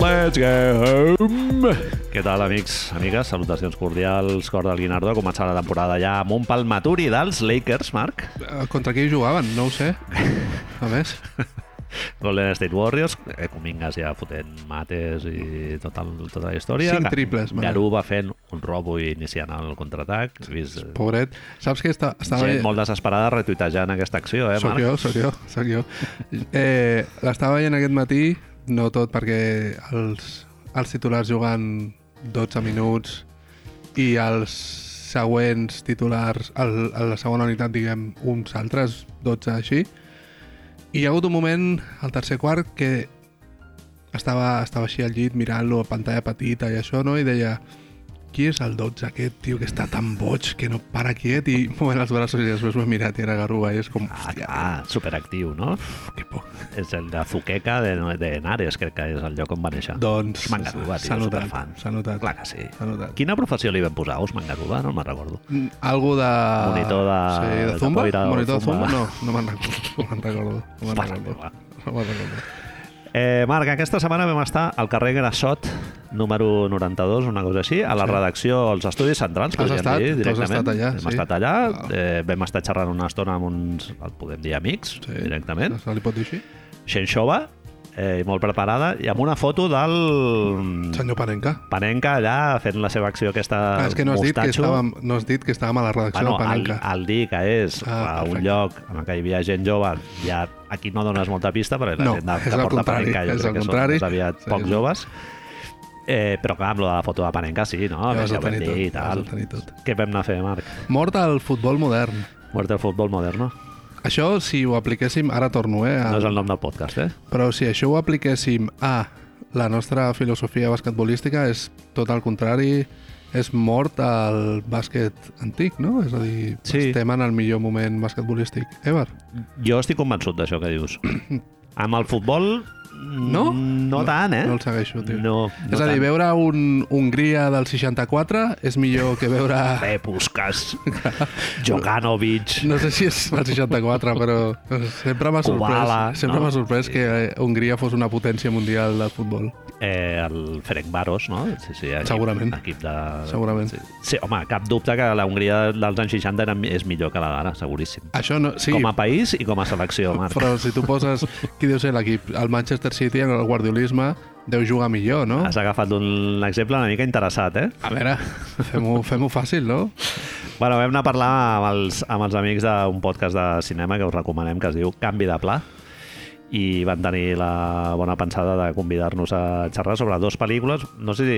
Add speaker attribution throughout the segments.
Speaker 1: Let's go home.
Speaker 2: Què tal, amics, amigues? Salutacions cordials, cor del Guinardó. Començar la temporada ja amb un palmaturi dels Lakers, Marc.
Speaker 3: Eh, Contra qui jugaven? No ho sé. A més,
Speaker 2: Golden State Warriors, eh, Comingas ja fotent mates i tot el, tota la història.
Speaker 3: cinc triples. Manel.
Speaker 2: Garu va fent un robo i iniciant el contraatac. He Vist, eh,
Speaker 3: Pobret. Saps que està, estava...
Speaker 2: gent molt desesperada retuitejant aquesta acció, eh,
Speaker 3: Soc
Speaker 2: Marc?
Speaker 3: jo, soc jo, soc jo. Eh, L'estava veient aquest matí, no tot perquè els, els titulars jugant 12 minuts i els següents titulars, el, a la segona unitat, diguem, uns altres 12 així. I hi ha hagut un moment, al tercer quart, que estava, estava així al llit mirant-lo a pantalla petita i això, no? I deia, qui és el 12 aquest, tio, que està tan boig, que no para quiet, i movent els braços i després m'he mirat i era Garruga, i és com,
Speaker 2: Ah,
Speaker 3: hòstia,
Speaker 2: ah, superactiu, no?
Speaker 3: que por.
Speaker 2: És el de Zuqueca de, de Henares, crec que és el lloc on va néixer.
Speaker 3: Doncs,
Speaker 2: Mangaruba, tio,
Speaker 3: s'ha notat,
Speaker 2: superfan.
Speaker 3: s'ha notat.
Speaker 2: Clar que sí.
Speaker 3: S'ha notat.
Speaker 2: Quina professió li van posar, Os Mangaruba? No me'n recordo.
Speaker 3: Mm, Algo de...
Speaker 2: Monitor de-
Speaker 3: Sí, de
Speaker 2: de
Speaker 3: Zumba?
Speaker 2: Coira o
Speaker 3: Monitor de
Speaker 2: Zumba.
Speaker 3: Zumba? No, no me'n recordo. No me'n recordo. No me'n
Speaker 2: Mare
Speaker 3: recordo.
Speaker 2: meva.
Speaker 3: No me'n recordo.
Speaker 2: Eh, Marc, aquesta setmana vam estar al carrer Grassot, número 92, una cosa així, a la
Speaker 3: Sí.
Speaker 2: redacció, als estudis centrals,
Speaker 3: Has
Speaker 2: podríem
Speaker 3: estat?
Speaker 2: dir,
Speaker 3: Tu has
Speaker 2: directament.
Speaker 3: estat allà,
Speaker 2: Hem
Speaker 3: sí.
Speaker 2: estat allà,
Speaker 3: Ah.
Speaker 2: eh, vam estar xerrant una estona amb uns, el podem dir, amics,
Speaker 3: Sí.
Speaker 2: directament.
Speaker 3: Se li pot dir així?
Speaker 2: Xenxova, eh, molt preparada, i amb una foto del Mm.
Speaker 3: Senyor Panenka.
Speaker 2: Panenka allà fent la seva acció aquesta
Speaker 3: Ah, és que no has, dit que
Speaker 2: mostatxo.
Speaker 3: estàvem, no has dit que estàvem a la redacció
Speaker 2: Bueno,
Speaker 3: de
Speaker 2: Ah, el,
Speaker 3: Panenka.
Speaker 2: el dir que és
Speaker 3: Ah,
Speaker 2: a un
Speaker 3: perfecte.
Speaker 2: lloc en què hi havia gent jove, ja aquí no dones molta pista, perquè la
Speaker 3: No,
Speaker 2: gent
Speaker 3: és
Speaker 2: que
Speaker 3: el
Speaker 2: porta
Speaker 3: contrari,
Speaker 2: Panenka jo
Speaker 3: és
Speaker 2: crec
Speaker 3: el
Speaker 2: que són
Speaker 3: contrari.
Speaker 2: més aviat
Speaker 3: Sí,
Speaker 2: pocs
Speaker 3: sí.
Speaker 2: joves. Eh, però clar, amb la foto de Panenka sí, no?
Speaker 3: Ja
Speaker 2: Ja,
Speaker 3: vas
Speaker 2: ja
Speaker 3: a
Speaker 2: ho vam
Speaker 3: tenir
Speaker 2: dir i
Speaker 3: tot, ja vas
Speaker 2: tal.
Speaker 3: a tenir tot.
Speaker 2: Què vam anar a fer, Marc?
Speaker 3: Mort al futbol modern.
Speaker 2: Mort del futbol modern, no?
Speaker 3: Això, si ho apliquéssim... Ara torno, eh? A,
Speaker 2: No és el nom del podcast, eh?
Speaker 3: Però si això ho apliquéssim a la nostra filosofia basquetbolística és tot el contrari, és mort al bàsquet antic, no? És a dir,
Speaker 2: Sí.
Speaker 3: estem en el millor moment basquetbolístic ever.
Speaker 2: Jo estic convençut d'això que dius. amb el futbol...
Speaker 3: No?
Speaker 2: No tant, eh?
Speaker 3: No el segueixo, tio.
Speaker 2: No, no
Speaker 3: és a dir,
Speaker 2: tant.
Speaker 3: veure un Hongria del 64 és millor que veure...
Speaker 2: Puskas, Jokanovic...
Speaker 3: No sé si és el 64, però sempre m'ha sorprès,
Speaker 2: Kubala,
Speaker 3: sempre
Speaker 2: no?
Speaker 3: m'ha sorprès que Hongria fos una potència mundial del futbol.
Speaker 2: eh, el Ferencvaros, no? Sí, sí, equip,
Speaker 3: Segurament.
Speaker 2: Equip de...
Speaker 3: Segurament.
Speaker 2: Ah, Sí. sí, home, cap dubte que la Hongria dels anys 60 era, és millor que la d'ara, seguríssim.
Speaker 3: Això no...
Speaker 2: Sí.
Speaker 3: Sí,
Speaker 2: Com a país i com a selecció, Marc.
Speaker 3: Però si tu poses qui deu ser l'equip, el Manchester City en el guardiolisme deu jugar millor, no?
Speaker 2: Has agafat un exemple una mica interessat, eh?
Speaker 3: A veure, fem-ho fem fàcil, no?
Speaker 2: Bueno, vam anar a parlar amb els, amb els amics d'un podcast de cinema que us recomanem, que es diu Canvi de Pla, i van tenir la bona pensada de convidar-nos a xerrar sobre dues pel·lícules. No sé si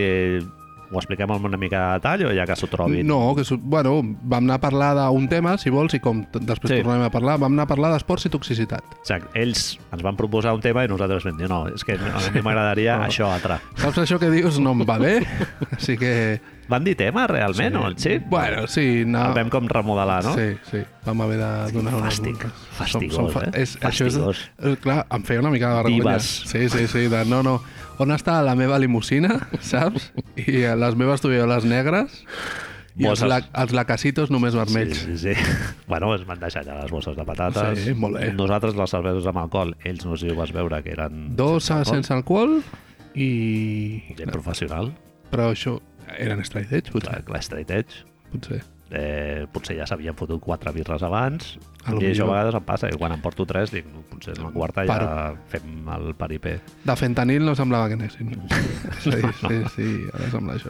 Speaker 2: ho expliquem amb una mica de detall o ja que s'ho trobin.
Speaker 3: No, que, su- bueno, vam anar a parlar d'un tema, si vols, i com t- després
Speaker 2: Sí.
Speaker 3: sí. tornem a parlar, vam anar a parlar d'esports i toxicitat.
Speaker 2: Exacte. Ells ens van proposar un tema i nosaltres vam dir no, és que a mi m'agradaria
Speaker 3: No.
Speaker 2: això altre.
Speaker 3: Saps això que dius no em va bé? Així que...
Speaker 2: Van dir tema, realment, sí. o sí?
Speaker 3: Bueno, sí, no.
Speaker 2: El vam com remodelar, Ah, no?
Speaker 3: Sí, sí, vam haver de donar unes
Speaker 2: fàstic,
Speaker 3: multes.
Speaker 2: fastigós, eh?
Speaker 3: és, això és,
Speaker 2: Fastigós.
Speaker 3: eh, clar, em feia una mica de vergonya.
Speaker 2: Divas.
Speaker 3: Sí, sí, sí, de no, no. On està la meva limusina, saps? I eh, les meves tovalloles negres i els,
Speaker 2: Bosses.
Speaker 3: la, els lacacitos només vermells.
Speaker 2: Sí, sí, sí. Bueno, es van deixar allà les bosses de patates.
Speaker 3: Sí, molt bé.
Speaker 2: Nosaltres les cerveses amb alcohol. Ells no sé si ho vas veure, que eren...
Speaker 3: Dos sense,
Speaker 2: alcohol.
Speaker 3: sense alcohol i...
Speaker 2: Gent professional,
Speaker 3: Però això eren straight edge, potser.
Speaker 2: clar, clar, straight edge.
Speaker 3: potser.
Speaker 2: Eh, potser ja s'havien fotut quatre birres abans
Speaker 3: A lo
Speaker 2: i això a
Speaker 3: millor.
Speaker 2: vegades em passa, que quan em porto tres dic, "No, potser en la quarta ja fem el paripé
Speaker 3: De fentanil no semblava que anessin. Sí, sí, sí, ara sembla això.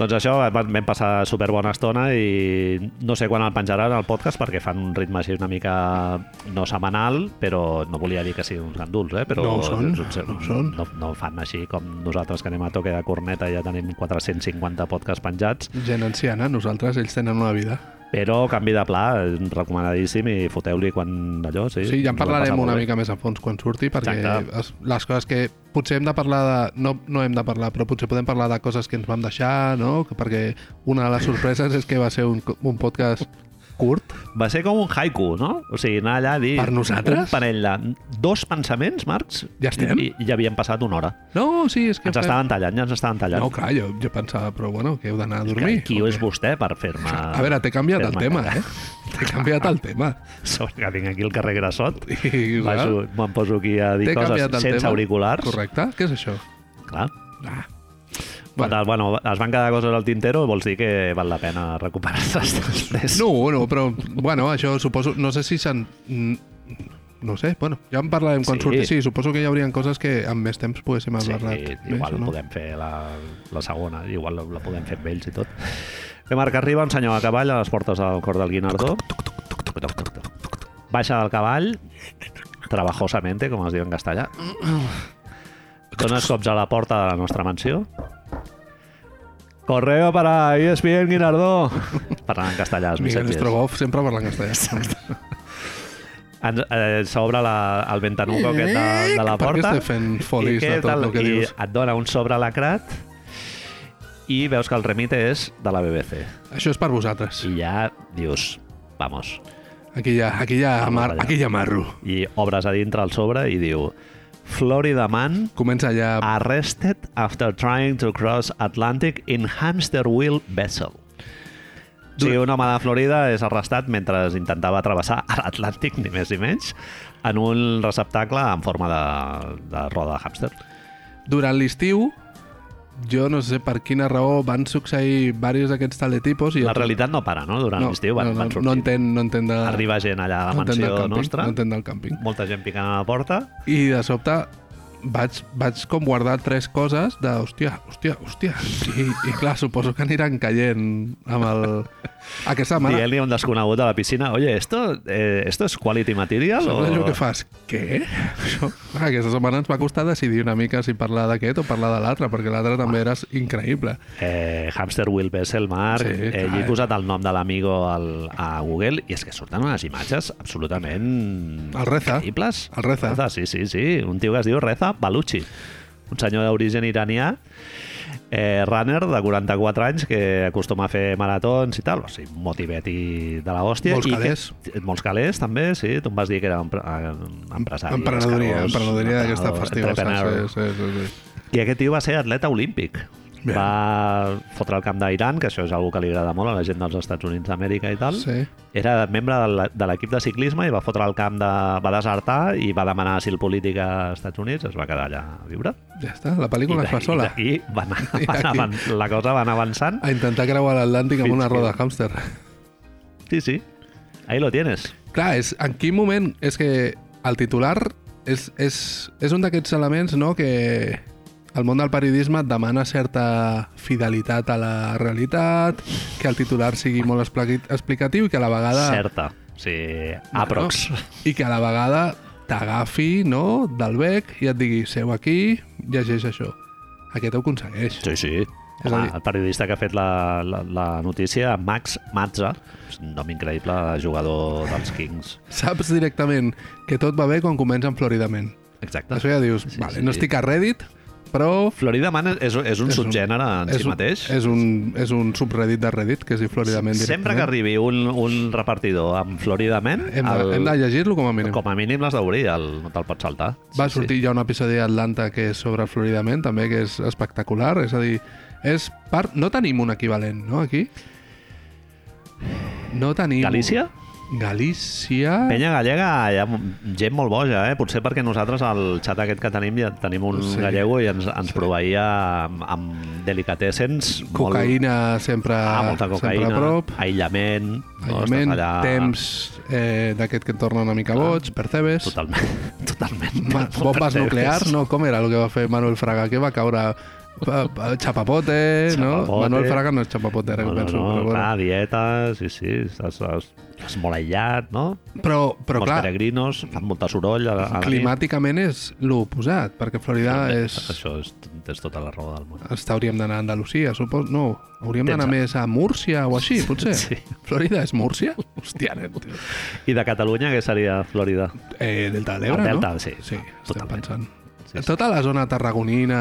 Speaker 2: Doncs això, vam vam passar superbona estona i no sé quan el penjaran al podcast perquè fan un ritme així una mica no setmanal, però no volia dir que siguin uns ganduls, eh? Però
Speaker 3: No ho són,
Speaker 2: potser
Speaker 3: no ho són.
Speaker 2: No, no fan així com nosaltres que anem a toque de corneta i ja tenim 450 podcasts penjats,
Speaker 3: Gent anciana, nosaltres, ells tenen una vida.
Speaker 2: però canvi de pla, eh, recomanadíssim i foteu-li quan allò, sí.
Speaker 3: Sí, ja
Speaker 2: Us ho vam
Speaker 3: en
Speaker 2: passar
Speaker 3: parlarem
Speaker 2: molt
Speaker 3: una
Speaker 2: bé.
Speaker 3: mica més a fons quan surti, perquè
Speaker 2: Exacte.
Speaker 3: es, les coses que potser hem de parlar de... No, no hem de parlar, però potser podem parlar de coses que ens vam deixar, no? Que- Perquè una de les sorpreses és que va ser un, un podcast curt.
Speaker 2: Va ser com un haiku, no? O sigui, anar allà a dir...
Speaker 3: Per nosaltres?
Speaker 2: Un parell de... Dos pensaments, Marcs?
Speaker 3: Ja estem?
Speaker 2: I, i ja havien passat una hora.
Speaker 3: No, sí, és que...
Speaker 2: Ens estaven tallant, ja ens estaven tallant.
Speaker 3: No, clar, jo, jo pensava, però bueno, que heu d'anar a
Speaker 2: Que,
Speaker 3: dormir.
Speaker 2: qui
Speaker 3: o
Speaker 2: és
Speaker 3: què?
Speaker 2: vostè per fer-me...
Speaker 3: A veure, t'he canviat el
Speaker 2: fer-me
Speaker 3: tema,
Speaker 2: callar?
Speaker 3: eh? T'he canviat el tema.
Speaker 2: Sobre que vinc aquí al carrer Grassot,
Speaker 3: I, clar,
Speaker 2: baixo- me'n poso aquí a dir
Speaker 3: T'he
Speaker 2: coses
Speaker 3: canviat el
Speaker 2: sense
Speaker 3: tema.
Speaker 2: auriculars.
Speaker 3: Correcte, què és això?
Speaker 2: Clar,
Speaker 3: Ah,
Speaker 2: Bueno. bueno, es van quedar coses al tintero, vols dir que val la pena recuperar-se després?
Speaker 3: No, no, però, bueno, això suposo... No sé si se'n... mm, No ho sé, bueno, ja en parlarem quan
Speaker 2: Sí.
Speaker 3: sí. surti. Sí, suposo que hi haurien coses que amb més temps poguéssim
Speaker 2: Sí,
Speaker 3: haver parlat.
Speaker 2: igual
Speaker 3: més, o no?
Speaker 2: podem fer la, la segona, igual la, la podem fer amb ells i tot. Bé, Marc, arriba un senyor a cavall a les portes del cor del Guinardó. Baixa del cavall, trabajosamente, com es diu en castellà. Dones cops a la porta de la nostra mansió. Correo para E ESPN Guinardó. Parlant en castellà, els
Speaker 3: Miguel
Speaker 2: missatges.
Speaker 3: Strogoff sempre parla en castellà.
Speaker 2: Ens- eh, S'obre la- el ventanuco aquest de, de la
Speaker 3: Per què
Speaker 2: porta.
Speaker 3: estem fent folis
Speaker 2: què
Speaker 3: de tot
Speaker 2: tal?
Speaker 3: el que
Speaker 2: I
Speaker 3: dius?
Speaker 2: et dona un sobre lacrat i veus que el remite és de la BBC.
Speaker 3: Això és per vosaltres.
Speaker 2: I ja dius, vamos.
Speaker 3: Aquí hi ha, aquí hi ha,
Speaker 2: Vamos
Speaker 3: mar,
Speaker 2: allá.
Speaker 3: aquí hi ha marro.
Speaker 2: I obres a dintre el sobre i diu Florida man
Speaker 3: Comença
Speaker 2: Ah.
Speaker 3: ja...
Speaker 2: arrested after trying to cross Atlantic in hamster wheel vessel. O sigui, un home de Florida és arrestat mentre intentava travessar l'Atlàntic, ni més ni menys, en un receptacle en forma de, de roda de hàmster.
Speaker 3: Durant l'estiu, jo no sé per quina raó van succeir diversos d'aquests teletipos i...
Speaker 2: La realitat no para, no? Durant l'estiu van,
Speaker 3: no,
Speaker 2: van
Speaker 3: no,
Speaker 2: sortir.
Speaker 3: no entenc, no entenc de...
Speaker 2: Arriba gent allà a la
Speaker 3: Ah. no entenc del
Speaker 2: mansió
Speaker 3: càmping,
Speaker 2: nostra,
Speaker 3: No entenc del càmping.
Speaker 2: molta gent picant a la porta,
Speaker 3: I de sobte vaig, vaig com guardar tres coses de hòstia, hòstia, hòstia. I, i clar, suposo que aniran caient amb el... Aquesta setmana...
Speaker 2: dient-li a un desconegut a la piscina, oye, esto, eh, esto es quality material?
Speaker 3: Sobre
Speaker 2: o...
Speaker 3: allò que fas, què? Això, clar, aquesta setmana ens va costar decidir una mica si parlar d'aquest o parlar de l'altre, perquè l'altre també era increïble.
Speaker 2: Eh, Hamster Will Bessel, Marc,
Speaker 3: Sí,
Speaker 2: sí, eh,
Speaker 3: clar,
Speaker 2: hi he
Speaker 3: eh.
Speaker 2: posat el nom de l'amigo al- a Google i és que surten unes imatges absolutament...
Speaker 3: El Reza.
Speaker 2: Increïbles.
Speaker 3: El Reza.
Speaker 2: Sí, sí, sí. Un tio que es diu Reza Baluchi, un senyor d'origen iranià, eh, runner de 44 anys que acostuma a fer maratons i tal, o sigui, un motiveti de la hòstia.
Speaker 3: Molts
Speaker 2: i
Speaker 3: calés.
Speaker 2: Que, molts calés, també, sí. Tu em vas dir que era empre eh, empresari.
Speaker 3: Emprenedoria,
Speaker 2: escarós,
Speaker 3: emprenedoria d'aquesta
Speaker 2: emprenedor,
Speaker 3: festiva.
Speaker 2: entrepreneur.
Speaker 3: Sí, sí, sí, sí.
Speaker 2: I aquest tio va ser atleta olímpic.
Speaker 3: Bé.
Speaker 2: Va fotre el camp d'Iran, que això és algo que li agrada molt a la gent dels Estats Units d'Amèrica i tal.
Speaker 3: Sí.
Speaker 2: Era membre de la- de l'equip de ciclisme i va fotre el camp de... va desertar i va demanar asil polític a Estats Units, es va quedar allà a viure.
Speaker 3: Ja està, la pel·lícula es fa
Speaker 2: I
Speaker 3: sola.
Speaker 2: d'aquí va anar,
Speaker 3: I
Speaker 2: va anar,
Speaker 3: d'aquí-
Speaker 2: avan- la cosa va anar avançant.
Speaker 3: A intentar creuar l'Atlàntic amb
Speaker 2: Fins
Speaker 3: una
Speaker 2: que-
Speaker 3: roda de hàmster.
Speaker 2: Sí, sí. Ahí lo tienes.
Speaker 3: Clar, és, en quin moment és que el titular és, és, és un d'aquests elements no, que el món del periodisme et demana certa fidelitat a la realitat, que el titular sigui molt expli- explicatiu i que a la vegada...
Speaker 2: Certa. Sí, aprox.
Speaker 3: I que a la vegada t'agafi no, del bec i et digui seu aquí, llegeix això. Aquest ho aconsegueix.
Speaker 2: Sí, sí.
Speaker 3: És a
Speaker 2: Home,
Speaker 3: dir-
Speaker 2: el periodista que ha fet la, la, la notícia, Max Matza, és un nom increïble, jugador dels Kings.
Speaker 3: Saps directament que tot va bé quan comença en Floridament.
Speaker 2: Exacte.
Speaker 3: Això ja dius,
Speaker 2: Sí,
Speaker 3: vale,
Speaker 2: sí,
Speaker 3: no
Speaker 2: sí.
Speaker 3: estic a Reddit, però
Speaker 2: Florida Man és, és un
Speaker 3: És un-
Speaker 2: subgènere en si mateix.
Speaker 3: Un, és, un, és un subreddit de Reddit, que es diu Floridament
Speaker 2: Sempre que arribi un, un repartidor amb Florida Man,
Speaker 3: Hem de, hem de llegir-lo com a mínim.
Speaker 2: com a mínim l'has d'obrir, el- no te'l pots saltar.
Speaker 3: Va
Speaker 2: Sí,
Speaker 3: sortir
Speaker 2: sí.
Speaker 3: ja un episodi d'Atlanta que és sobre el Floridament, també, que és espectacular. És a dir, és part... No tenim un equivalent, no, aquí? No tenim...
Speaker 2: Galícia?
Speaker 3: Galícia...
Speaker 2: Penya gallega, hi ha gent molt boja, eh? Potser perquè nosaltres al xat aquest que tenim ja tenim un
Speaker 3: Sí.
Speaker 2: sí. gallego i ens, ens proveïa amb, amb delicatessens
Speaker 3: Cocaïna sempre,
Speaker 2: Ah, molta cocaïna,
Speaker 3: sempre a prop.
Speaker 2: aïllament, no?
Speaker 3: Aïllament,
Speaker 2: Estàs allà...
Speaker 3: temps eh, d'aquest que et torna una mica boig, percebes.
Speaker 2: Totalment, totalment.
Speaker 3: Ma- bombes nuclears, no? Com era el que va fer Manuel Fraga? Que va caure pa- pa- xapapote, no?
Speaker 2: Xapapote.
Speaker 3: Manuel Fraga no és xapapote, ara
Speaker 2: No,
Speaker 3: que
Speaker 2: no,
Speaker 3: penso.
Speaker 2: no,
Speaker 3: però,
Speaker 2: clar, dieta, sí, sí, estàs, estàs, estàs molt aïllat, no?
Speaker 3: però, però
Speaker 2: Molts
Speaker 3: clar,
Speaker 2: peregrinos, fan molta soroll a, la- a la
Speaker 3: climàticament és l'oposat, perquè Florida
Speaker 2: nit.
Speaker 3: és...
Speaker 2: Això és, tens tota la raó del món.
Speaker 3: Ens hauríem d'anar a Andalusia, supos... No, hauríem d'anar més a Múrcia o així, potser.
Speaker 2: Sí.
Speaker 3: Florida és Múrcia? Hòstia, nen, tio.
Speaker 2: I de Catalunya, què seria Florida?
Speaker 3: Eh, Delta de l'Ebre,
Speaker 2: El
Speaker 3: no?
Speaker 2: Delta, sí.
Speaker 3: Sí, estem
Speaker 2: Totalment.
Speaker 3: pensant.
Speaker 2: Sí, sí.
Speaker 3: Tota la zona tarragonina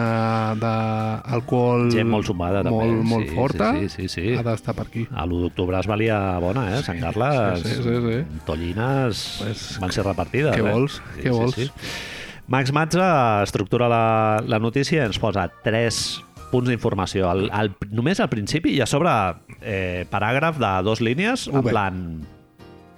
Speaker 3: d'alcohol...
Speaker 2: Gent molt sumada, també.
Speaker 3: Molt, molt
Speaker 2: Sí, sí,
Speaker 3: forta.
Speaker 2: sí, sí, sí.
Speaker 3: Ha d'estar per aquí.
Speaker 2: A l'1 d'octubre es valia bona, eh? Sant Carles,
Speaker 3: sí, sí, sí, sí.
Speaker 2: tollines
Speaker 3: Pues,
Speaker 2: van ser repartides.
Speaker 3: què
Speaker 2: eh?
Speaker 3: vols? Què vols?
Speaker 2: Max Matza estructura la, la notícia i ens posa tres punts d'informació. Al- al- Només al principi i a sobre eh, paràgraf de dos línies, en
Speaker 3: Ube.
Speaker 2: plan...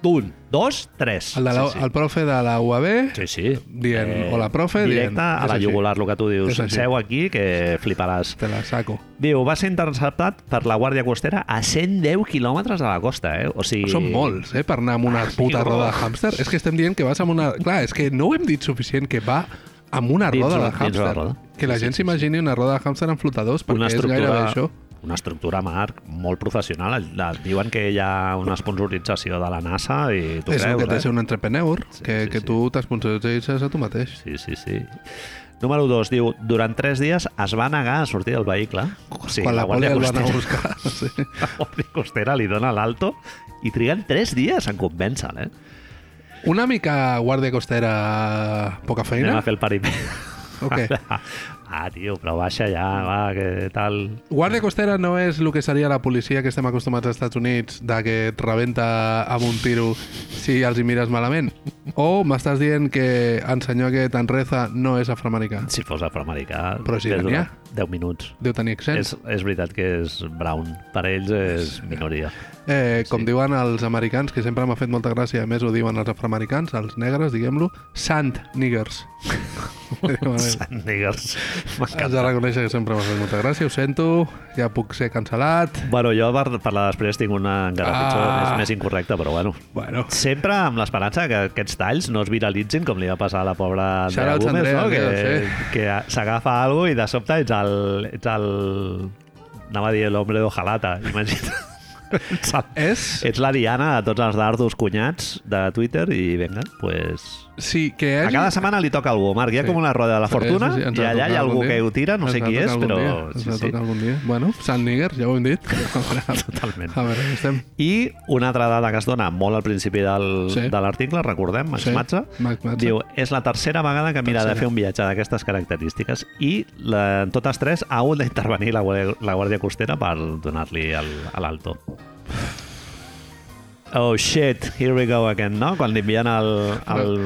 Speaker 2: Un, dos, tres.
Speaker 3: El, de la,
Speaker 2: sí,
Speaker 3: el profe de la UAB
Speaker 2: sí. sí, sí. Eh,
Speaker 3: dient hola, profe,
Speaker 2: Directe
Speaker 3: dient,
Speaker 2: a
Speaker 3: "És
Speaker 2: la
Speaker 3: així".
Speaker 2: jugular, el que tu dius.
Speaker 3: És així.
Speaker 2: Seu aquí que fliparàs.
Speaker 3: te la saco.
Speaker 2: Diu, va ser interceptat per la Guàrdia Costera a 110 quilòmetres de la costa, eh? O sigui...
Speaker 3: Són molts, eh, per anar amb una puta
Speaker 2: tio.
Speaker 3: roda de hàmster. És que estem dient que vas amb una... Clar, és que no ho hem dit suficient, que va amb una
Speaker 2: Dins
Speaker 3: roda
Speaker 2: una-
Speaker 3: de
Speaker 2: dins una
Speaker 3: hàmster.
Speaker 2: roda.
Speaker 3: Que la gent s'imagini una roda de hàmster amb flotadors, perquè
Speaker 2: Una
Speaker 3: és gairebé
Speaker 2: estructura,
Speaker 3: això.
Speaker 2: una estructura, Marc, molt professional. El- la- Diuen que hi ha una sponsorització de la NASA i tu
Speaker 3: És el
Speaker 2: creus,
Speaker 3: que té
Speaker 2: eh?
Speaker 3: ser un entrepreneur,
Speaker 2: Sí,
Speaker 3: que,
Speaker 2: sí,
Speaker 3: que
Speaker 2: sí.
Speaker 3: tu t'esponsoritzes a tu mateix.
Speaker 2: Sí, sí, sí. Número 2 diu, durant 3 dies es va negar a sortir del vehicle. O sigui,
Speaker 3: Quan la, poli
Speaker 2: Guàrdia
Speaker 3: el van a
Speaker 2: Costera-
Speaker 3: buscar. Sí.
Speaker 2: La Guàrdia Costera li dona l'alto i triguen 3 dies en convèncer-lo, eh?
Speaker 3: Una mica guàrdia costera poca
Speaker 2: Anem
Speaker 3: feina.
Speaker 2: a fer el paripé.
Speaker 3: O què?
Speaker 2: Ah, tio, però baixa ja, va, que tal...
Speaker 3: Guàrdia costera no és el que seria la policia que estem acostumats als Estats Units, de que et rebenta amb un tiro si els hi mires malament. O m'estàs dient que el senyor que te'n reza no és afroamericà.
Speaker 2: Si fos afroamericà...
Speaker 3: Però si
Speaker 2: hagués
Speaker 3: n'hi ha.
Speaker 2: durat 10 minuts.
Speaker 3: Deu tenir accent.
Speaker 2: És, és veritat que és brown. Per ells és minoria.
Speaker 3: Eh, com
Speaker 2: sí.
Speaker 3: sí. diuen els americans, que sempre m'ha fet molta gràcia, a més ho diuen els afroamericans, els negres, diguem-lo, sand niggers. Ho diuen ells.
Speaker 2: Sant Niggers.
Speaker 3: Has de
Speaker 2: M'encanta.
Speaker 3: reconèixer que sempre m'ha fet molta gràcia, ho sento, ja puc ser cancel·lat.
Speaker 2: Bueno, jo per, per la després tinc una encara
Speaker 3: Ah.
Speaker 2: pitjor, és més incorrecta, però bueno.
Speaker 3: Bueno,
Speaker 2: Sempre amb l'esperança que aquests talls no es viralitzin com li va passar a la pobra Andrea
Speaker 3: Shoutouts,
Speaker 2: Gómez,
Speaker 3: Andrea,
Speaker 2: no? que,
Speaker 3: Andrea,
Speaker 2: que s'agafa algo i de sobte ets el... Ets el anava a dir l'hombre d'ojalata, imagina't. Ets el-
Speaker 3: és...
Speaker 2: Ets la Diana de tots els dardos cunyats de Twitter i vinga, pues...
Speaker 3: Sí, que
Speaker 2: A
Speaker 3: hagi...
Speaker 2: cada setmana li toca algú, Marc. Hi ha
Speaker 3: Sí.
Speaker 2: com una roda de la
Speaker 3: Sí,
Speaker 2: fortuna
Speaker 3: sí, sí, ens
Speaker 2: i
Speaker 3: ha
Speaker 2: allà hi
Speaker 3: tocat
Speaker 2: ha algú
Speaker 3: algun
Speaker 2: que
Speaker 3: dia.
Speaker 2: ho tira, no
Speaker 3: Ens
Speaker 2: sé
Speaker 3: ha
Speaker 2: qui
Speaker 3: tocat
Speaker 2: és,
Speaker 3: algun
Speaker 2: però...
Speaker 3: Dia. Ens
Speaker 2: Sí,
Speaker 3: va
Speaker 2: sí,
Speaker 3: tocar algun dia. Bueno, Sant Níger, ja ho hem dit. A veure,
Speaker 2: totalment.
Speaker 3: a veure, estem...
Speaker 2: I una altra dada que es dona molt al principi del,
Speaker 3: Sí.
Speaker 2: de l'article, recordem, Max
Speaker 3: Sí,
Speaker 2: Matza,
Speaker 3: Max Matza.
Speaker 2: diu és la tercera vegada que mira
Speaker 3: Tercera.
Speaker 2: de fer un viatge d'aquestes característiques i la, en totes tres ha hagut d'intervenir la, Guàrdia- la Guàrdia Costera per donar-li el- a l'alto. Oh shit, here we go again, no? Quan li envien el... el...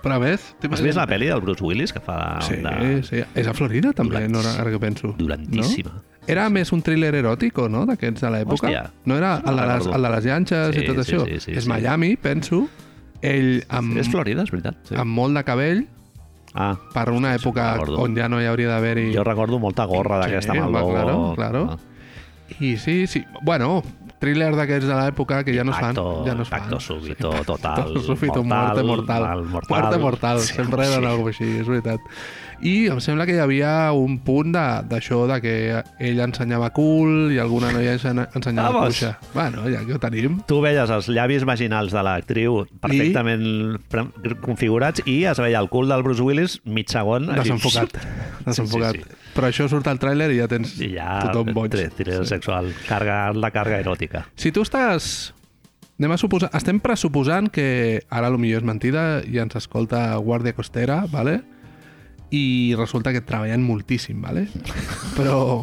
Speaker 3: Però a més...
Speaker 2: Has vist la pel·li del Bruce Willis que fa
Speaker 3: Sí,
Speaker 2: una
Speaker 3: sí. És a Florida, també,
Speaker 2: Durant-
Speaker 3: no, ara- ara que penso.
Speaker 2: durantíssima?
Speaker 3: No? Era més un thriller eròtic, o no?, d'aquests de l'època.
Speaker 2: Hòstia.
Speaker 3: No era
Speaker 2: No
Speaker 3: el de les,
Speaker 2: recordo.
Speaker 3: el de les llanxes
Speaker 2: Sí,
Speaker 3: i tot
Speaker 2: sí,
Speaker 3: això.
Speaker 2: sí, sí,
Speaker 3: és
Speaker 2: sí.
Speaker 3: Miami, penso. Ell amb,
Speaker 2: És Florida, és veritat. Sí.
Speaker 3: amb molt de cabell,
Speaker 2: Ah,
Speaker 3: per una època
Speaker 2: recordo.
Speaker 3: on ja no hi hauria d'haver-hi...
Speaker 2: jo recordo molta gorra d'aquesta
Speaker 3: Sí,
Speaker 2: amb el
Speaker 3: home,
Speaker 2: logo.
Speaker 3: claro, claro.
Speaker 2: Ah.
Speaker 3: I sí, sí. Bueno, thriller d'aquests de l'època que ja no es fan.
Speaker 2: Impacto-
Speaker 3: ja no es
Speaker 2: impacto
Speaker 3: fan.
Speaker 2: súbito,
Speaker 3: impacto
Speaker 2: total, mortal,
Speaker 3: súbito, muerte mortal.
Speaker 2: mal mortal.
Speaker 3: Muerte mortal.
Speaker 2: Sí,
Speaker 3: Sempre eren
Speaker 2: sí.
Speaker 3: alguna cosa així, és veritat. I em sembla que hi havia un punt de- d'això de, de que ell ensenyava cul i alguna noia ensenya- ensenyava
Speaker 2: Vamos.
Speaker 3: cuixa. Bueno, ja que ho tenim.
Speaker 2: Tu veies els llavis vaginals de l'actriu perfectament pre- configurats i es veia el cul del Bruce Willis mig segon. així,
Speaker 3: Desenfocat. Desenfocat.
Speaker 2: Sí, sí,
Speaker 3: Però això surt al tràiler i ja tens
Speaker 2: I ja,
Speaker 3: tothom boig.
Speaker 2: Thriller sexual, carga, la carga eròtica.
Speaker 3: Si tu estàs... Anem a suposar... Estem pressuposant que ara lo millor és mentida i ens escolta Guàrdia Costera, vale? i resulta que treballen moltíssim, vale? però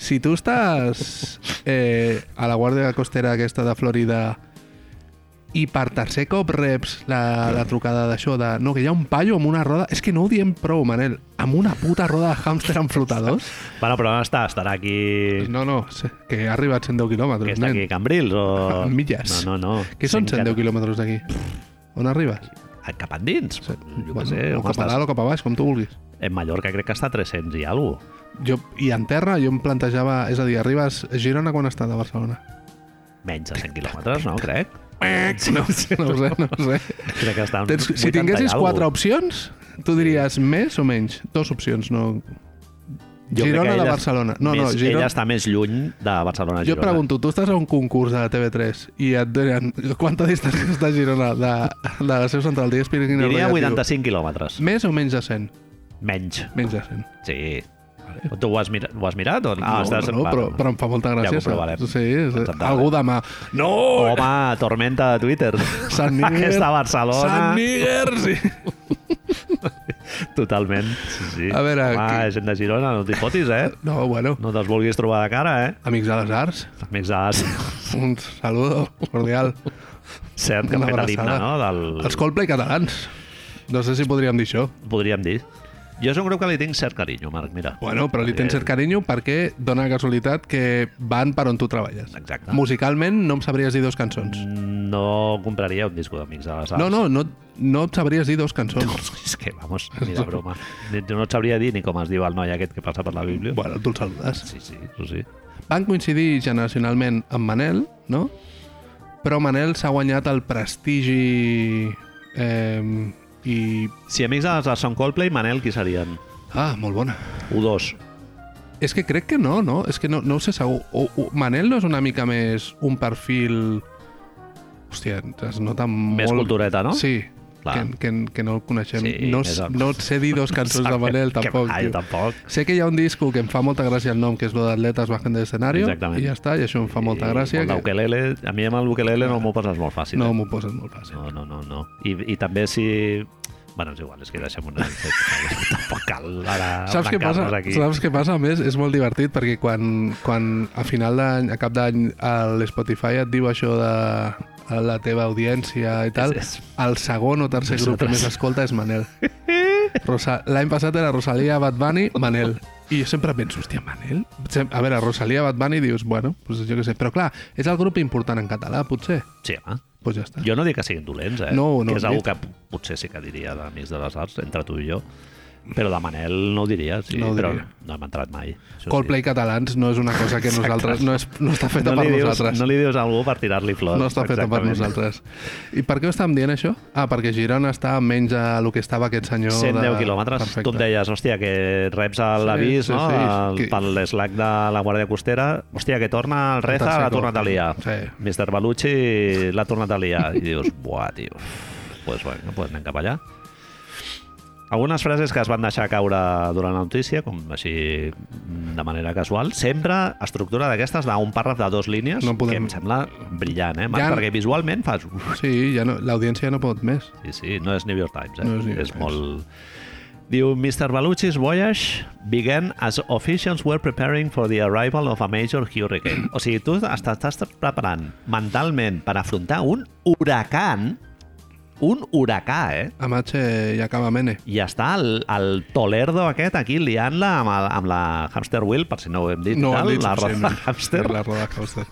Speaker 3: si tu estàs eh, a la Guàrdia Costera aquesta de Florida i per tercer cop reps la, la trucada d'això de no, que hi ha un paio amb una roda... És que no ho diem prou, Manel. Amb una puta roda de hàmster amb flotadors?
Speaker 2: Bueno, però on està? Estarà aquí...
Speaker 3: No, no, que ha arribat 110
Speaker 2: que
Speaker 3: quilòmetres,
Speaker 2: està
Speaker 3: nen.
Speaker 2: aquí a Cambrils o...
Speaker 3: En milles.
Speaker 2: No, no, no.
Speaker 3: Què són
Speaker 2: Cent
Speaker 3: 110
Speaker 2: cat-
Speaker 3: quilòmetres d'aquí? On arribes?
Speaker 2: Ah, Cap endins.
Speaker 3: Sí.
Speaker 2: Jo
Speaker 3: Bueno,
Speaker 2: què sé,
Speaker 3: o
Speaker 2: on
Speaker 3: cap a
Speaker 2: estàs?
Speaker 3: dalt o cap a baix, com tu vulguis.
Speaker 2: En Mallorca crec que està a 300 i alguna cosa.
Speaker 3: Jo, I en terra jo em plantejava... És a dir, arribes a Girona quan està de Barcelona?
Speaker 2: Menys de 100 quilòmetres, no? Crec.
Speaker 3: No, no ho sé, no ho sé.
Speaker 2: Crec que està en
Speaker 3: Tens,
Speaker 2: 80
Speaker 3: si
Speaker 2: i alguna
Speaker 3: tinguessis
Speaker 2: cosa.
Speaker 3: quatre opcions, tu diries més o menys? Dos opcions, no...
Speaker 2: Jo crec
Speaker 3: Girona
Speaker 2: que
Speaker 3: de
Speaker 2: ella-
Speaker 3: Barcelona. No,
Speaker 2: més,
Speaker 3: no, Girona...
Speaker 2: Ella està més lluny de Barcelona a Girona.
Speaker 3: Jo et pregunto, tu estàs a un concurs de TV3 i et donen quanta distància està Girona de, de la seu central d'Ies Pirineus
Speaker 2: Diria
Speaker 3: Relatiu?
Speaker 2: 85 quilòmetres.
Speaker 3: Més o menys de 100?
Speaker 2: Menys.
Speaker 3: Menys de 100.
Speaker 2: Sí. Tu ho has, mira, ho has mirat? O...
Speaker 3: Ah, no, estàs... no, però, però em fa molta gràcia.
Speaker 2: Ja ho provarem.
Speaker 3: saps? Sí, sí.
Speaker 2: Ens en
Speaker 3: algú demà... No!
Speaker 2: Home, tormenta de Twitter.
Speaker 3: Sant Níger...
Speaker 2: Aquesta Barcelona.
Speaker 3: Sant Níger, sí.
Speaker 2: Totalment. Sí, sí.
Speaker 3: A veure,
Speaker 2: Home,
Speaker 3: qui-
Speaker 2: gent de Girona, no t'hi fotis, eh?
Speaker 3: No, bueno,
Speaker 2: No te'ls vulguis trobar de cara, eh?
Speaker 3: amics de les arts,
Speaker 2: Amics de...
Speaker 3: un saludo cordial.
Speaker 2: Cert que han
Speaker 3: Una
Speaker 2: fet
Speaker 3: abraçada.
Speaker 2: l'himne, no? Del...
Speaker 3: Els Coldplay catalans. No sé si podríem dir això.
Speaker 2: Podríem dir. Jo és un grup que li tinc cert carinyo, Marc, mira. Eh,
Speaker 3: Bueno, però li tens cert carinyo perquè dona la casualitat que van per on tu treballes.
Speaker 2: Exacte.
Speaker 3: Musicalment no em sabries dir dos cançons.
Speaker 2: No compraria un disco d'Amics de les Arts.
Speaker 3: No, no, no, no et sabries dir dos cançons.
Speaker 2: És que, vamos, ni de broma. Ni- No et sabria dir ni com es diu el noi aquest que passa per la Bíblia.
Speaker 3: Bueno, tu el saludes.
Speaker 2: Sí, sí, sí, sí.
Speaker 3: Van coincidir generacionalment amb Manel, no? Però Manel s'ha guanyat el prestigi... Eh, I...
Speaker 2: Si Amics de les Arts són Coldplay, Manel, qui serien?
Speaker 3: Ah, molt bona.
Speaker 2: U2.
Speaker 3: És que crec que no, no? És que no, no ho sé segur. O, o, Manel no és una mica més un perfil... Hòstia, es nota molt...
Speaker 2: Més cultureta, no?
Speaker 3: Sí,
Speaker 2: Clar.
Speaker 3: que, que, que no el coneixem.
Speaker 2: Sí,
Speaker 3: no,
Speaker 2: més
Speaker 3: s-
Speaker 2: o-
Speaker 3: no et sé dir dos cançons de Manel,
Speaker 2: Que
Speaker 3: tampoc.
Speaker 2: va,
Speaker 3: tio.
Speaker 2: jo tampoc.
Speaker 3: Sé que hi ha un disco que em fa molta gràcia el nom, que és lo d'Atletes bajen de escenario,
Speaker 2: Exactament.
Speaker 3: i ja està, i això em fa molta gràcia.
Speaker 2: I amb
Speaker 3: Que...
Speaker 2: l'ukelele, a mi amb el ukelele no m'ho passes molt fàcil.
Speaker 3: No
Speaker 2: eh?
Speaker 3: m'ho poses molt fàcil.
Speaker 2: no, no, no, no. I, I també si... Bueno, és igual, és que deixem una... Tampoc cal ara
Speaker 3: Saps què, passa?
Speaker 2: arrencar-nos aquí.
Speaker 3: Saps què passa? A més, és molt divertit perquè quan, quan a final d'any, a cap d'any, a l'Spotify et diu això de la teva audiència i tal,
Speaker 2: És- és-
Speaker 3: el segon o tercer grup que
Speaker 2: Nosaltres.
Speaker 3: més escolta és Manel. Rosa... L'any passat era Rosalia, Bad Bunny, Manel. I jo sempre penso, hòstia, Manel? Sem- A veure, Rosalia, Bad Bunny, dius, bueno, pues jo què sé. Però clar, és el grup important en català, potser.
Speaker 2: Sí, home.
Speaker 3: Pues ja està.
Speaker 2: Jo no dic que siguin dolents, eh?
Speaker 3: No, no,
Speaker 2: que és
Speaker 3: ni-
Speaker 2: algo que potser sí que diria d'Amics de les Arts, entre tu i jo. Però de Manel no ho diria, sí,
Speaker 3: No ho
Speaker 2: però
Speaker 3: diria.
Speaker 2: no hem entrat mai. Això sí.
Speaker 3: Coldplay catalans no és una cosa que nosaltres... No, és, no està feta
Speaker 2: no
Speaker 3: per
Speaker 2: li, dius,
Speaker 3: nosaltres.
Speaker 2: no li dius a algú per tirar-li flors.
Speaker 3: No està feta per
Speaker 2: exactament.
Speaker 3: nosaltres. I per què ho estàvem dient, això? Ah, perquè Girona està menys a el que estava aquest senyor...
Speaker 2: 110
Speaker 3: de...
Speaker 2: quilòmetres, tu em deies, hòstia, que reps a l'avís,
Speaker 3: sí,
Speaker 2: no?
Speaker 3: sí,
Speaker 2: El-
Speaker 3: que-
Speaker 2: Per l'eslac de la Guàrdia Costera, hòstia, que torna el Reza,
Speaker 3: tercer
Speaker 2: l'ha
Speaker 3: cop.
Speaker 2: tornat a liar.
Speaker 3: Sí.
Speaker 2: Mr. Balucci l'ha tornat a liar. I dius, buah, tio, pues, bueno, pues anem cap allà. Algunes frases que es van deixar caure durant la notícia, com així de manera casual, sempre estructura d'aquestes d'un pàrraf de dues línies,
Speaker 3: No podem-
Speaker 2: que em sembla brillant, eh, Marc?
Speaker 3: Ja-
Speaker 2: Perquè visualment fas... Uf,
Speaker 3: Sí, ja no, l'audiència no pot més.
Speaker 2: Sí, sí, no és New York Times, eh?
Speaker 3: No és New York
Speaker 2: és
Speaker 3: Times.
Speaker 2: molt... Diu, Mr. Baluchi's voyage began as officials were preparing for the arrival of a major hurricane. O sigui, tu t'estàs preparant mentalment per afrontar un huracan, un huracà, eh?
Speaker 3: Amache i acaba Mene.
Speaker 2: I està el, el Tolerdo aquest aquí liant-la amb, el- amb la hamster wheel, per si no ho hem dit. i
Speaker 3: No,
Speaker 2: tal,
Speaker 3: han dit
Speaker 2: la
Speaker 3: suficientment.
Speaker 2: roda hamster.
Speaker 3: La roda hamster.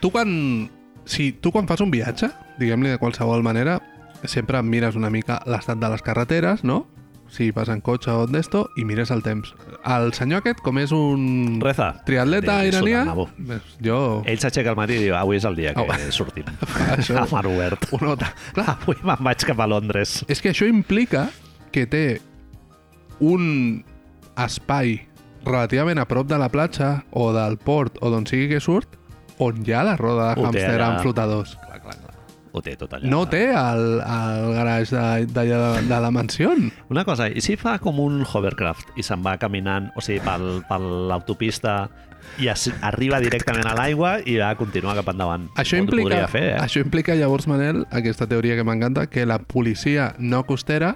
Speaker 3: tu quan... Si tu quan fas un viatge, diguem-li de qualsevol manera, sempre mires una mica l'estat de les carreteres, no? Si vas en cotxe o d'esto, i mires el temps. El senyor aquest, com és un...
Speaker 2: Reza.
Speaker 3: Triatleta
Speaker 2: Li- li surt
Speaker 3: iranià...
Speaker 2: el nabo.
Speaker 3: Jo...
Speaker 2: Ell s'aixeca al matí i diu, avui és el dia que
Speaker 3: Au.
Speaker 2: sortim.
Speaker 3: Ah, Això.
Speaker 2: A mar obert.
Speaker 3: Ho nota. Clar,
Speaker 2: Avui me'n vaig cap a Londres.
Speaker 3: és que això implica que té un espai relativament a prop de la platja o del port o d'on sigui que surt on hi ha la roda de
Speaker 2: Ho té
Speaker 3: hàmster
Speaker 2: allà.
Speaker 3: amb flotadors.
Speaker 2: Clar, clar, clar. Ho té tot allà.
Speaker 3: No té el, el garatge de- d'allà de, de, la mansió.
Speaker 2: Una cosa, i si fa com un hovercraft i se'n va caminant, o sigui, pel, per l'autopista i es, arriba directament a l'aigua i va continuar cap endavant.
Speaker 3: Això
Speaker 2: Ho
Speaker 3: implica,
Speaker 2: podria fer, eh?
Speaker 3: això implica, llavors, Manel, aquesta teoria que m'encanta, que la policia no costera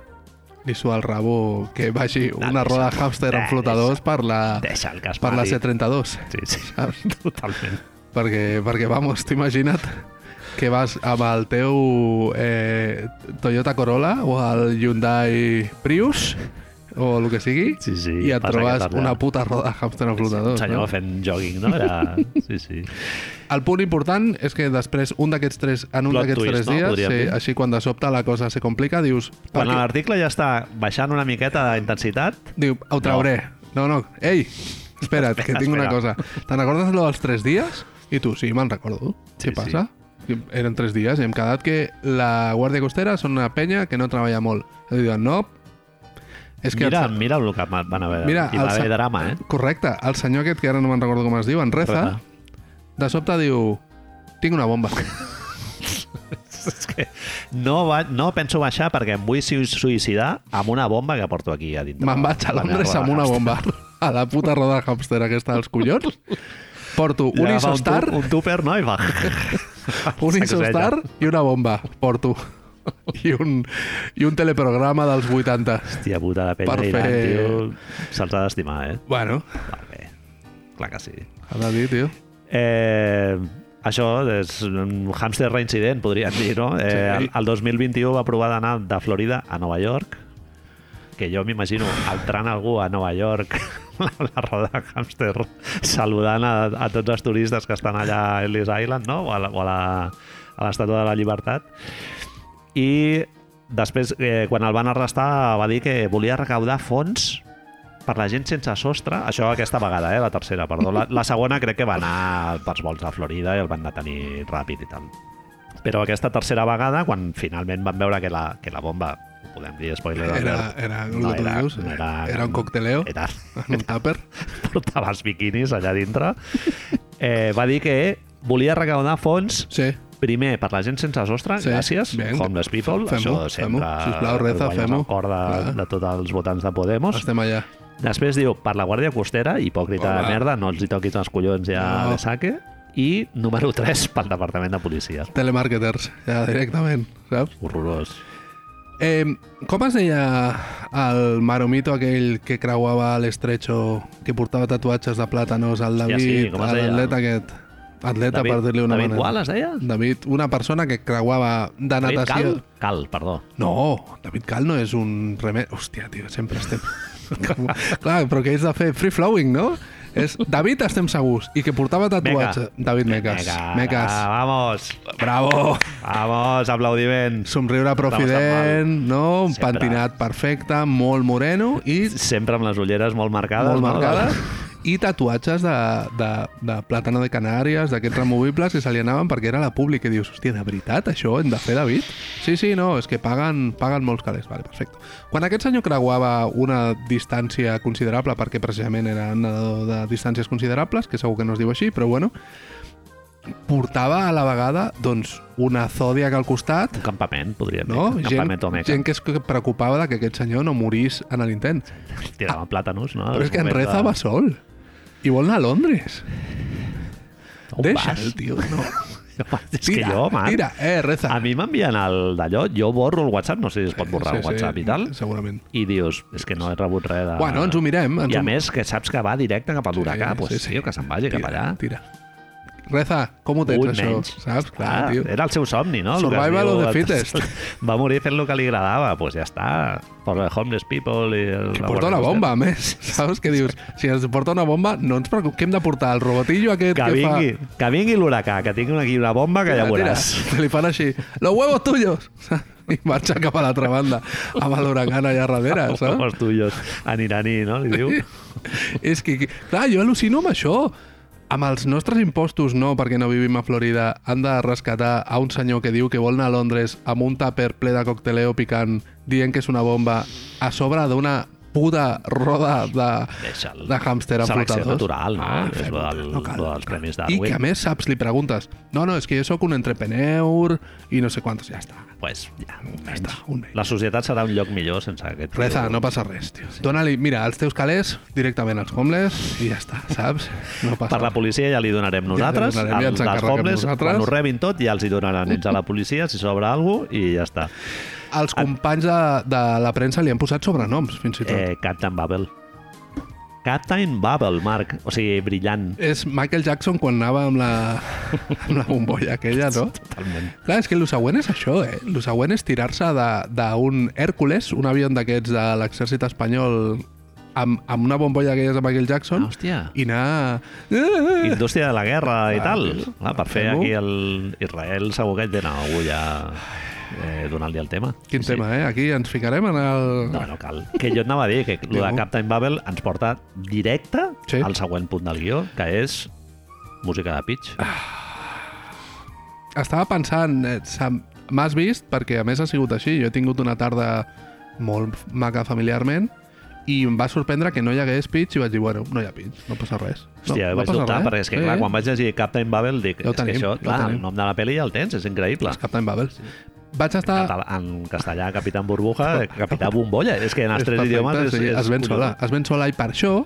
Speaker 3: li sua el rabo que vagi una
Speaker 2: deixa.
Speaker 3: roda de hàmster amb
Speaker 2: Eh,
Speaker 3: flotadors per la,
Speaker 2: Deixa el que es
Speaker 3: per la Ah.
Speaker 2: pari.
Speaker 3: C-32.
Speaker 2: Sí, sí,
Speaker 3: Saps?
Speaker 2: totalment.
Speaker 3: Perquè, perquè vamos, t'imagina't que vas amb el teu eh, Toyota Corolla o el Hyundai Prius o el que sigui
Speaker 2: Sí, sí,
Speaker 3: i et
Speaker 2: passa
Speaker 3: trobes
Speaker 2: aquest arbre.
Speaker 3: una puta roda de hàmster en flotador.
Speaker 2: Un senyor
Speaker 3: Ah, no?
Speaker 2: fent jogging, no? Era... Sí, sí.
Speaker 3: El punt important és que després, un d'aquests tres, en un
Speaker 2: Plot
Speaker 3: d'aquests
Speaker 2: twist,
Speaker 3: tres
Speaker 2: no?
Speaker 3: dies,
Speaker 2: Podríem
Speaker 3: sí,
Speaker 2: dir.
Speaker 3: així quan de sobte la cosa se complica, dius... per
Speaker 2: Quan
Speaker 3: què?
Speaker 2: l'article ja està baixant una miqueta d'intensitat,
Speaker 3: Diu, ho trauré. No, no, ei, espera't, que tinc una cosa.
Speaker 2: espera.
Speaker 3: Te'n recordes lo dels tres dies? I tu, sí, me'n recordo.
Speaker 2: Sí,
Speaker 3: Què passa? Eren tres dies i hem quedat que la Guàrdia Costera són una penya que no treballa molt. I diuen, no, és que...
Speaker 2: mira,
Speaker 3: el,
Speaker 2: mira el que van haver.
Speaker 3: Mira,
Speaker 2: I va
Speaker 3: el
Speaker 2: haver
Speaker 3: sa-
Speaker 2: drama, eh? Tota.
Speaker 3: se- correcte, el senyor aquest, que ara no me'n recordo com es diu, en Reza,
Speaker 2: Reza.
Speaker 3: de sobte diu, tinc una bomba.
Speaker 2: És que no, va, no penso baixar perquè em vull sui- suïcidar amb una bomba que porto aquí a dintre.
Speaker 3: Me'n vaig a
Speaker 2: La meva
Speaker 3: Londres
Speaker 2: roda
Speaker 3: amb una
Speaker 2: hamster.
Speaker 3: bomba. A la puta roda de hàmster aquesta dels collons. Porto un
Speaker 2: Li agafa
Speaker 3: isostar...
Speaker 2: Un, tu- un tupper, no? I va.
Speaker 3: un
Speaker 2: Sacseja.
Speaker 3: Insostar i una bomba, porto. I un, I un teleprograma dels 80.
Speaker 2: Hòstia puta, la penya
Speaker 3: Per
Speaker 2: d'Iran,
Speaker 3: fer-
Speaker 2: tio. Se'ls ha d'estimar, eh?
Speaker 3: Bueno,
Speaker 2: Va, bé. Clar que sí.
Speaker 3: ha de dir, tio.
Speaker 2: Eh, això és un hàmster reincident, podríem dir, no? Eh,
Speaker 3: Sí.
Speaker 2: el, el 2021 va provar d'anar de Florida a Nova York que jo m'imagino entrant algú a Nova York amb la roda de hàmster saludant a, a tots els turistes que estan allà a Ellis Island, no? O a la- o a la- a l'Estatua de la Llibertat. I després, eh, quan el van arrestar, va dir que volia recaudar fons per la gent sense sostre, això aquesta vegada, eh, la tercera, perdó. La, la segona crec que va anar pels vols de Florida i el van detenir ràpid i tal. Però aquesta tercera vegada, quan finalment van veure que la, que la bomba, ho podem dir, spoiler
Speaker 3: Era,
Speaker 2: alert,
Speaker 3: era,
Speaker 2: no
Speaker 3: era,
Speaker 2: era,
Speaker 3: dius,
Speaker 2: no
Speaker 3: era, era un cocteleo,
Speaker 2: Era,
Speaker 3: en un tàper.
Speaker 2: portava els biquinis allà dintre. Eh, va dir que volia recaudar fons
Speaker 3: Sí.
Speaker 2: primer per la gent sense sostre,
Speaker 3: Sí,
Speaker 2: sí. gràcies,
Speaker 3: bé.
Speaker 2: homeless people,
Speaker 3: Fem-ho,
Speaker 2: això sempre
Speaker 3: fem-ho. Sisplau, reza,
Speaker 2: guanyes
Speaker 3: fem-ho.
Speaker 2: el cor de,
Speaker 3: Clar.
Speaker 2: de tots els votants de Podemos.
Speaker 3: Estem allà.
Speaker 2: Després diu, per la Guàrdia Costera, hipòcrita
Speaker 3: Hola.
Speaker 2: de merda, no els hi toquis els collons ja
Speaker 3: No.
Speaker 2: no. de saque. I número 3, pel Departament de Policia.
Speaker 3: Telemarketers, ja directament, saps?
Speaker 2: Horrorós.
Speaker 3: Eh, com es deia el maromito aquell que creuava l'estretxo, que portava tatuatges de plàtanos, el
Speaker 2: Hòstia,
Speaker 3: David,
Speaker 2: sí, com es deia?
Speaker 3: l'atleta aquest? Atleta, per dir-li una
Speaker 2: David
Speaker 3: manera.
Speaker 2: Wall, es deia?
Speaker 3: David, una persona que creuava de
Speaker 2: David
Speaker 3: natació...
Speaker 2: Cal? Cal, perdó.
Speaker 3: No, David Cal no és un remei... Hòstia, tio, sempre estem... Com- Clar, però que és de fer free-flowing, no? És David, estem segurs. I que portava tatuatge... David Mecas. Mecas.
Speaker 2: Ah, vamos.
Speaker 3: Bravo!
Speaker 2: Vamos, aplaudiments.
Speaker 3: Somriure profident, no? Un
Speaker 2: Sempre.
Speaker 3: pentinat perfecte, molt moreno i
Speaker 2: Sempre amb les ulleres molt marcades.
Speaker 3: molt marcada.
Speaker 2: No?
Speaker 3: I tatuatges de, de, de plàtano de Canàries, d'aquests removibles que se li anaven perquè era la pública. I dius, hòstia, de veritat això hem de fer, David? Sí, sí, no, és que paguen, paguen molts calés. Vale, perfecte. Quan aquest senyor creuava una distància considerable, perquè precisament era un nedador de distàncies considerables, que segur que no es diu així, però bueno, portava a la vegada doncs, una zòdia al costat,
Speaker 2: Un campament, podríem
Speaker 3: no?
Speaker 2: dir. Un
Speaker 3: Gent,
Speaker 2: campament omeca.
Speaker 3: gent que es preocupava de que aquest senyor no morís en l'intent.
Speaker 2: Tiraven plàtanos, no?
Speaker 3: Però és que en
Speaker 2: Moments de-
Speaker 3: Reza va sol. I vol anar a Londres.
Speaker 2: On
Speaker 3: Deixa'l,
Speaker 2: vas?
Speaker 3: tio. No.
Speaker 2: És que jo, man.
Speaker 3: Tira, eh, Reza.
Speaker 2: A mi m'envien el d'allò, jo borro el WhatsApp, no sé si es pot borrar sí, el WhatsApp sí. i tal,
Speaker 3: Segurament.
Speaker 2: i dius, és que no he rebut res de...
Speaker 3: Bueno, ens ho mirem. Ens
Speaker 2: I a
Speaker 3: ho-
Speaker 2: més, que saps que va directe cap a l'huracà, doncs sí, sí, tio, pues, que se'n vagi
Speaker 3: tira,
Speaker 2: cap allà.
Speaker 3: Tira. Reza, com ho tens,
Speaker 2: Un
Speaker 3: això?
Speaker 2: menys.
Speaker 3: Saps? Clar,
Speaker 2: Clar,
Speaker 3: tio.
Speaker 2: era el seu somni, no? El que es
Speaker 3: Survival
Speaker 2: diu-
Speaker 3: of the fittest.
Speaker 2: Va morir fent el que li agradava, doncs pues ja està. Posa homeless people i... el-
Speaker 3: Que
Speaker 2: la
Speaker 3: porta una
Speaker 2: Guàrdia
Speaker 3: bomba, a més. Saps què dius? Si ens porta una bomba, no ens preocupem. Què hem de portar? El robotillo aquest
Speaker 2: Costera. Que
Speaker 3: que fa...
Speaker 2: vingui, que vingui l'huracà, que tingui aquí una bomba que ja
Speaker 3: Tira, tira,
Speaker 2: veuràs.
Speaker 3: que li fan així, los huevos tuyos! I marxa cap a l'altra banda, amb l'huracan allà darrere, saps?
Speaker 2: Els tuyos, en iraní, no? Li diu.
Speaker 3: És que, clar, jo al·lucino amb això. Amb els nostres impostos, no, perquè no vivim a Florida, han de rescatar a un senyor que diu que vol anar a Londres amb un tàper ple de cocteleo picant, dient que és una bomba, a sobre d'una puta roda de,
Speaker 2: Deixa'l.
Speaker 3: de hàmster amb
Speaker 2: Selecció
Speaker 3: flotadors. Ah,
Speaker 2: natural, no? És
Speaker 3: fem-
Speaker 2: lo del- lo dels premis
Speaker 3: I
Speaker 2: Darwin.
Speaker 3: que a més, saps, li preguntes, no, no, és que jo sóc un entrepreneur i no sé quantos, ja està.
Speaker 2: Pues, ja,
Speaker 3: Ja està, un mail.
Speaker 2: La societat serà un lloc millor sense aquest... tio.
Speaker 3: Reza, no passa res, tio. Dóna-li, mira, els teus calés directament als homeless i ja està, saps? No passa
Speaker 2: Per la policia ja li donarem
Speaker 3: li
Speaker 2: nosaltres,
Speaker 3: donarem, ja
Speaker 2: ja
Speaker 3: ens
Speaker 2: els dels
Speaker 3: encarreguem
Speaker 2: pobles,
Speaker 3: nosaltres.
Speaker 2: quan ho rebin tot ja els hi donaran ells a la policia si sobra alguna cosa i ja està.
Speaker 3: Els companys de, de la premsa li han posat sobrenoms, fins i tot. Eh.
Speaker 2: Eh, Captain Bubble. Captain Bubble, Marc. O sigui, brillant.
Speaker 3: És Michael Jackson quan anava amb la, amb la bombolla aquella, no?
Speaker 2: Totalment.
Speaker 3: Clar, és que el següent és això, eh? El següent és tirar-se de- d'un Hércules, un avió d'aquests de l'exèrcit espanyol, amb, amb una bombolla d'aquelles de Michael
Speaker 2: Ah,
Speaker 3: Jackson,
Speaker 2: hòstia.
Speaker 3: i anar... Eh, eh.
Speaker 2: Indústria de la guerra i
Speaker 3: Clar,
Speaker 2: tal.
Speaker 3: tio.
Speaker 2: Clar, per fer
Speaker 3: Fem-ho.
Speaker 2: aquí el Israel segur que tenen algú ja eh, donant-li el tema.
Speaker 3: Quin sí. tema, eh? Aquí ens ficarem en el...
Speaker 2: No, no cal. Que jo et anava a dir que el de
Speaker 3: Digue-ho.
Speaker 2: Captain Bubble ens porta directe
Speaker 3: Sí.
Speaker 2: sí. al següent punt del guió, que és música de pitch.
Speaker 3: Ah, Estava pensant, eh, Sam, m'has vist? Perquè a més ha sigut així. Jo he tingut una tarda molt maca familiarment i em va sorprendre que no hi hagués pitch i vaig dir, bueno, no hi ha pitch, no passa res.
Speaker 2: Hòstia,
Speaker 3: no,
Speaker 2: no, vaig
Speaker 3: passa
Speaker 2: dubtar,
Speaker 3: res.
Speaker 2: perquè és que, clar, quan vaig llegir Captain Bubble, dic,
Speaker 3: Ja ho
Speaker 2: és
Speaker 3: tenim,
Speaker 2: que això,
Speaker 3: ja ho
Speaker 2: clar,
Speaker 3: tenim.
Speaker 2: el nom de la pel·li ja el tens, és increïble.
Speaker 3: És Captain Bubble. Vaig estar...
Speaker 2: Català- En castellà, Capitán Burbuja, eh, Capità Bombolla, és que en els
Speaker 3: és
Speaker 2: tres
Speaker 3: perfecte,
Speaker 2: idiomes és...
Speaker 3: sí,
Speaker 2: és
Speaker 3: es ven
Speaker 2: collons.
Speaker 3: sola. Es ven sola i per això,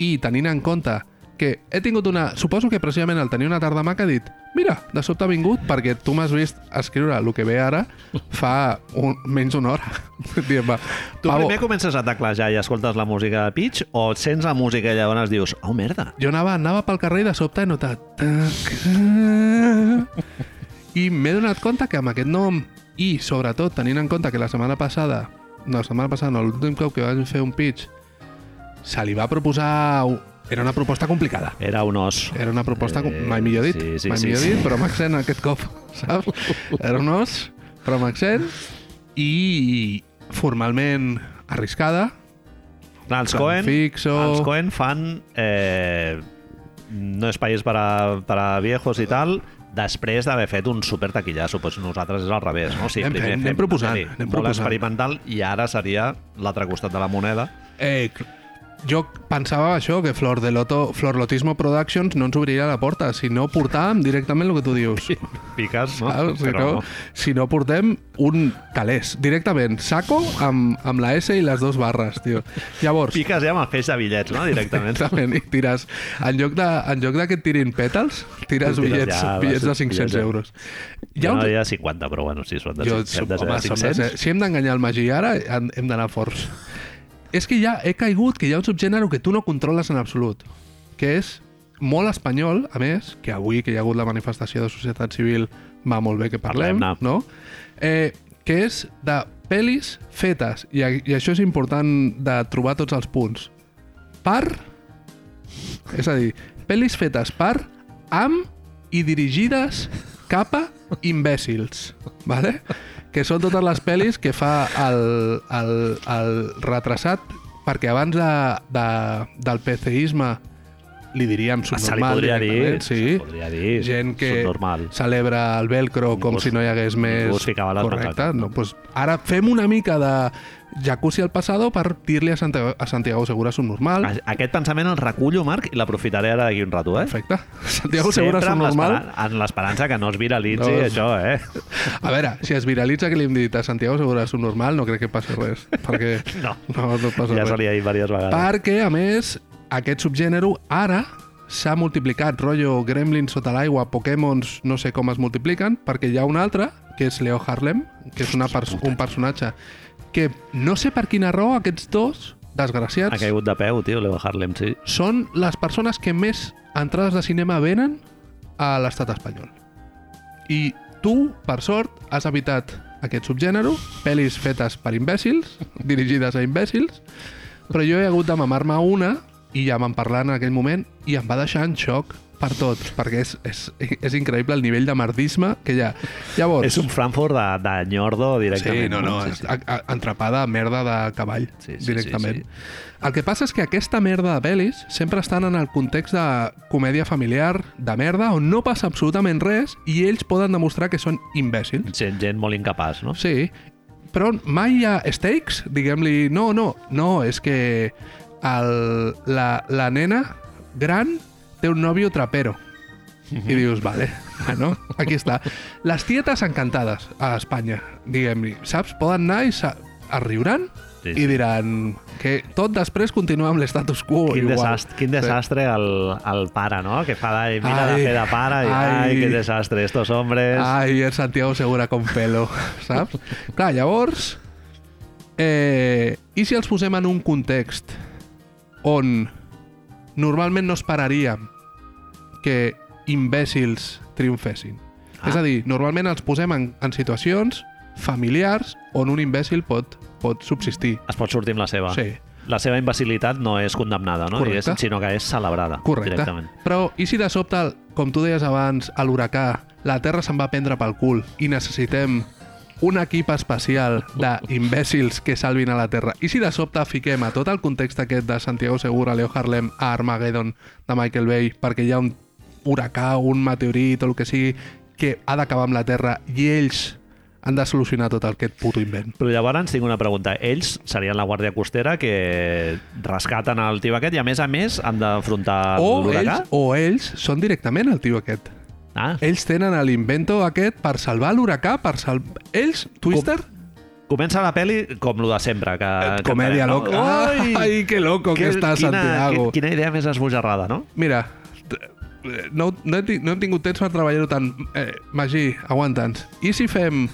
Speaker 3: i tenint en compte que he tingut una... Suposo que precisament al tenir una tarda maca he dit mira, de sobte ha vingut perquè tu m'has vist escriure el que ve ara fa un, menys una hora. Diem-me,
Speaker 2: Tu primer comences a teclejar i escoltes la música de pitch o sents la música i llavors dius, oh, merda,
Speaker 3: Jo anava, anava pel carrer i de sobte he notat... tac, I m'he donat compte que amb aquest nom i, sobretot, tenint en compte que la setmana passada no, la setmana passada, no, l'últim cop que vam fer un pitch, se li va proposar... u- Era una proposta complicada.
Speaker 2: Era un os.
Speaker 3: Era una proposta... com-
Speaker 2: Eh,
Speaker 3: Mai millor dit,
Speaker 2: sí, sí,
Speaker 3: mai
Speaker 2: sí,
Speaker 3: millor
Speaker 2: sí.
Speaker 3: dit, però amb accent aquest cop, saps? Era un os, però amb accent, i formalment arriscada,
Speaker 2: Els
Speaker 3: Plan
Speaker 2: Cohen,
Speaker 3: fixo.
Speaker 2: els Cohen fan... Eh, no és país per a, per a viejos i tal, després d'haver fet un super taquillasso. Doncs nosaltres és al revés, no? O sigui,
Speaker 3: Anem
Speaker 2: primer
Speaker 3: fent, anem
Speaker 2: fem
Speaker 3: proposant,
Speaker 2: sí,
Speaker 3: anem
Speaker 2: molt
Speaker 3: proposant.
Speaker 2: experimental i ara seria l'altre costat de la moneda.
Speaker 3: Eh, cl- jo pensava això, que Flor de Loto, Flor Lotismo Productions no ens obriria la porta, si no portàvem directament el que tu dius.
Speaker 2: Piques, no?
Speaker 3: Saps? Si,
Speaker 2: Però
Speaker 3: no, si no portem un calés, directament, saco amb, amb la S i les dues barres, tio. Llavors,
Speaker 2: Piques ja amb el feix de bitllets, no? Directament.
Speaker 3: directament, i tires, en lloc, de, en lloc de que et tirin pètals, tires,
Speaker 2: Tires
Speaker 3: bitllets,
Speaker 2: ja,
Speaker 3: bitllets de
Speaker 2: vas,
Speaker 3: 500
Speaker 2: bitllets de-
Speaker 3: euros. Hi
Speaker 2: Jo
Speaker 3: ha
Speaker 2: no
Speaker 3: un,
Speaker 2: diria 50, però bueno, sí, són de,
Speaker 3: Jo,
Speaker 2: jo,
Speaker 3: som,
Speaker 2: hem de ser
Speaker 3: home,
Speaker 2: de
Speaker 3: som de
Speaker 2: 500.
Speaker 3: ser- si hem d'enganyar el Magí ara, han- hem d'anar forts. és que ja he caigut que hi ha un subgènere que tu no controles en absolut, que és molt espanyol, a més, que avui que hi ha hagut la manifestació de societat civil va molt bé que parlem,
Speaker 2: Parlem-ne.
Speaker 3: no? Eh, que és de pel·lis fetes, i, a- i això és important de trobar tots els punts. Per, és a dir, pel·lis fetes per, amb i dirigides cap a imbècils, vale? que són totes les pel·lis que fa el, el, el retrasat perquè abans de, de, del PCisme li diríem
Speaker 2: Ah, Se li
Speaker 3: subnormal.
Speaker 2: podria dir,
Speaker 3: directament,
Speaker 2: se li
Speaker 3: sí.
Speaker 2: podria dir,
Speaker 3: Gent que
Speaker 2: subnormal.
Speaker 3: celebra el velcro com
Speaker 2: Ningú es-
Speaker 3: si no hi hagués més...
Speaker 2: ningú es ficava les
Speaker 3: Correcte.
Speaker 2: macaques.
Speaker 3: No, pues, ara fem una mica de jacuzzi al passado per dir-li a, Santiago, a Santiago Segura subnormal.
Speaker 2: A- Aquest pensament el recullo, Marc, i l'aprofitaré ara d'aquí un rato, eh?
Speaker 3: Perfecte. Santiago Segura
Speaker 2: Sempre amb
Speaker 3: subnormal.
Speaker 2: l'esperan- En l'esperança que no es viralitzi
Speaker 3: No,
Speaker 2: no,
Speaker 3: és-
Speaker 2: això, eh?
Speaker 3: A veure, si es viralitza que li hem dit a Santiago Segura subnormal, no crec que passi res. Perquè
Speaker 2: No.
Speaker 3: no, no passa
Speaker 2: Ja
Speaker 3: res.
Speaker 2: se li ha dit diverses vegades.
Speaker 3: Perquè, a més, aquest subgènere ara s'ha multiplicat, rotllo gremlins sota l'aigua, pokémons, no sé com es multipliquen, perquè hi ha un altre, que és Leo Harlem, que és una pers un personatge que no sé per quina raó aquests dos,
Speaker 2: Ha
Speaker 3: desgraciats,
Speaker 2: caigut de peu, tio, Leo Harlem, sí.
Speaker 3: són les persones que més entrades de cinema venen a l'estat espanyol. I tu, per sort, has evitat aquest subgènere, pel·lis fetes per imbècils, dirigides a imbècils, però jo he hagut de mamar-me una i ja vam parlar en aquell moment i em va deixar en xoc per tot, perquè és, és, és increïble el nivell de merdisme que hi ha. Llavors,
Speaker 2: És un Frankfurt de, de Nyordo directament.
Speaker 3: Sí, no, no, sí, sí. entrepada merda de cavall, sí, sí, directament. Sí, sí. El que passa és que aquesta merda de pel·lis sempre estan en el context de comèdia familiar, de merda, on no passa absolutament res i ells poden demostrar que són imbècils.
Speaker 2: Gent, gent molt incapaç, no?
Speaker 3: Sí, però mai hi ha stakes, diguem-li, no, no, no, és que el, la, la nena gran té un nòvio trapero.
Speaker 2: Mhm.
Speaker 3: I dius, vale, bueno, aquí està. Les tietes encantades a Espanya, diguem-li, saps? Poden anar i sa- es riuran
Speaker 2: Sí, sí.
Speaker 3: sí, sí. i diran que tot després continua amb l'estatus quo.
Speaker 2: Quin
Speaker 3: igual.
Speaker 2: desastre, quin desastre el, el pare, no? Que fa de, mira
Speaker 3: Ai,
Speaker 2: de fer de pare i ai,
Speaker 3: ai.
Speaker 2: ai que desastre, estos hombres...
Speaker 3: Ai, el Santiago Segura con pelo, saps? Clar, llavors... Eh, I si els posem en un context on normalment no esperaríem que imbècils triomfessin? Ah.
Speaker 2: Ah.
Speaker 3: És a dir, normalment els posem en, en situacions familiars on un imbècil pot, pot subsistir.
Speaker 2: Es pot sortir amb la seva.
Speaker 3: Sí.
Speaker 2: La seva imbecilitat no és condemnada, no?
Speaker 3: Correcte.
Speaker 2: Diguéssim, sinó que és celebrada
Speaker 3: Correcte.
Speaker 2: directament.
Speaker 3: Però, i si de sobte, com tu deies abans, a l'huracà, la Terra se'n va prendre pel cul i necessitem un equip especial d'imbècils que salvin a la Terra. I si de sobte fiquem a tot el context aquest de Santiago Segura, Leo Harlem, a Armageddon de Michael Bay, perquè hi ha un huracà, un meteorit o el que sigui, que ha d'acabar amb la Terra i ells han de solucionar tot aquest puto invent.
Speaker 2: Però llavors tinc una pregunta. Ells serien la Guàrdia Costera que rescaten el tio aquest i, a més a més, han d'afrontar
Speaker 3: O
Speaker 2: l'huracà?
Speaker 3: ells, o ells són directament el tio aquest.
Speaker 2: Ah,
Speaker 3: Ells tenen l'invento aquest per salvar l'huracà, per sal... Ells, Twister,
Speaker 2: comença la peli com lo de sempre. Que, que
Speaker 3: Eh, comèdia
Speaker 2: entenem,
Speaker 3: loca. Ai, ai, que loco que, que està
Speaker 2: quina,
Speaker 3: Santiago.
Speaker 2: qui- Quina idea més esbojarrada, no?
Speaker 3: Mira, t- eh, no, no, he, ti- no hem tingut temps per treballar-ho tant. Eh, Magí, aguanta'ns. I si fem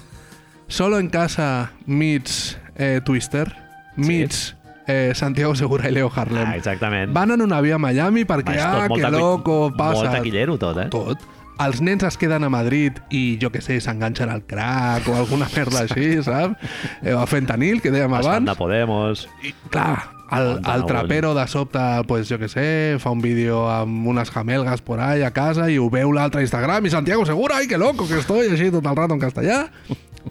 Speaker 3: Solo en casa meets eh, Twister, meets eh, Santiago Segura i Leo Harlem.
Speaker 2: Ah, exactament.
Speaker 3: Van en un avió a Miami perquè,
Speaker 2: Va, és tot
Speaker 3: ah,
Speaker 2: molt
Speaker 3: que
Speaker 2: taqui-
Speaker 3: loco, passa.
Speaker 2: Molt taquillero tot, eh?
Speaker 3: tot. els nens es queden a Madrid i, jo que sé, s'enganxen al crack o alguna merda així, saps? Eh, o a fentanil, que dèiem
Speaker 2: Estan
Speaker 3: abans.
Speaker 2: de Podemos.
Speaker 3: I, clar, el,
Speaker 2: Aguanta,
Speaker 3: el
Speaker 2: no,
Speaker 3: trapero de sobte, pues, jo que sé, fa un vídeo amb unes jamelgas por ahí a casa i ho veu l'altre a Instagram i Santiago Segura, ai, que loco que estoy, així tot el rato en castellà.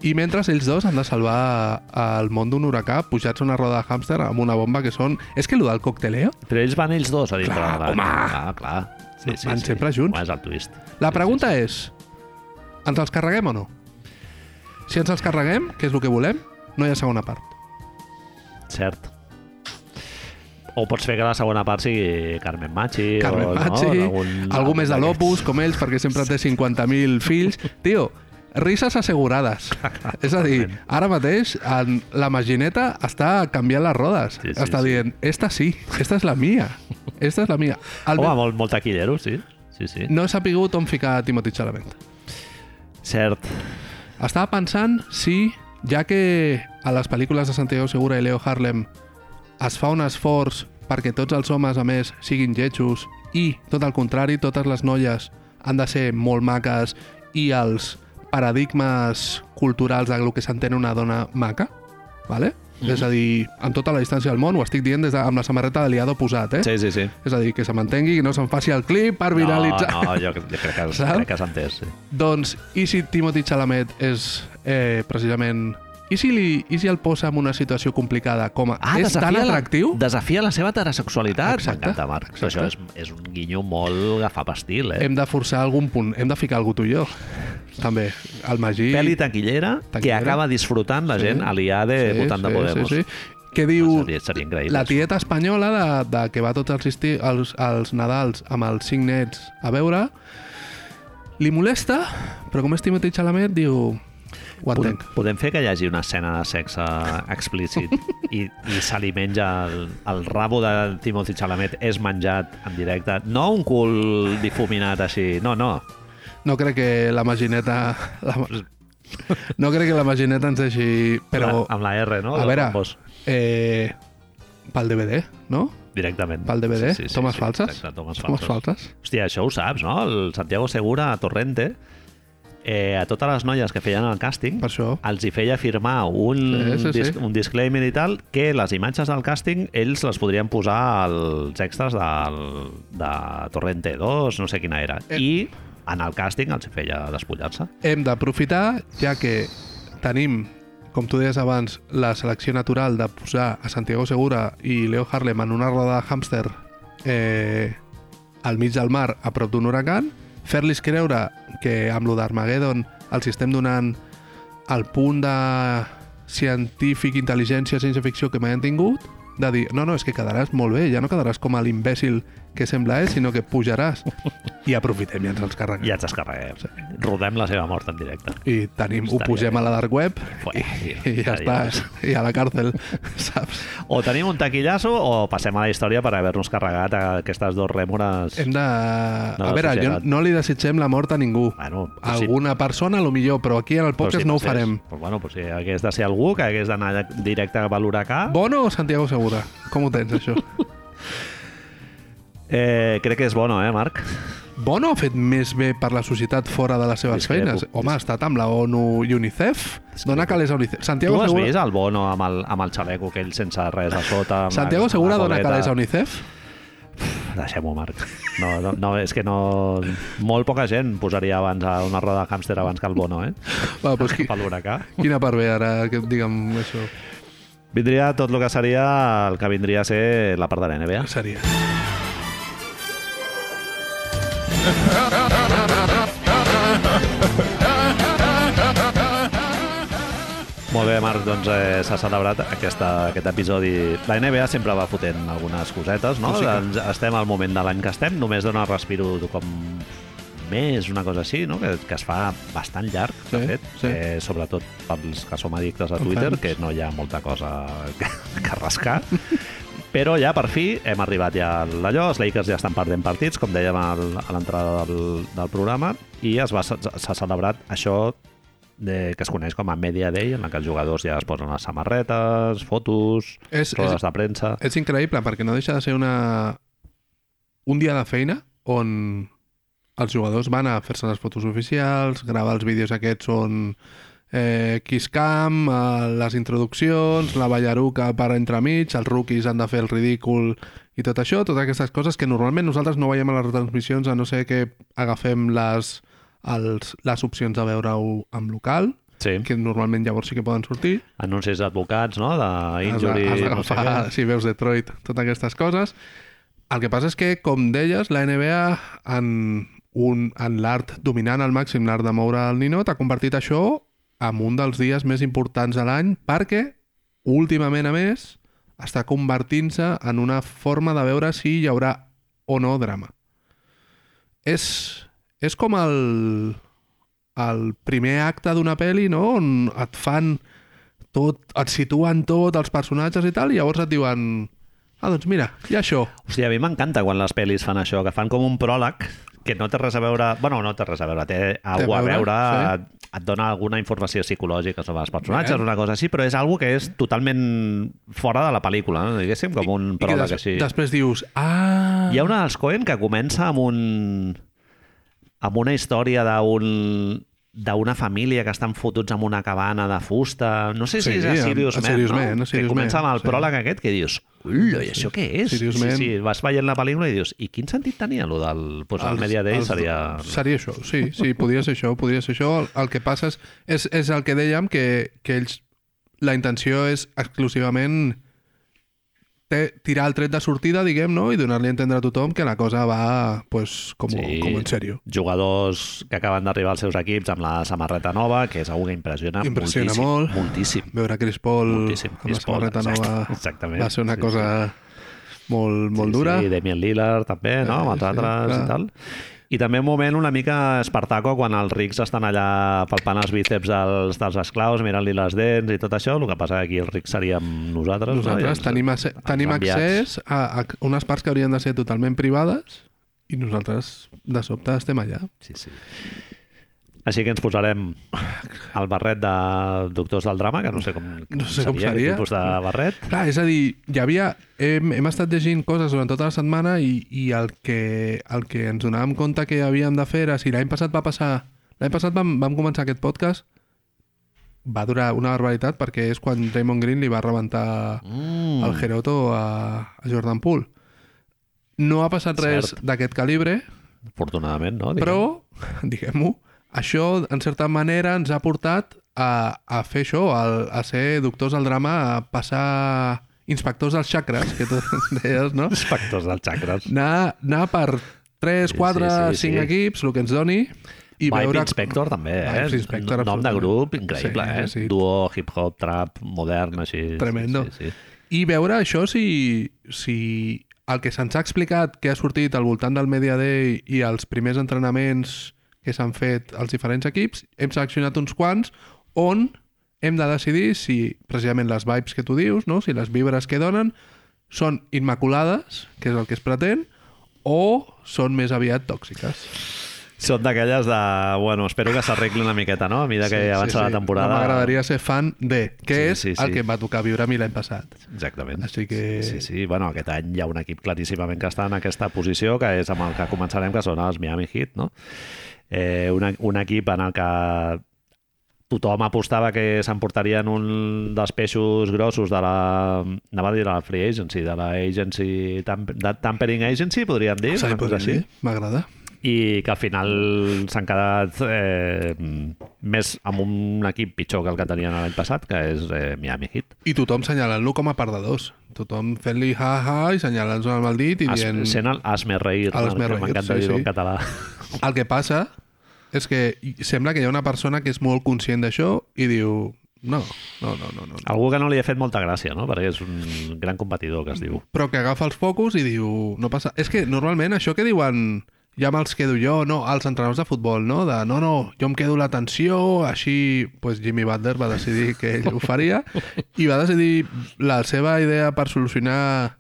Speaker 3: I mentre ells dos han de salvar eh, el món d'un huracà pujats a una roda de hàmster amb una bomba que són... És que lo del cocteleo?
Speaker 2: Però ells van ells dos a dintre
Speaker 3: Clar,
Speaker 2: de la...
Speaker 3: home!
Speaker 2: Ah, clar. Sí, sí,
Speaker 3: Van
Speaker 2: sí.
Speaker 3: sempre junts.
Speaker 2: Home, és el twist.
Speaker 3: La pregunta és, ens els carreguem o no? Si ens els carreguem, que és el que volem, no hi ha segona part.
Speaker 2: Cert. O pots fer que la segona part sigui Carmen Machi.
Speaker 3: Carmen
Speaker 2: o,
Speaker 3: Machi,
Speaker 2: no?
Speaker 3: algú, més de l'Opus, com ells, perquè sempre té 50.000 fills. Tio, risses assegurades. És a dir, ara mateix en, la Magineta està canviant les rodes.
Speaker 2: Sí,
Speaker 3: Sí,
Speaker 2: sí,
Speaker 3: sí, està
Speaker 2: sí.
Speaker 3: dient, esta sí, esta és la mia. Esta és la mia. El
Speaker 2: Home,
Speaker 3: meu-
Speaker 2: molt, molt taquillero, sí. Sí, sí.
Speaker 3: no he sabut on ficar Timothy Chalamet.
Speaker 2: Cert.
Speaker 3: Estava pensant si, ja que a les pel·lícules de Santiago Segura i Leo Harlem es fa un esforç perquè tots els homes, a més, siguin lletjos i, tot el contrari, totes les noies han de ser molt maques i els paradigmes culturals de lo que s'entén una dona maca, ¿vale?
Speaker 2: Mhm.
Speaker 3: És a dir, amb tota la distància del món, ho estic dient des de, amb la samarreta de liado posat, eh?
Speaker 2: Sí, sí, sí.
Speaker 3: És a dir, que se mantengui, que no se'n faci el clip per viralitzar.
Speaker 2: No, no, jo, jo crec que,
Speaker 3: Saps?
Speaker 2: crec que s'ha entès. Sí.
Speaker 3: Doncs, i si Timothy Chalamet és eh, precisament... I si, li, I si el posa en una situació complicada com a... és tan atractiu?
Speaker 2: Ah, La, desafia la seva heterosexualitat.
Speaker 3: Exacte,
Speaker 2: M'encanta, Marc. Exacte. Això és, és un guinyo molt agafapastil, eh?
Speaker 3: Hem de forçar algun punt, hem de ficar algú tu i jo. També, el Magí...
Speaker 2: Peli taquillera, que
Speaker 3: Taquillera.
Speaker 2: acaba disfrutant la
Speaker 3: Sí.
Speaker 2: gent aliada sí, votant de Podemos.
Speaker 3: Sí, sí. Què diu
Speaker 2: Seria, seria increïble.
Speaker 3: la tieta espanyola de, de que va tots els, esti, els, els Nadals amb els cinc nets a veure? Li molesta, però com és Timothy Chalamet, diu... Ho
Speaker 2: Podem,
Speaker 3: entenc.
Speaker 2: podem fer que hi hagi una escena de sexe explícit i, i se li menja el, el rabo de Timothy Chalamet és menjat en directe. No un cul difuminat així, no, no.
Speaker 3: No crec que la magineta... La, no crec que la magineta ens deixi... Però,
Speaker 2: Ah, Amb la R, no?
Speaker 3: a
Speaker 2: Dels
Speaker 3: veure,
Speaker 2: combos.
Speaker 3: eh, pel DVD, no?
Speaker 2: Directament.
Speaker 3: Pel DVD, tomes falses?
Speaker 2: Exacte, tomes falses.
Speaker 3: Tomes falses?
Speaker 2: Hòstia, això ho saps, no? El Santiago Segura, a Torrente, eh, a totes les noies que feien el càsting,
Speaker 3: Per això.
Speaker 2: els hi feia firmar un,
Speaker 3: Sí, sí, sí.
Speaker 2: dis un disclaimer i tal que les imatges del càsting ells les podrien posar als extras del, de Torrente 2, no sé quina era.
Speaker 3: Eh.
Speaker 2: I en el càsting els hi feia despullar-se.
Speaker 3: Hem d'aprofitar, ja que tenim, com tu deies abans, la selecció natural de posar a Santiago Segura i Leo Harlem en una roda de hàmster eh, al mig del mar, a prop d'un huracan, fer-los creure que amb lo d'Armageddon els estem donant el punt de científic, intel·ligència, ciència-ficció que mai han tingut, de dir, no, no, és que quedaràs molt bé, ja no quedaràs com a l'imbècil que sembla és, sinó que pujaràs. I aprofitem i ens els carreguem.
Speaker 2: I ens descarreguem. Rodem la seva mort en directe.
Speaker 3: i tenim, ho
Speaker 2: Estaria
Speaker 3: posem
Speaker 2: bé.
Speaker 3: a la dark web
Speaker 2: Fuera,
Speaker 3: i,
Speaker 2: tio,
Speaker 3: i ja està,
Speaker 2: adiós.
Speaker 3: i a la càrcel, saps?
Speaker 2: O tenim un taquillazo o passem a la història per haver-nos carregat aquestes dues rèmores.
Speaker 3: Hem de...
Speaker 2: No,
Speaker 3: a veure, jo
Speaker 2: societat.
Speaker 3: no li desitgem la mort a ningú.
Speaker 2: Bueno,
Speaker 3: A alguna persona, a lo millor, però aquí en el podcast no ho
Speaker 2: passés.
Speaker 3: farem.
Speaker 2: Però, bueno, però si hagués de ser algú que hagués d'anar directe cap a l'huracà,
Speaker 3: Bono o Santiago Segura? Com ho tens, això?
Speaker 2: eh, crec que és bono, eh, Marc?
Speaker 3: Bono ha fet més bé per la societat fora de les seves
Speaker 2: Discrepo.
Speaker 3: feines. Home, ha estat amb la ONU i UNICEF. Dona calés a UNICEF.
Speaker 2: Tu
Speaker 3: Santiago
Speaker 2: has
Speaker 3: Segura,
Speaker 2: vist el bono amb el, amb el xaleco aquell sense res a sota? Amb
Speaker 3: Santiago Segura dona calés a
Speaker 2: un...
Speaker 3: UNICEF?
Speaker 2: Deixem-ho, Marc. No, no, no, és que no... Molt poca gent posaria abans a una roda de hàmster abans que el bono, eh?
Speaker 3: Va, doncs, qui,
Speaker 2: Cap a l'huracà.
Speaker 3: quina part ve ara que diguem això?
Speaker 2: Vindria tot el que seria el que vindria a ser la part de la NBA.
Speaker 3: Seria.
Speaker 2: Molt bé, Marc, doncs eh, s'ha celebrat aquesta, aquest episodi. La NBA sempre va fotent algunes cosetes, no?
Speaker 3: Sí que-
Speaker 2: Doncs Estem al moment de l'any que estem, només dona respiro com més, una cosa així, no? que, que es fa bastant llarg, de
Speaker 3: Sí,
Speaker 2: fet,
Speaker 3: sí.
Speaker 2: Eh, sobretot pels que som addictes a
Speaker 3: Fan
Speaker 2: Twitter,
Speaker 3: fans.
Speaker 2: que no hi ha molta cosa que, que rascar. Però ja, per fi, hem arribat ja a l'allò. Els Lakers ja estan perdent partits, com dèiem al- a l'entrada del, del programa, i es va s'ha s'ha celebrat això de, que es coneix com a Media Day, en la que els jugadors ja es posen les samarretes, fotos,
Speaker 3: És, és,
Speaker 2: rodes de premsa...
Speaker 3: És increïble perquè no deixa de ser una un dia de feina on els jugadors van a fer-se les fotos oficials, gravar els vídeos aquests on eh, Kiss Cam, eh, les introduccions, la ballaruca per entremig, els rookies han de fer el ridícul i tot això, totes aquestes coses que normalment nosaltres no veiem a les retransmissions a no ser que agafem les, els, les opcions de veure-ho amb local,
Speaker 2: Sí,
Speaker 3: que normalment llavors sí que poden sortir.
Speaker 2: anuncis d'advocats, no?
Speaker 3: Has de-
Speaker 2: D'injury...
Speaker 3: has
Speaker 2: no sé
Speaker 3: d'agafar,
Speaker 2: què.
Speaker 3: si veus Detroit, totes aquestes coses. El que passa és que, com deies, la NBA en, un, en l'art dominant al màxim, l'art de moure el ninot, ha convertit això en un dels dies més importants de l'any perquè, últimament a més, està convertint-se en una forma de veure si hi haurà o no drama. És, és com el, el primer acte d'una pel·li, no? On et fan tot, et situen tot, els personatges i tal, i llavors et diuen ah, doncs mira, hi ha això.
Speaker 2: Hòstia, a mi m'encanta quan les pel·lis fan això, que fan com un pròleg que no té res a veure... Bueno, no té res a veure, té alguna
Speaker 3: veure,
Speaker 2: a veure, et, et dona alguna informació psicològica sobre els personatges,
Speaker 3: Bé.
Speaker 2: una cosa així, però és algo que és totalment fora de la pel·lícula, no? diguéssim, com un
Speaker 3: I que
Speaker 2: pròleg així.
Speaker 3: després dius, ah...
Speaker 2: Hi ha una dels Coen que comença amb un amb una història d'un d'una família que estan fotuts en una cabana de fusta, no sé si
Speaker 3: Sí,
Speaker 2: és a Sirius
Speaker 3: a
Speaker 2: Man,
Speaker 3: Sirius
Speaker 2: no?
Speaker 3: Man, a
Speaker 2: que
Speaker 3: Sirius
Speaker 2: comença amb
Speaker 3: Man,
Speaker 2: el
Speaker 3: sí.
Speaker 2: pròleg aquest que dius, ullo, i això què és?
Speaker 3: Sirius
Speaker 2: sí,
Speaker 3: Man.
Speaker 2: sí, vas veient la pel·lícula i dius, i quin sentit tenia allò del... Pues, el, Media Day seria...
Speaker 3: Seria això, sí, sí, podria ser això, podria ser això. El, el que passa és, és, és el que dèiem, que, que ells... La intenció és exclusivament té, tirar el tret de sortida, diguem, no? I donar-li a entendre a tothom que la cosa va, pues, com,
Speaker 2: Sí.
Speaker 3: com en sèrio.
Speaker 2: Jugadors que acaben d'arribar als seus equips amb la samarreta nova, que és una que impressiona,
Speaker 3: Impressiona
Speaker 2: moltíssim,
Speaker 3: molt.
Speaker 2: moltíssim.
Speaker 3: Veure Chris Paul
Speaker 2: Moltíssim.
Speaker 3: amb la
Speaker 2: Chris Paul,
Speaker 3: samarreta
Speaker 2: exacte,
Speaker 3: nova
Speaker 2: exactament.
Speaker 3: va ser una
Speaker 2: Sí,
Speaker 3: cosa molt, molt
Speaker 2: sí,
Speaker 3: dura.
Speaker 2: Sí, Damien Lillard també, no?
Speaker 3: Eh,
Speaker 2: Amb els
Speaker 3: sí,
Speaker 2: altres
Speaker 3: clar.
Speaker 2: i tal. I també un moment una mica espartaco quan els rics estan allà palpant els bíceps dels, dels esclaus, mirant-li les dents i tot això. El que passa que aquí els rics seríem nosaltres. no? I
Speaker 3: Nosaltres
Speaker 2: els-
Speaker 3: tenim, ace- tenim
Speaker 2: enviats.
Speaker 3: accés a, a unes parts que haurien de ser totalment privades i nosaltres, de sobte, estem allà.
Speaker 2: Sí, sí. Així que ens posarem el barret de Doctors del Drama, que no sé com,
Speaker 3: No sé com
Speaker 2: seria,
Speaker 3: seria.
Speaker 2: quin tipus de barret.
Speaker 3: Clar, és a dir, hi havia... Hem, hem estat llegint coses durant tota la setmana i, i el, que, el que ens donàvem compte que havíem de fer era si l'any passat va passar... L'any passat vam, vam començar aquest podcast va durar una barbaritat perquè és quan Raymond Green li va rebentar
Speaker 2: Mm.
Speaker 3: el Geroto a, a Jordan Poole. No ha passat res
Speaker 2: Cert.
Speaker 3: d'aquest calibre,
Speaker 2: Mm, Afortunadament, no?
Speaker 3: Però, diguem-ho, això, en certa manera, ens ha portat a, a fer això, a, a ser doctors del drama, a passar inspectors dels xacres, que tu deies, no?
Speaker 2: Factors dels xacres.
Speaker 3: Anar, anar per 3,
Speaker 2: Sí, sí,
Speaker 3: 4,
Speaker 2: sí,
Speaker 3: 5
Speaker 2: sí.
Speaker 3: equipos, el que ens doni, i
Speaker 2: Vibe
Speaker 3: veure...
Speaker 2: Inspector també, eh?
Speaker 3: Vibes Inspector,
Speaker 2: Nom de
Speaker 3: absolutament.
Speaker 2: grup increïble,
Speaker 3: Sí,
Speaker 2: eh?
Speaker 3: sí, sí.
Speaker 2: Duo, hip-hop, trap, modern, així... sí,
Speaker 3: Tremendo.
Speaker 2: Sí, sí,
Speaker 3: I veure això si, si el que se'ns ha explicat que ha sortit al voltant del Media Day i els primers entrenaments que s'han fet als diferents equips, hem seleccionat uns quants on hem de decidir si precisament les vibes que tu dius, no? si les vibres que donen, són immaculades, que és el que es pretén, o són més aviat tòxiques.
Speaker 2: Són d'aquelles de... Bueno, espero que s'arregli una miqueta, no? A mesura que avança la temporada...
Speaker 3: No m'agradaria ser fan de,
Speaker 2: Sí,
Speaker 3: que és
Speaker 2: sí, sí.
Speaker 3: el que em va tocar viure a mi l'any passat.
Speaker 2: Exactament.
Speaker 3: Així que-
Speaker 2: Sí, sí. Bueno, aquest any hi ha un equip claríssimament que està en aquesta posició, que és amb el que començarem, que són els Miami Heat, no? Eh, un, e- un equip en el que tothom apostava que s'emportarien un dels peixos grossos de la, anava a dir de la free agency, de la agency, tam, de tampering agency, podríem dir.
Speaker 3: Sí,
Speaker 2: una cosa així
Speaker 3: podríem dir. eh? M'agrada.
Speaker 2: i que al final s'han quedat eh, més amb un equip pitjor que el que tenien l'any passat, que és eh, Miami Heat.
Speaker 3: I tothom senyalant-lo com a perdedors. Tothom fent-li ha-ha i senyalant-lo amb el dit i
Speaker 2: Has,
Speaker 3: dient...
Speaker 2: sent el Asme Reir,
Speaker 3: El
Speaker 2: que
Speaker 3: Hazme Reír,
Speaker 2: m'encanta
Speaker 3: sí,
Speaker 2: dir-ho
Speaker 3: sí.
Speaker 2: en català.
Speaker 3: El que passa és que hi- sembla que hi ha una persona que és molt conscient d'això i diu... No, no, no, no, no.
Speaker 2: Algú que no li ha fet molta gràcia, no? perquè és un gran competidor que es diu.
Speaker 3: Però que agafa els focus i diu... No passa... És que normalment això que diuen... Ja me'ls quedo jo, no, als entrenadors de futbol, no? De, no, no, jo em quedo la tensió, així... Pues Jimmy Butler va decidir que ell ho faria i va decidir la seva idea per solucionar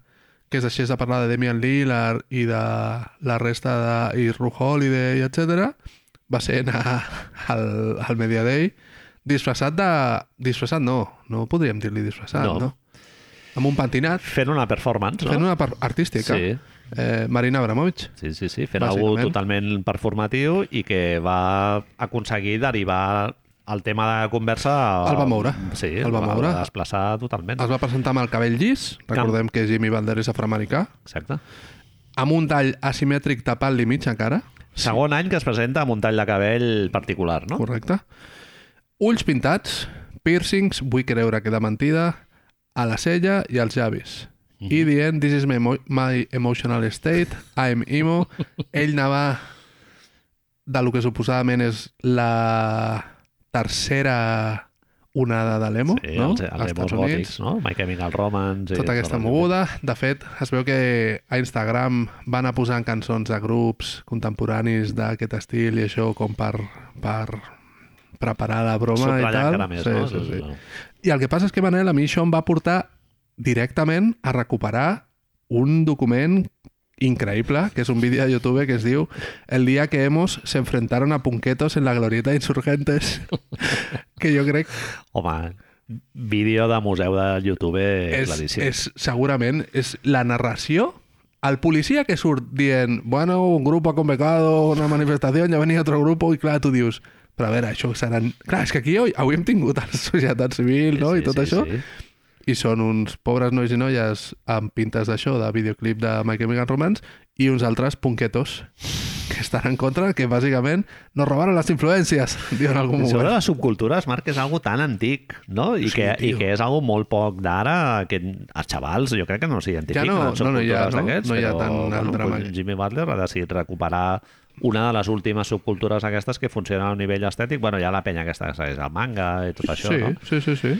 Speaker 3: que es deixés de parlar de Damian Lillard i de la resta de i Ru Holiday, etc. va ser anar al, al Media Day disfressat de... Disfressat no, no podríem dir-li disfressat,
Speaker 2: No.
Speaker 3: no. no? Amb un pentinat,
Speaker 2: Fent una performance, no?
Speaker 3: fent una part artística.
Speaker 2: Sí,
Speaker 3: eh, Marina Abramovich.
Speaker 2: Sí, sí, sí, fent algú
Speaker 3: Bàsicament.
Speaker 2: totalment performatiu i que va aconseguir derivar el tema de conversa... a-
Speaker 3: El va moure.
Speaker 2: Sí,
Speaker 3: El va moure.
Speaker 2: desplaçar totalment.
Speaker 3: Es va presentar amb el cabell llis, recordem que Jimmy Vander és afroamericà,
Speaker 2: Exacte.
Speaker 3: amb un tall asimètric tapant-li mitja cara,
Speaker 2: Segon any que es presenta amb un tall de cabell particular, no?
Speaker 3: correcte, ulls pintats, piercings, vull creure que de mentida, a la cella i als llavis.
Speaker 2: Mhm.
Speaker 3: I dient, this is my, emo my emotional state, I'm emo. Ell anava de lo que suposadament és la tercera onada de l'emo,
Speaker 2: Sí,
Speaker 3: no?
Speaker 2: els, els emos
Speaker 3: Als Estats Units.
Speaker 2: gòtics, no? My Chemical Romance... i
Speaker 3: tota
Speaker 2: tot
Speaker 3: aquesta
Speaker 2: el-
Speaker 3: moguda. De fet, es veu que a Instagram van a posant cançons de grups contemporanis d'aquest estil i això com per, per preparar la broma i
Speaker 2: Subratllar
Speaker 3: tal.
Speaker 2: encara més,
Speaker 3: sí,
Speaker 2: no?
Speaker 3: sí, sí. I el que passa és que Manel, a mi això em va portar directament a recuperar un document increïble, que és un vídeo de YouTube que es diu El dia que hemos se enfrentaron a punquetos en la glorieta de insurgentes, que jo crec
Speaker 2: Home, vídeo de museu de YouTube és,
Speaker 3: és,
Speaker 2: Eh, claríssim.
Speaker 3: és, segurament és la narració al policía que surt dient bueno, un grupo ha convocado una manifestación, ya venía otro grupo, i clar, tu dius però a veure, això seran... Clar, és que aquí avui, avui hem tingut la societat civil, no?, i tot això,
Speaker 2: Sí.
Speaker 3: i són uns pobres nois i noies amb pintes d'això, de videoclip de My Chemical Romance, i uns altres punquetos que estan en contra, que bàsicament nos robaron les influències, diuen en algun
Speaker 2: Sobre
Speaker 3: moment.
Speaker 2: les subcultures, Marc, és algo tan antic, no? I,
Speaker 3: Sí,
Speaker 2: que, i
Speaker 3: tio.
Speaker 2: que és algo molt poc d'ara, que els xavals jo crec que no s'identifiquen
Speaker 3: Ja no,
Speaker 2: amb
Speaker 3: no, no hi ha,
Speaker 2: subcultures
Speaker 3: no?
Speaker 2: d'aquests,
Speaker 3: No hi ha
Speaker 2: però,
Speaker 3: tant el
Speaker 2: bueno,
Speaker 3: drama
Speaker 2: doncs
Speaker 3: aquest.
Speaker 2: Jimmy Butler ha decidit recuperar una de les últimes subcultures aquestes que funcionen a nivell estètic. Bueno, hi ha la penya aquesta que segueix el manga i tot això,
Speaker 3: sí,
Speaker 2: no?
Speaker 3: sí, sí, sí.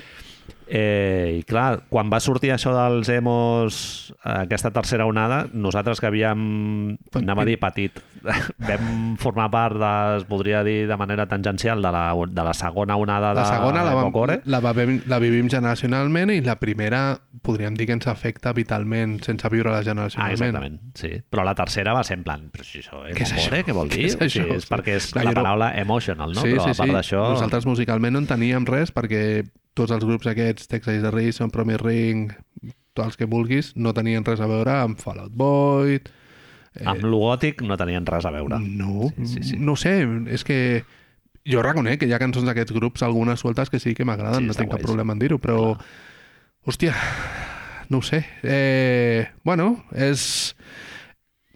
Speaker 2: Eh, I clar, quan va sortir això dels emos, eh, aquesta tercera onada, nosaltres que havíem,
Speaker 3: Petit.
Speaker 2: anem a dir petit, vam formar part, de, es podria dir de manera tangencial, de la, de la segona onada
Speaker 3: La
Speaker 2: de
Speaker 3: segona la, vam,
Speaker 2: Cocore.
Speaker 3: la, vam, la vivim generacionalment i la primera podríem dir que ens afecta vitalment sense viure-la
Speaker 2: Ah,
Speaker 3: generacionalment.
Speaker 2: exactament, sí. Però la tercera va ser en plan, però si això és
Speaker 3: Què és
Speaker 2: Cocore,
Speaker 3: això?
Speaker 2: què vol
Speaker 3: Què
Speaker 2: dir?
Speaker 3: és
Speaker 2: O sigui,
Speaker 3: això?
Speaker 2: és perquè és
Speaker 3: Clar,
Speaker 2: la
Speaker 3: jo no-
Speaker 2: paraula emotional, no?
Speaker 3: sí,
Speaker 2: però
Speaker 3: sí,
Speaker 2: a part
Speaker 3: sí.
Speaker 2: d'això...
Speaker 3: Nosaltres musicalment no en teníem res perquè tots els grups aquests, Texas de Reason, Promise Ring, tots els que vulguis, no tenien res a veure amb Fall Out Boy...
Speaker 2: Amb
Speaker 3: eh,
Speaker 2: l'ugòtic no tenien res a veure.
Speaker 3: No,
Speaker 2: Sí, sí, sí.
Speaker 3: no ho sé, és que jo reconec que hi ha cançons d'aquests grups, algunes sueltes que sí que m'agraden,
Speaker 2: Sí,
Speaker 3: no
Speaker 2: està
Speaker 3: tinc cap
Speaker 2: guais.
Speaker 3: problema en dir-ho, però... Hòstia, no ho sé. Eh, bueno, és...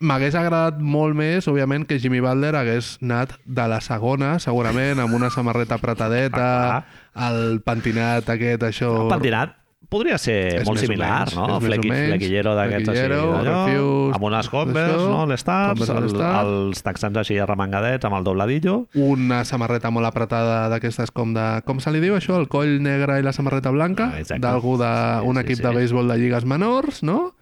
Speaker 3: M'hagués agradat molt més, òbviament, que Jimmy Butler hagués anat de la segona, segurament, amb una samarreta apretadeta,
Speaker 2: Ah,
Speaker 3: el pentinat aquest, això...
Speaker 2: El pentinat podria ser
Speaker 3: És
Speaker 2: molt
Speaker 3: més o
Speaker 2: similar,
Speaker 3: menys,
Speaker 2: no?
Speaker 3: és més
Speaker 2: Flequi,
Speaker 3: o menys.
Speaker 2: flequillero d'aquests així,
Speaker 3: Flequillero,
Speaker 2: d'allò,
Speaker 3: refuse,
Speaker 2: amb unes Converse,
Speaker 3: això,
Speaker 2: no? Les Stars,
Speaker 3: Converse,
Speaker 2: el,
Speaker 3: les Stars.
Speaker 2: els texans així arremangadets amb el dobladillo.
Speaker 3: una samarreta molt apretada d'aquestes com de... Com se li diu això? El coll negre i la samarreta blanca?
Speaker 2: Ah, exacte.
Speaker 3: D'algú
Speaker 2: Sí,
Speaker 3: d'un
Speaker 2: sí,
Speaker 3: sí, equip
Speaker 2: sí.
Speaker 3: sí. de béisbol de lligues menors, no?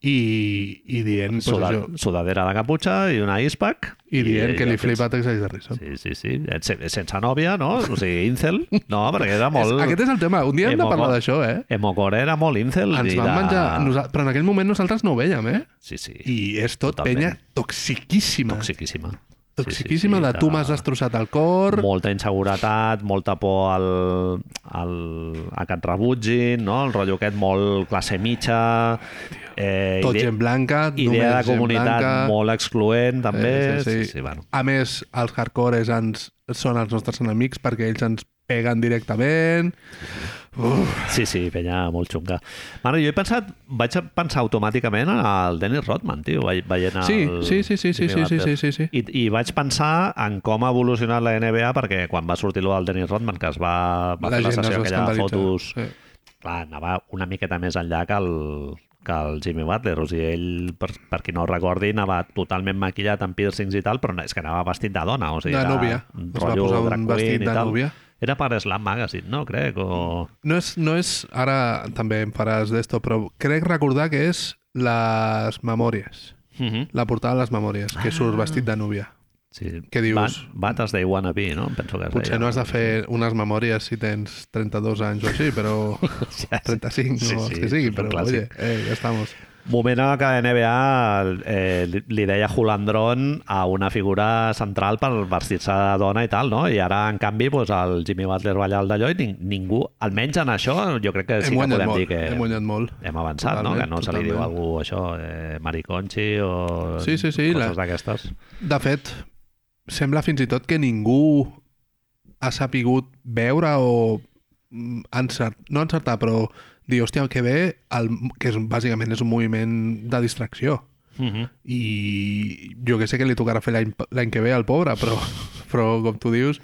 Speaker 3: I, i dient, pues,
Speaker 2: Suda,
Speaker 3: això,
Speaker 2: sudadera de caputxa i una ispac.
Speaker 3: i dient que li
Speaker 2: aquests-
Speaker 3: flipa Texas Harrison. Sí.
Speaker 2: Sí, sí, sí. Et- se- Sense nòvia, no? O sigui, incel. No, perquè era molt...
Speaker 3: Aquest és el tema. Un dia hem de
Speaker 2: Emoco-
Speaker 3: parlar d'això, eh?
Speaker 2: Emocore era molt incel.
Speaker 3: Ens
Speaker 2: i
Speaker 3: van
Speaker 2: de-
Speaker 3: menjar... nosa- Però en aquell moment nosaltres no ho vèiem, eh?
Speaker 2: Sí, sí.
Speaker 3: I és tot
Speaker 2: Totalment.
Speaker 3: penya toxiquíssima.
Speaker 2: Toxiquíssima. Sí, sí,
Speaker 3: Toxiquíssima
Speaker 2: sí,
Speaker 3: de tu
Speaker 2: de-
Speaker 3: m'has destrossat el cor...
Speaker 2: molta inseguretat, molta por al, al, a que et rebutgin, no? el rotllo aquest molt classe mitja, eh,
Speaker 3: tot
Speaker 2: ide-
Speaker 3: gent blanca,
Speaker 2: idea de
Speaker 3: només gent
Speaker 2: comunitat
Speaker 3: blanca...
Speaker 2: molt excloent, també.
Speaker 3: Eh, sí, sí.
Speaker 2: sí, bueno.
Speaker 3: A més, els hardcores ens, són els nostres enemics perquè ells ens peguen directament. Uf,
Speaker 2: sí, sí, penya molt xunga. Mare, jo he pensat, vaig a pensar automàticament al Dennis Rodman, tio, ve- veient
Speaker 3: sí,
Speaker 2: el...
Speaker 3: sí, sí, sí, sí,
Speaker 2: Jimmy
Speaker 3: sí, sí,
Speaker 2: Butler.
Speaker 3: sí, sí, sí.
Speaker 2: I, I vaig pensar en com ha evolucionat la NBA perquè quan va sortir lo del Dennis Rodman que es va, va fer la
Speaker 3: es
Speaker 2: sessió
Speaker 3: va
Speaker 2: aquella de
Speaker 3: escandalitzar.
Speaker 2: fotos
Speaker 3: Sí.
Speaker 2: clar, anava una miqueta més enllà que el, que el Jimmy Butler. O sigui, ell, per, per qui no ho recordi, anava totalment maquillat amb piercings i tal, però no- és que anava vestit de dona. O sigui,
Speaker 3: De
Speaker 2: era
Speaker 3: núvia.
Speaker 2: un
Speaker 3: Es va
Speaker 2: rotllo
Speaker 3: posar
Speaker 2: drag
Speaker 3: un vestit
Speaker 2: queen i
Speaker 3: de
Speaker 2: tal.
Speaker 3: núvia.
Speaker 2: Era per Slam Magazine, no? Crec, o...
Speaker 3: No és, no és, ara també em faràs d'esto, però crec recordar que és les memòries,
Speaker 2: Mhm.
Speaker 3: la portada de les memòries, que
Speaker 2: Ah.
Speaker 3: surt vestit de núvia.
Speaker 2: Sí.
Speaker 3: Què dius?
Speaker 2: Bat- Bates They Wanna Be, no? Em Penso que es
Speaker 3: Potser
Speaker 2: deia.
Speaker 3: no has de fer unes memòries si tens 32 anys o així, però
Speaker 2: Ja, sí.
Speaker 3: 35
Speaker 2: Sí,
Speaker 3: o
Speaker 2: sí,
Speaker 3: els que sigui,
Speaker 2: és un
Speaker 3: però
Speaker 2: clàssic.
Speaker 3: oye, eh, ja estamos.
Speaker 2: Moment en què NBA eh, li- li deia Julandron a una figura central per vestir-se de dona i tal, no? I ara, en canvi, doncs, el Jimmy Butler va allà al d'allò i ning ningú, almenys en això, jo crec que sí
Speaker 3: hem
Speaker 2: que
Speaker 3: guanyat
Speaker 2: podem
Speaker 3: molt,
Speaker 2: dir que
Speaker 3: hem guanyat molt.
Speaker 2: hem avançat, no?
Speaker 3: Totalment,
Speaker 2: Que no se li diu a
Speaker 3: totalment.
Speaker 2: algú això, eh, mariconchi o
Speaker 3: Sí, sí, sí,
Speaker 2: coses
Speaker 3: la-
Speaker 2: d'aquestes.
Speaker 3: De fet, sembla fins i tot que ningú ha sapigut veure o mm, encert, no encertar, però dir, hòstia, el que ve, el, que és, bàsicament és un moviment de distracció.
Speaker 2: Mm
Speaker 3: Mhm.
Speaker 2: -hmm.
Speaker 3: I jo que sé que li tocarà fer l'any l'any que ve al pobre, però, però com tu dius,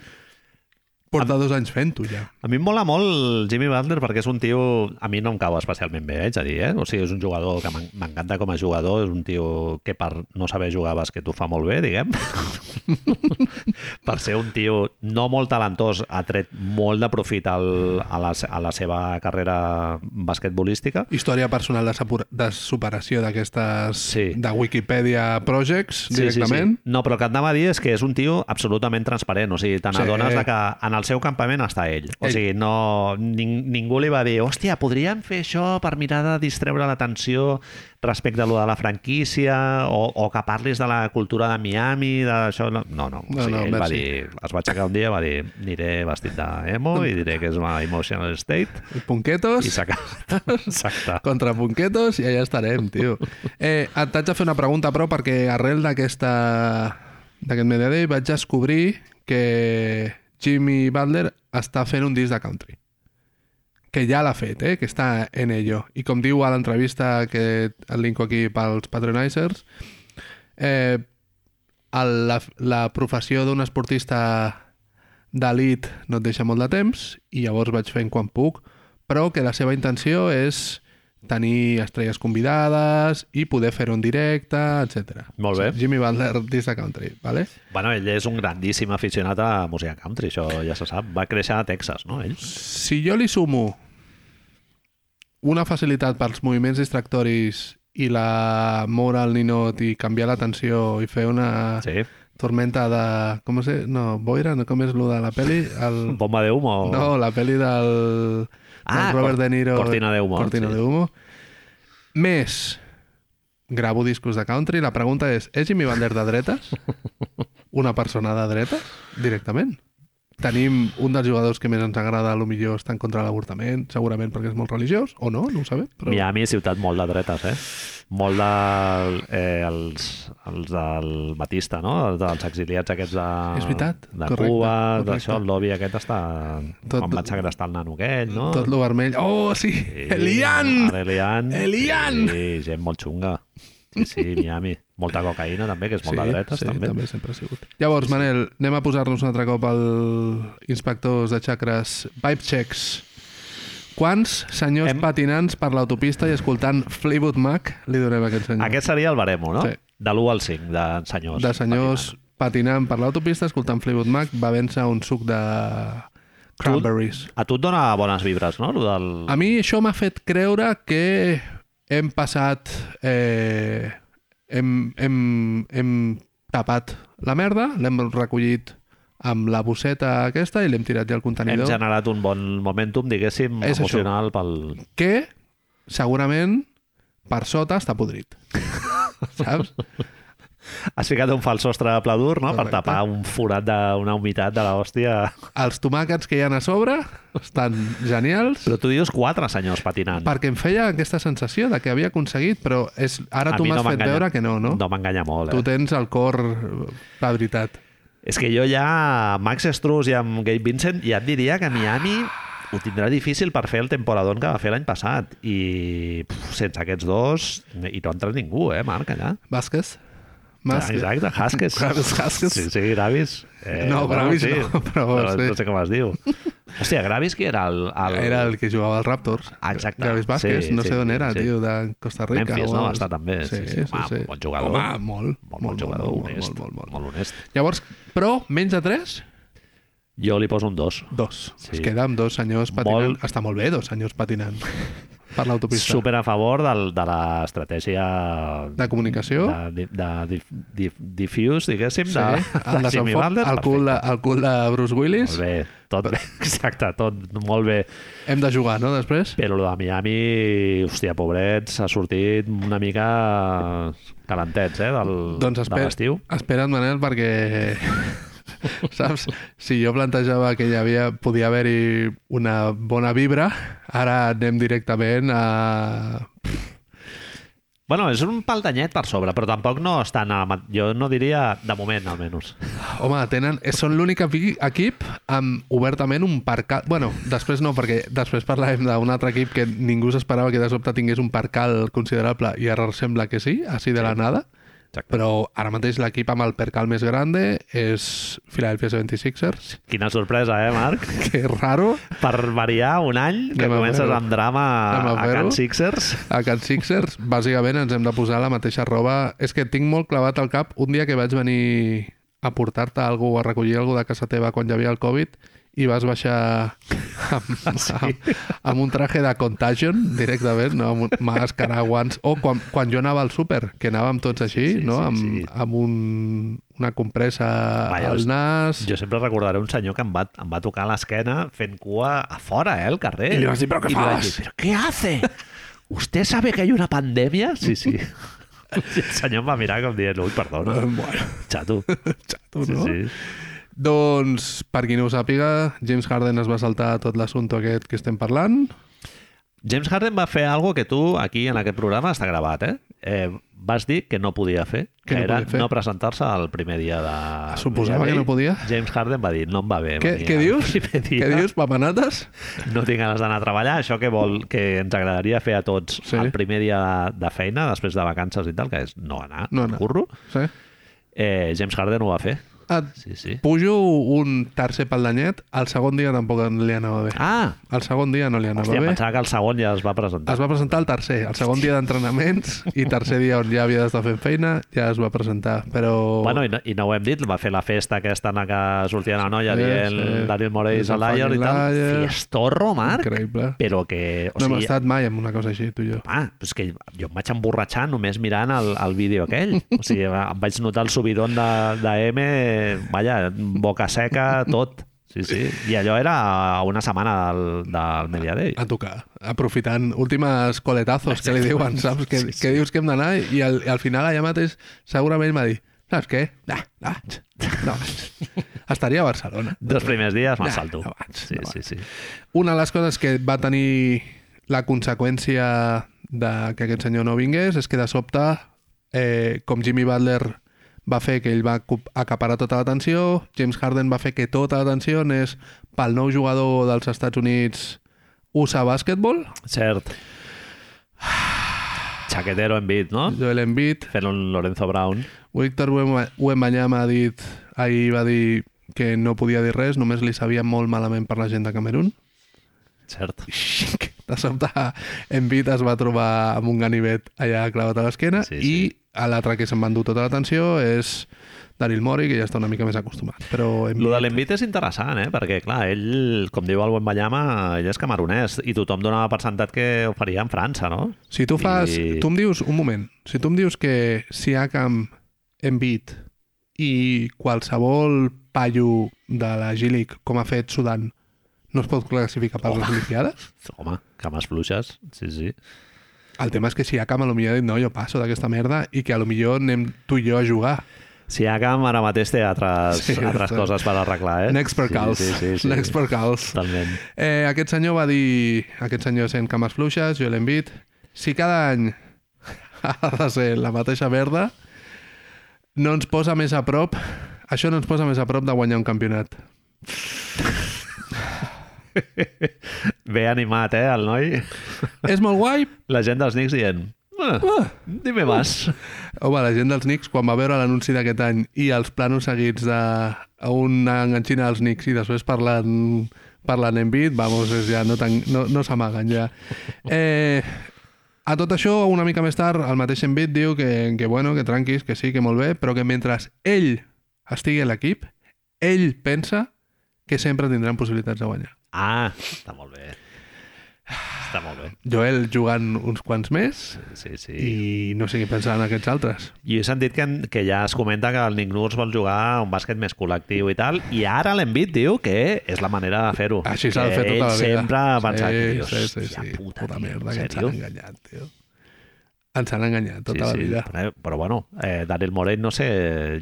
Speaker 3: porta dos anys fent-ho ja.
Speaker 2: A mi em mola molt el Jimmy Butler perquè és un tio... A mi no em cau especialment bé, eh, haig de dir, eh? O sigui, és un jugador que m'en- m'encanta com a jugador, és un tio que per no saber jugar a bàsquet ho fa molt bé, diguem. per ser un tio no molt talentós, ha tret molt de profit al, a, la, se- a la seva carrera basquetbolística.
Speaker 3: Història personal de, sapura- de superació d'aquestes...
Speaker 2: Sí.
Speaker 3: de Wikipedia Projects, directament.
Speaker 2: Sí, sí. No, però el que et anava a dir és que és un tio absolutament transparent, o sigui, te
Speaker 3: Sí.
Speaker 2: n'adones sí. que en el seu campament està ell. O
Speaker 3: Ell.
Speaker 2: sigui, no, ning, ningú li va dir hòstia, podríem fer això per mirar de distreure l'atenció respecte a lo de la franquícia o, o que parlis de la cultura de Miami, d'això... No, no, no, o
Speaker 3: No,
Speaker 2: sigui,
Speaker 3: no,
Speaker 2: ell va
Speaker 3: merci.
Speaker 2: dir... Es va aixecar un dia i va dir aniré vestit d'emo i diré que és una emotional state
Speaker 3: sí. Punquetos.
Speaker 2: i s'ha acabat. Exacte.
Speaker 3: contra punquetos i allà estarem, tio. Eh, et vaig a fer una pregunta, però, perquè arrel d'aquesta d'aquest Media Day vaig descobrir que Jimmy Butler està fent un disc de country. Que ja l'ha fet, eh? que està en ello. I com diu a l'entrevista que et linko aquí pels patronizers, eh, el, la, la professió d'un esportista d'elit no et deixa molt de temps i llavors vaig fent quan puc, però que la seva intenció és tenir estrelles convidades i poder fer-ho en directe, etc.
Speaker 2: Molt bé.
Speaker 3: Jimmy Butler, This the Country, ¿vale?
Speaker 2: Bueno, ell és un grandíssim aficionat a música country, això ja se sap. Va créixer a Texas, no, ell?
Speaker 3: Si jo li sumo una facilitat pels moviments distractoris i la moure al ninot i canviar l'atenció i fer una sí.
Speaker 2: Sí.
Speaker 3: tormenta de... Com es diu? No, boira? No, com és lo de la peli? El...
Speaker 2: Bomba de humo.
Speaker 3: No, la peli del,
Speaker 2: Ah,
Speaker 3: del Robert
Speaker 2: Cor-
Speaker 3: De Niro.
Speaker 2: Cortina de humo,
Speaker 3: Cortina
Speaker 2: sí.
Speaker 3: de humo. Més, gravo discos de country. La pregunta és, és Jimmy Butler de dretes? Una persona de dretes, directament? Tenim un dels jugadors que més ens agrada, a lo millor està en contra de l'avortament, segurament perquè és molt religiós, o no, no ho sabem. Però...
Speaker 2: Miami és ciutat molt de dretes, eh? Molt de... Eh, els, els del Batista, no? Els dels exiliats aquests de,
Speaker 3: És veritat,
Speaker 2: de
Speaker 3: correcte,
Speaker 2: Cuba,
Speaker 3: correcte.
Speaker 2: d'això, el lobby aquest està...
Speaker 3: Tot-
Speaker 2: Tot, quan van segrestar el nano aquell, no?
Speaker 3: Tot lo vermell. Oh, sí!
Speaker 2: Sí,
Speaker 3: Elian!
Speaker 2: ara Elian!
Speaker 3: Elian!
Speaker 2: Sí, gent molt xunga. Sí, sí, Miami. Molta cocaïna, també, que és molt de dretes,
Speaker 3: sí,
Speaker 2: també.
Speaker 3: també sempre ha sigut. Llavors, Manel, anem a posar-nos un altre cop al inspectors de xacres Vibe Checks. Quants senyors
Speaker 2: Hem-
Speaker 3: Hem... patinants per l'autopista i escoltant Fleetwood Mac li donem a aquest senyor?
Speaker 2: Aquest seria el baremo, no?
Speaker 3: Sí.
Speaker 2: De l'1 al 5, de senyors.
Speaker 3: De senyors patinant, per l'autopista escoltant Fleetwood Mac va vèncer un suc de cranberries.
Speaker 2: A tu et dona bones vibres, no? Lo del...
Speaker 3: A mi això m'ha fet creure que hem passat... Eh, hem, hem, hem tapat la merda, l'hem recollit amb la bosseta aquesta i l'hem tirat ja al
Speaker 2: Hem
Speaker 3: contenidor.
Speaker 2: generat un bon momentum, diguéssim,
Speaker 3: És això.
Speaker 2: emocional pel...
Speaker 3: Que segurament per sota està podrit. Saps?
Speaker 2: Has ficat un fals sostre de pla dur, no? Per
Speaker 3: Correcte.
Speaker 2: tapar un forat d'una humitat de l'hòstia.
Speaker 3: Els tomàquets que hi ha a sobre estan genials.
Speaker 2: Però tu dius quatre senyors patinant.
Speaker 3: Perquè em feia aquesta sensació de que havia aconseguit, però és, ara
Speaker 2: A
Speaker 3: tu
Speaker 2: mi
Speaker 3: m'has fet
Speaker 2: m'enganya-
Speaker 3: veure que no, no?
Speaker 2: No m'enganya molt, eh?
Speaker 3: Tu tens el cor, eh, la veritat.
Speaker 2: És que jo ja, amb Max Struz i amb Gabe Vincent, ja et diria que Miami ho tindrà difícil per fer el temporadón que va fer l'any passat. I puf, sense aquests dos, i no entra ningú, eh, Marc, allà.
Speaker 3: Vázquez? Mas...
Speaker 2: Exacte, Haskes.
Speaker 3: Gravis Haskes.
Speaker 2: Sí, sí, Gravis. Eh,
Speaker 3: No,
Speaker 2: bueno,
Speaker 3: Gravis no, però sí.
Speaker 2: No sé com es diu. Hòstia, Gravis que era el... el...
Speaker 3: Era el que jugava als Raptors.
Speaker 2: Exacte.
Speaker 3: Gravis Vázquez,
Speaker 2: Sí,
Speaker 3: no
Speaker 2: sí,
Speaker 3: sé d'on era,
Speaker 2: sí.
Speaker 3: tio, de Costa Rica.
Speaker 2: Memphis,
Speaker 3: o
Speaker 2: no?
Speaker 3: als-
Speaker 2: Està també, sí, sí. Home, bon jugador.
Speaker 3: Home, molt,
Speaker 2: Molt, molt, jugador,
Speaker 3: molt,
Speaker 2: honest.
Speaker 3: molt, molt, molt, molt.
Speaker 2: molt honest.
Speaker 3: Llavors, però, menys de 3,
Speaker 2: Jo li poso un 2.
Speaker 3: dos.
Speaker 2: Sí.
Speaker 3: Es queda amb dos senyors patinant.
Speaker 2: Molt-
Speaker 3: Està molt bé, dos senyors patinant. per l'autopista.
Speaker 2: super a favor del, de l'estratègia
Speaker 3: De comunicació.
Speaker 2: de, de, de dif, dif, diffuse, diguéssim,
Speaker 3: Sí, Ah,
Speaker 2: de,
Speaker 3: el
Speaker 2: de Jimmy
Speaker 3: desenfoc,
Speaker 2: Butler.
Speaker 3: el cul, de, el cul de Bruce
Speaker 2: Perfecte.
Speaker 3: Willis.
Speaker 2: Molt bé, tot bé, exacte, tot molt bé.
Speaker 3: Hem de jugar, no, després?
Speaker 2: Però lo de Miami, hòstia, pobrets, ha sortit una mica calentets, eh, del,
Speaker 3: Doncs
Speaker 2: de
Speaker 3: espera,
Speaker 2: l'estiu.
Speaker 3: espera't, Manel, perquè... Saps? Si jo plantejava que hi havia, podia haver-hi una bona vibra, ara anem directament a...
Speaker 2: Bueno, és un pal d'anyet per sobre, però tampoc no és tan... a- Jo no diria de moment, almenys.
Speaker 3: Home, tenen, eh, són l'únic epi- equip amb obertament un parcal... Bueno, després no, perquè després parlàvem d'un altre equip que ningú s'esperava que de sobte tingués un parcal considerable i ara sembla que sí, així de la nada.
Speaker 2: Exacte.
Speaker 3: Però ara mateix l'equip amb el percal més grande és Philadelphia 76ers,
Speaker 2: Quina sorpresa, eh, Marc?
Speaker 3: que és raro,
Speaker 2: Per variar un any que
Speaker 3: Anem a
Speaker 2: comences
Speaker 3: fer-ho.
Speaker 2: amb drama
Speaker 3: Anem a
Speaker 2: a, a
Speaker 3: fer-ho.
Speaker 2: Can Sixers.
Speaker 3: a Can Sixers, bàsicament ens hem de posar la mateixa roba. És que tinc molt clavat al cap un dia que vaig venir a portar-te algú o a recollir algú de casa teva quan hi havia el Covid i vas baixar amb,
Speaker 2: Ah,
Speaker 3: amb, amb un traje de Contagion directament, no? amb un, màscara, guants o quan, quan jo anava al súper que anàvem tots així,
Speaker 2: Sí,
Speaker 3: no?
Speaker 2: sí,
Speaker 3: amb,
Speaker 2: sí.
Speaker 3: amb un, una compressa
Speaker 2: Vaja,
Speaker 3: al
Speaker 2: hosti.
Speaker 3: nas
Speaker 2: Jo sempre recordaré un senyor que em va, em va tocar l'esquena fent cua a fora, eh, al carrer.
Speaker 3: I li vas dir, "Però què
Speaker 2: I li vaig
Speaker 3: fas?"
Speaker 2: dir, "Però què hace? ¿Usted sabe que hay una pandèmia? Sí, sí. I el senyor em va mirar com dient, ui, perdona,
Speaker 3: bueno,
Speaker 2: xato.
Speaker 3: xato,
Speaker 2: Sí,
Speaker 3: no?
Speaker 2: sí.
Speaker 3: Doncs, per qui no ho sàpiga, James Harden es va saltar tot l'assumpte aquest que estem parlant.
Speaker 2: James Harden va fer algo que tu, aquí, en aquest programa, està gravat, eh? eh vas dir que no podia fer, que,
Speaker 3: Que no
Speaker 2: era
Speaker 3: podia fer. Ah,
Speaker 2: no presentar-se el primer dia de...
Speaker 3: Suposava que no podia.
Speaker 2: James Harden va dir, no em va bé.
Speaker 3: Què,
Speaker 2: venir
Speaker 3: què
Speaker 2: el
Speaker 3: dius?
Speaker 2: primer dia.
Speaker 3: Què dius, papanates?
Speaker 2: No tinc ganes d'anar a treballar, això que vol que ens agradaria fer a tots
Speaker 3: Sí.
Speaker 2: sí. el primer dia de, de feina, després de vacances i tal, que és no anar,
Speaker 3: No
Speaker 2: no
Speaker 3: anar.
Speaker 2: anar. curro.
Speaker 3: Sí.
Speaker 2: Eh, James Harden ho va fer.
Speaker 3: Et
Speaker 2: Sí, sí.
Speaker 3: pujo un tercer pel danyet, el segon dia tampoc li anava bé.
Speaker 2: Ah!
Speaker 3: El segon dia no li anava
Speaker 2: Hòstia,
Speaker 3: bé.
Speaker 2: pensava que el segon ja es va presentar.
Speaker 3: Es va presentar el tercer, el segon dia d'entrenaments i tercer dia on ja havia d'estar fent feina, ja es va presentar, però...
Speaker 2: Bueno, i no, i no ho hem dit, va fer la festa aquesta en la que sortia la noia
Speaker 3: Sí,
Speaker 2: sí, dient
Speaker 3: sí.
Speaker 2: sí. Daryl Morey
Speaker 3: És
Speaker 2: és
Speaker 3: el
Speaker 2: a Liar i
Speaker 3: fucking
Speaker 2: tal.
Speaker 3: liar.
Speaker 2: Fiestorro, Marc,
Speaker 3: Increïble.
Speaker 2: però que... O
Speaker 3: No hem
Speaker 2: sigui,
Speaker 3: estat mai en una cosa així, tu i jo.
Speaker 2: Ah, però és que jo em vaig emborratxar només mirant el, el vídeo aquell. O sigui, em vaig notar el subidon de, de M, vaja, boca seca, tot. Sí, sí. I allò era a una setmana del, del Media Day.
Speaker 3: A tocar, aprofitant últimes coletazos que li diuen, saps? Que,
Speaker 2: Sí, sí.
Speaker 3: que dius que hem d'anar i al, i al final allà mateix segurament va dir saps què? No, no, vaig. no vaig. Estaria a Barcelona.
Speaker 2: Dos primers dies me'l
Speaker 3: No,
Speaker 2: salto.
Speaker 3: no vaig,
Speaker 2: Sí,
Speaker 3: no
Speaker 2: sí, sí.
Speaker 3: Una de les coses que va tenir la conseqüència de que aquest senyor no vingués és que de sobte, eh, com Jimmy Butler va fer que ell va acup- acaparar tota l'atenció, James Harden va fer que tota l'atenció anés pel nou jugador dels Estats Units USA Basketball,
Speaker 2: Cert. Chaquetero en bit, no?
Speaker 3: Joel Embiid,
Speaker 2: Fent un Lorenzo Brown.
Speaker 3: Víctor Wemba- Wembanyama ha dit, ahir va dir que no podia dir res, només li sabia molt malament per la gent de Camerún.
Speaker 2: Cert.
Speaker 3: De sobte, Embiid es va trobar amb un ganivet allà clavat a l'esquena
Speaker 2: Sí,
Speaker 3: sí,
Speaker 2: sí.
Speaker 3: sí. i l'altre que se'n va endur tota l'atenció és Daryl Mori, que ja està una mica més acostumat. Però
Speaker 2: Lo de
Speaker 3: Embiid...
Speaker 2: l'envit és interessant, eh? perquè, clar, ell, com diu el buen Ballama, ell és camerunès i tothom donava per sentat que ho faria en França, no?
Speaker 3: Si tu fas... I...
Speaker 2: I-
Speaker 3: Tu em dius... Un moment. Si tu em dius que Siakam, Embiid i qualsevol paio de la G-League, com ha fet Sudan, no es pot classificar per les Olimpiades?
Speaker 2: Home, cames fluixes, sí, sí.
Speaker 3: El tema és que si Akam a lo millor ha dit no, jo passo d'aquesta merda i que a lo millor anem tu i jo a jugar.
Speaker 2: Si Agam ara mateix té altres,
Speaker 3: Sí,
Speaker 2: sí, altres
Speaker 3: sí.
Speaker 2: coses per arreglar, eh?
Speaker 3: Eh? Next per calç.
Speaker 2: Sí, sí, sí, sí.
Speaker 3: Next per calç.
Speaker 2: Totalment.
Speaker 3: Eh, aquest senyor va dir... Aquest senyor sent cames fluixes, jo l'envit. Si cada any ha de ser la mateixa merda, no ens posa més a prop... Això no ens posa més a prop de guanyar un campionat.
Speaker 2: Bé animat, eh, el noi?
Speaker 3: És molt guai,
Speaker 2: La gent dels Knicks dient... Ah, dime más.
Speaker 3: Home, la gent dels Knicks, quan va veure l'anunci d'aquest any i els planos seguits de una enganxina als Knicks i després parlant, parlant en bit, vamos, és ja no, tan, no, no s'amaguen ja. Eh, a tot això, una mica més tard, el mateix Embiid diu que, que bueno, que tranquis, que sí, que molt bé, però que mentre ell estigui a l'equip, ell pensa que sempre tindran possibilitats de guanyar.
Speaker 2: Ah, està molt bé. Està molt bé.
Speaker 3: Joel jugant uns quants més
Speaker 2: Sí, sí. I...
Speaker 3: i no sé què pensaran aquests altres.
Speaker 2: I he sentit que, que ja es comenta que el Nick Nurse vol jugar un bàsquet més col·lectiu i tal, i ara l'Envit diu que és la manera de fer-ho.
Speaker 3: Així s'ha de
Speaker 2: Que
Speaker 3: fer tota la
Speaker 2: ell
Speaker 3: vida.
Speaker 2: sempre ha pensat
Speaker 3: sí,
Speaker 2: que,
Speaker 3: que,
Speaker 2: dius,
Speaker 3: sí, sí, sí.
Speaker 2: puta, tio,
Speaker 3: merda,
Speaker 2: en
Speaker 3: que ens han
Speaker 2: sèrio?
Speaker 3: enganyat, tio. Ens han enganyat
Speaker 2: sí,
Speaker 3: tota la
Speaker 2: sí,
Speaker 3: vida.
Speaker 2: Però, però bueno, eh, Daryl Morey, no sé,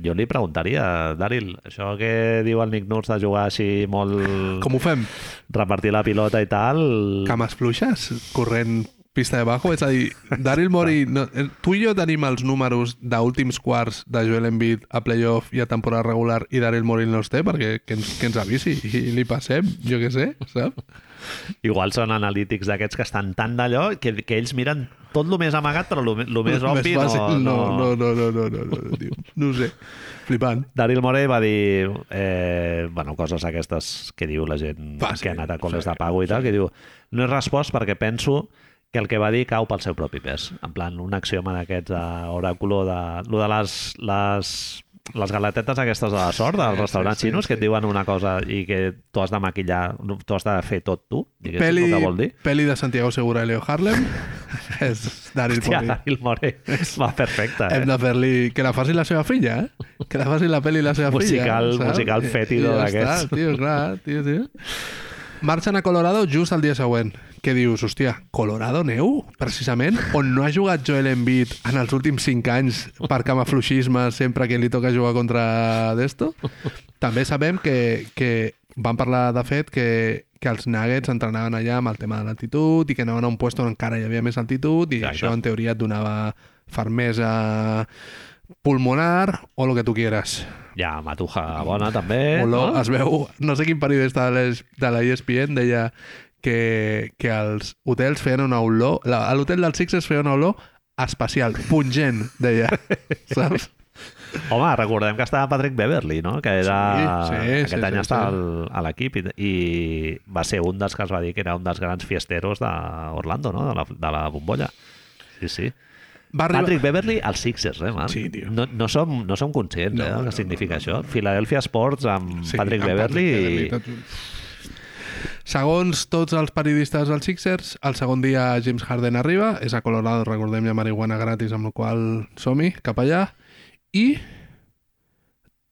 Speaker 2: jo li preguntaria, Daryl, això que diu el Nick Nurse de jugar així molt...
Speaker 3: Com ho fem?
Speaker 2: Repartir la pilota i tal...
Speaker 3: Cames fluixes? Corrent pista de bajo? És a dir, Daryl Mori... No, eh, tu i jo tenim els números d'últims quarts de Joel Embiid a playoff i a temporada regular i Daryl Mori no els té perquè que ens, que ens avisi i li passem, jo què sé, saps?
Speaker 2: Igual són analítics d'aquests que estan tan d'allò que, que ells miren tot el més amagat, però el més obvi no,
Speaker 3: no,
Speaker 2: no,
Speaker 3: no, no, no, no, no, no, tio. no ho sé. Flipant.
Speaker 2: Daryl Morey va dir eh, bueno, coses aquestes que diu la gent
Speaker 3: Fàcil,
Speaker 2: que ha anat a col·les
Speaker 3: sí,
Speaker 2: de pago i tal, que diu no he respost perquè penso que el que va dir cau pel seu propi pes. En plan, un axioma d'aquests d'oràculo de... Lo de les, les, les galatetes aquestes de la sort dels
Speaker 3: Sí,
Speaker 2: restaurants
Speaker 3: sí, sí,
Speaker 2: xinos que et
Speaker 3: sí.
Speaker 2: diuen una cosa i que tu has de maquillar, tu has de fer tot tu, diguéssim,
Speaker 3: Peli,
Speaker 2: el que vol dir.
Speaker 3: peli de Santiago Segura i Leo Harlem és Daryl
Speaker 2: Hòstia,
Speaker 3: Mori.
Speaker 2: Daryl Morey va perfecte,
Speaker 3: Hem
Speaker 2: eh?
Speaker 3: de fer-li... Que la faci la seva filla, eh? Que la faci la peli la seva
Speaker 2: Musical-
Speaker 3: filla. saps?
Speaker 2: musical
Speaker 3: I-
Speaker 2: fétido
Speaker 3: i ja
Speaker 2: d'aquests.
Speaker 3: està, Tio, clar, tio, tio. Marxen a Colorado just el dia següent. Què dius? Hòstia, Colorado neu? Precisament? On no ha jugat Joel Embiid en els últims 5 anys per camafluixisme sempre que li toca jugar contra d'esto? També sabem que, que van parlar, de fet, que, que els Nuggets entrenaven allà amb el tema de l'altitud i que anaven a un lloc on encara hi havia més altitud i
Speaker 2: Exacte.
Speaker 3: això, en teoria, et donava fermesa pulmonar o el que tu quieras.
Speaker 2: Ja, Matuja bona, també.
Speaker 3: Eh, Olor,
Speaker 2: no?
Speaker 3: no? es veu, no sé quin periodista de l'Es- de la E ESPN deia que, que els hotels feien una olor, la- a l'hotel dels Sixers feia una olor especial, pungent, deia, saps?
Speaker 2: Home, recordem que estava Patrick Beverly, no? Que era...
Speaker 3: Sí, sí,
Speaker 2: Aquest
Speaker 3: sí,
Speaker 2: any
Speaker 3: sí,
Speaker 2: estava
Speaker 3: sí.
Speaker 2: al- a l'equip i, i va ser un dels que es va dir que era un dels grans fiesteros d'Orlando, no? De la, de la bombolla. Sí, sí.
Speaker 3: Va arribar...
Speaker 2: Patrick Beverly als Sixers, eh, Marc?
Speaker 3: Sí, tio.
Speaker 2: No, no, som, no som conscients,
Speaker 3: No,
Speaker 2: eh, del
Speaker 3: no,
Speaker 2: que significa això. Philadelphia Sports amb Patrick
Speaker 3: amb
Speaker 2: Beverly i...
Speaker 3: Patrick Beverly, tot. Segons tots els periodistes dels Sixers, el segon dia James Harden arriba, és a Colorado, recordem, hi ha marihuana gratis, amb la qual cosa som-hi, cap allà, i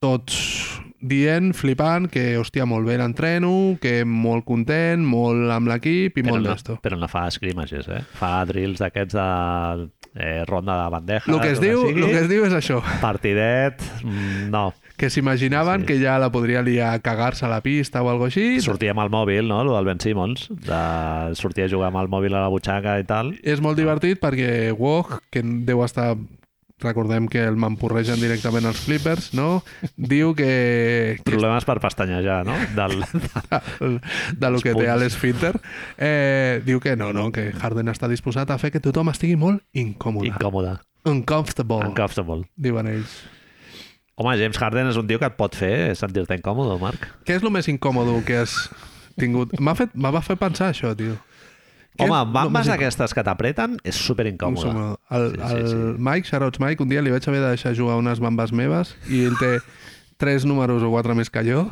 Speaker 3: tots dient, flipant, que hòstia, molt bé l'entreno, que molt content, molt amb l'equip i
Speaker 2: Però
Speaker 3: molt
Speaker 2: no,
Speaker 3: d'esto.
Speaker 2: però no fa scrimmages, eh? Fa drills d'aquests de eh, ronda de bandeja.
Speaker 3: El que, es diu,
Speaker 2: sigui,
Speaker 3: el que es diu és això,
Speaker 2: Partidet, mm, no.
Speaker 3: que
Speaker 2: Sí.
Speaker 3: s'imaginaven que ja la podria liar a cagar-se a la pista o alguna cosa així,
Speaker 2: Sortia amb el mòbil, no?, el del Ben Simmons. De... Sortia a jugar amb el mòbil a la butxaca i tal.
Speaker 3: És molt divertit perquè Wog, que deu estar recordem que el mampurregen directament els Clippers, no? Diu que, que
Speaker 2: Problemes per pestanyejar, no? Del...
Speaker 3: de lo que té
Speaker 2: punts.
Speaker 3: Alex Finter, eh, diu que no, no, que Harden està disposat a fer que tothom estigui molt incòmode. Oh.
Speaker 2: Incòmode.
Speaker 3: Uncomfortable,
Speaker 2: Uncomfortable.
Speaker 3: diuen ells.
Speaker 2: Home, James Harden és un tio que et pot fer sentir-te incòmode, Marc.
Speaker 3: Què és el més incòmode que has tingut? M'ha fet, m'ha va fer pensar això, tio. Què
Speaker 2: Home,
Speaker 3: és lo
Speaker 2: bambes
Speaker 3: més
Speaker 2: d'aquestes que t'apreten és super incòmode.
Speaker 3: Incòmode. El,
Speaker 2: Sí, sí,
Speaker 3: el
Speaker 2: sí.
Speaker 3: Mike, shoutouts Mike, un dia li vaig haver de deixar jugar unes bambes meves i ell té tres números o quatre més que jo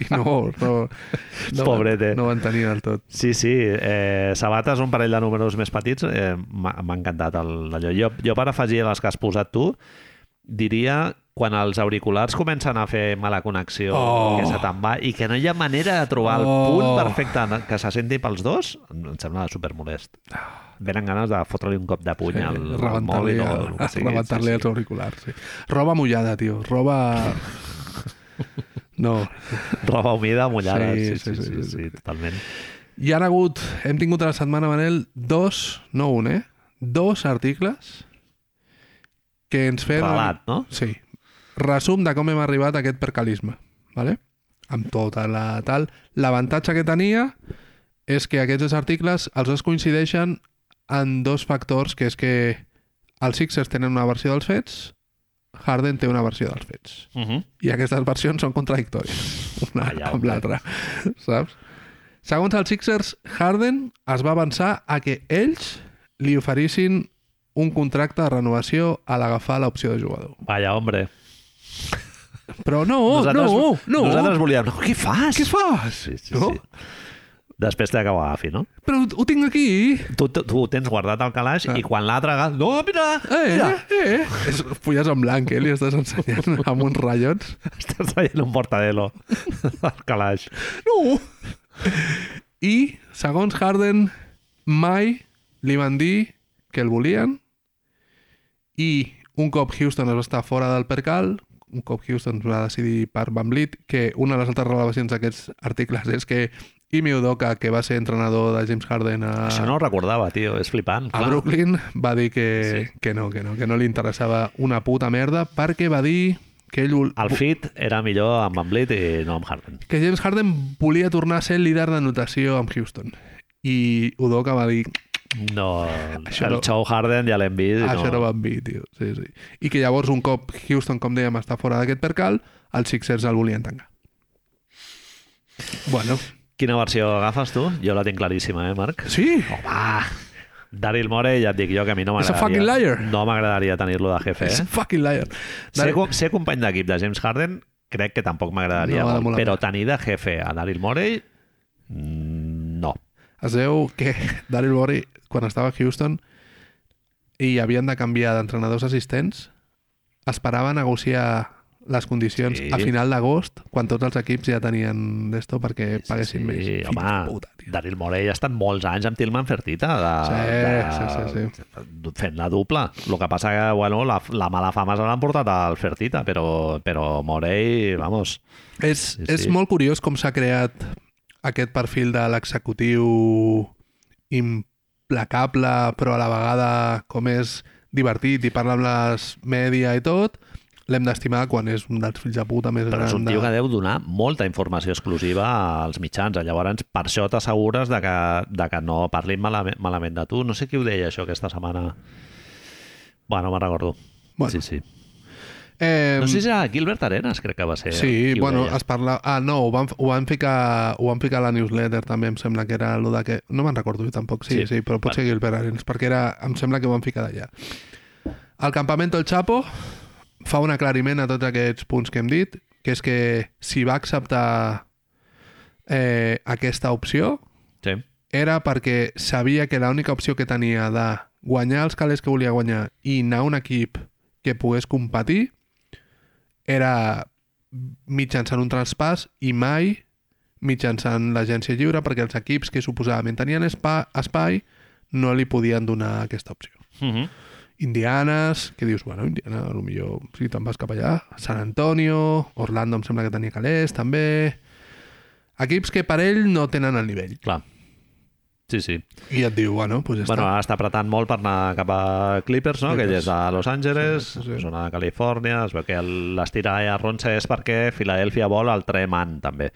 Speaker 3: i no, no, no,
Speaker 2: Pobrete.
Speaker 3: no van tenir del tot.
Speaker 2: Sí, sí. Eh, sabates, un parell de números més petits. Eh, M'ha m'ha encantat el- allò. Jo, jo per afegir a les que has posat tu, diria quan els auriculars comencen a fer mala connexió,
Speaker 3: Oh.
Speaker 2: que se te'n va, i que no hi ha manera de trobar el
Speaker 3: Oh.
Speaker 2: punt perfecte en- que se senti pels dos, em sembla supermolest. Venen ganes de fotre-li un cop de puny al, al mòbil.
Speaker 3: Eh, Rebentar-li
Speaker 2: o
Speaker 3: el-
Speaker 2: el que sigui,
Speaker 3: rebentar-li
Speaker 2: sí,
Speaker 3: els auriculars. Sí. Roba mullada, tio. Roba... No.
Speaker 2: sí. Roba humida, mullada. Sí
Speaker 3: Sí,
Speaker 2: sí sí, sí, sí, sí, totalment.
Speaker 3: Hi han hagut, hem tingut a la setmana, Manel, dos, no un, eh? Dos articles que ens feien... una
Speaker 2: Relat, no?
Speaker 3: Sí. Resum de com hem arribat a aquest percalisme, ¿vale? amb tota la tal. L'avantatge que tenia és que aquests dos articles els dos coincideixen en dos factors, que és que els Sixers tenen una versió dels fets, Harden té una versió dels fets.
Speaker 2: Uh -huh.
Speaker 3: I aquestes versions són contradictòries, una
Speaker 2: Vaja,
Speaker 3: amb
Speaker 2: home.
Speaker 3: l'altra, saps? Segons els Sixers, Harden es va avançar a que ells li oferissin un contracte de renovació a l'agafar l'opció de jugador.
Speaker 2: Vaja, hombre.
Speaker 3: Però Oh, no, no, no.
Speaker 2: Nosaltres volíem... No, què fas?
Speaker 3: Què fas?
Speaker 2: Sí, sí,
Speaker 3: no?
Speaker 2: sí. després té que ho agafi, no?
Speaker 3: Però ho, ho tinc aquí!
Speaker 2: Tu, tu, tu ho tens guardat al calaix
Speaker 3: Ah.
Speaker 2: i quan l'altre agafa... No, mira!
Speaker 3: Eh,
Speaker 2: mira
Speaker 3: eh! És fulles en blanc, eh? Li estàs ensenyant amb uns ratllons.
Speaker 2: Estàs traient un mortadelo al calaix.
Speaker 3: Ah. No! I, segons Harden, mai li van dir que el volien i un cop Houston es va estar fora del percal, un cop Houston va decidir per Van Vliet, que una de les altres relevacions d'aquests articles és que Imi Udoka, que va ser entrenador de James Harden a,
Speaker 2: Això no ho recordava, tio. És flipant.
Speaker 3: a
Speaker 2: clar.
Speaker 3: Brooklyn, va dir que, sí. que no, que no, que no li interessava una puta merda perquè va dir que ell vol-
Speaker 2: El fit era millor amb Van Vliet i no amb Harden.
Speaker 3: que James Harden volia tornar a ser el líder d'anotació amb Houston. I Udoka va dir,
Speaker 2: No,
Speaker 3: Això
Speaker 2: el
Speaker 3: no-
Speaker 2: Chow Harden ja l'hem vist. i
Speaker 3: això no
Speaker 2: no
Speaker 3: ho van dir, tio. Sí, sí. I que llavors, un cop Houston, com dèiem, està fora d'aquest percal, els Sixers el volien tancar. Bueno,
Speaker 2: Quina versió agafes tu? Jo la tinc claríssima, eh, Marc?
Speaker 3: sí,
Speaker 2: Va! Daryl Morey, ja et dic jo que a mi no
Speaker 3: Is a
Speaker 2: m'agradaria...
Speaker 3: fucking liar.
Speaker 2: No m'agradaria tenir-lo de jefe,
Speaker 3: és
Speaker 2: eh?
Speaker 3: fucking liar.
Speaker 2: Ser, com- ser company d'equip de James Harden crec que tampoc m'agradaria
Speaker 3: No, ha de
Speaker 2: molt,
Speaker 3: molar
Speaker 2: però
Speaker 3: molt.
Speaker 2: tenir de jefe a Daryl Morey mm, no.
Speaker 3: Es veu que Daryl Morey, quan estava a Houston i havien de canviar d'entrenadors assistents, esperava negociar les condicions
Speaker 2: Sí.
Speaker 3: sí. a final d'agost, quan tots els equips ja tenien d'esto perquè paguessin més.
Speaker 2: sí,
Speaker 3: Fill
Speaker 2: home,
Speaker 3: de puta, tio.
Speaker 2: Daryl Morey ha estat molts anys amb Tillman Fertita de,
Speaker 3: Sí,
Speaker 2: de,
Speaker 3: sí, sí,
Speaker 2: sí. fent la dupla. El que passa que bueno, la, la mala fama se l'han portat al Fertita, però, però Morey, vamos,
Speaker 3: És,
Speaker 2: Sí,
Speaker 3: sí,
Speaker 2: sí.
Speaker 3: és molt curiós com s'ha creat aquest perfil de l'executiu implacable, però a la vegada com és divertit i parla amb les mèdia i tot, l'hem d'estimar quan és un dels fills de puta més
Speaker 2: Però és un
Speaker 3: gran.
Speaker 2: tio que
Speaker 3: de...
Speaker 2: deu donar molta informació exclusiva als mitjans. Llavors, per això t'assegures de que, de que no parlin malament, malament de tu. No sé qui ho deia, això, aquesta setmana. Bueno, me'n recordo.
Speaker 3: Bueno.
Speaker 2: Sí, sí.
Speaker 3: Eh,
Speaker 2: No sé si era Gilbert Arenas, crec que va ser.
Speaker 3: Sí,
Speaker 2: qui ho
Speaker 3: bueno,
Speaker 2: deia.
Speaker 3: es parla... Ah, no, ho van, ho van ficar, ho van ficar a la newsletter també, em sembla que era allò de que... No me'n recordo jo tampoc, sí,
Speaker 2: Sí.
Speaker 3: sí, sí però potser que el Arenas, perquè era, em sembla que ho van ficar d'allà. El campamento El Chapo fa un aclariment a tots aquests punts que hem dit, que és que si va acceptar eh, aquesta opció
Speaker 2: Sí.
Speaker 3: era perquè sabia que l'única opció que tenia de guanyar els calés que volia guanyar i anar a un equip que pogués competir era mitjançant un traspàs i mai mitjançant l'agència lliure perquè els equips que suposadament tenien espai, espai no li podien donar aquesta opció.
Speaker 2: Uh -huh.
Speaker 3: Indianes, que dius, bueno, Indiana, a lo millor si te'n vas cap allà, San Antonio, Orlando em sembla que tenia calés també... Equips que per ell no tenen el nivell.
Speaker 2: Clar. Sí, sí.
Speaker 3: I et diu, bueno, doncs ja
Speaker 2: Bueno,
Speaker 3: està.
Speaker 2: ara està apretant molt per anar cap a Clippers, no? que
Speaker 3: Clippers.
Speaker 2: és a Los Angeles,
Speaker 3: Sí, sí, sí.
Speaker 2: zona de Califòrnia, es veu que el- l'estira a Ronce és perquè Filadèlfia vol el Trey Mann, també.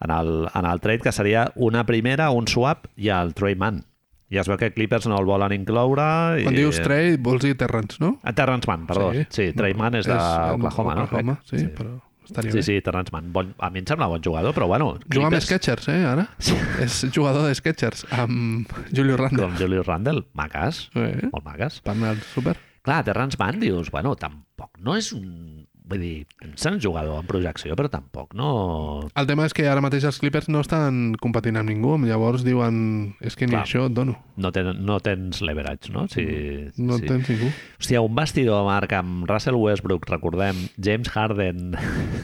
Speaker 2: En el, en el trade, que seria una primera, un swap i el Trey Mann. I es veu que Clippers no el volen incloure. I...
Speaker 3: Quan dius trade, vols dir Terrence, no?
Speaker 2: Ah, Terrence Mann, perdó. Sí, sí Trey Mann és d'Oklahoma, no?
Speaker 3: Oklahoma,
Speaker 2: Crec.
Speaker 3: sí, sí, però estaria
Speaker 2: Sí,
Speaker 3: bé.
Speaker 2: sí, Terrence Mann. Bon, a mi em sembla bon jugador, però bueno...
Speaker 3: Juga amb
Speaker 2: Clippers-
Speaker 3: Sketchers, eh, ara?
Speaker 2: Sí.
Speaker 3: És jugador de Sketchers, amb Julio Randall.
Speaker 2: Com Julius Randle, maques,
Speaker 3: Eh?
Speaker 2: molt maques.
Speaker 3: Per anar al súper.
Speaker 2: Clar, Terrence Mann, dius, bueno, tampoc no és un... Vull dir, és un jugador en projecció, però tampoc no...
Speaker 3: El tema és que ara mateix els Clippers no estan competint amb ningú, llavors diuen, és que ni
Speaker 2: Clar.
Speaker 3: això et dono.
Speaker 2: No, ten, no tens leverage, no? Si,
Speaker 3: No
Speaker 2: si...
Speaker 3: tens ningú.
Speaker 2: Hòstia, un vestidor, Marc, amb Russell Westbrook, recordem, James Harden,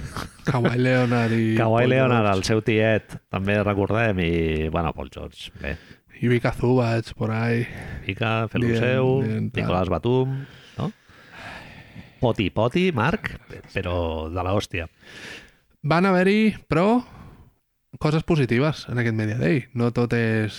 Speaker 3: Kawhi Leonard i...
Speaker 2: Kawhi
Speaker 3: Paul
Speaker 2: Leonard, el
Speaker 3: George.
Speaker 2: seu tiet, també recordem, i, bueno, Paul George, bé,
Speaker 3: I Vika Zubats, por ahí.
Speaker 2: Mica, fer lo
Speaker 3: Bien,
Speaker 2: seu,
Speaker 3: bien, tal.
Speaker 2: Nicolás Batum, no? Poti, poti, Marc, però de l'hòstia.
Speaker 3: Van haver-hi, però, coses positives en aquest Media Day. No tot és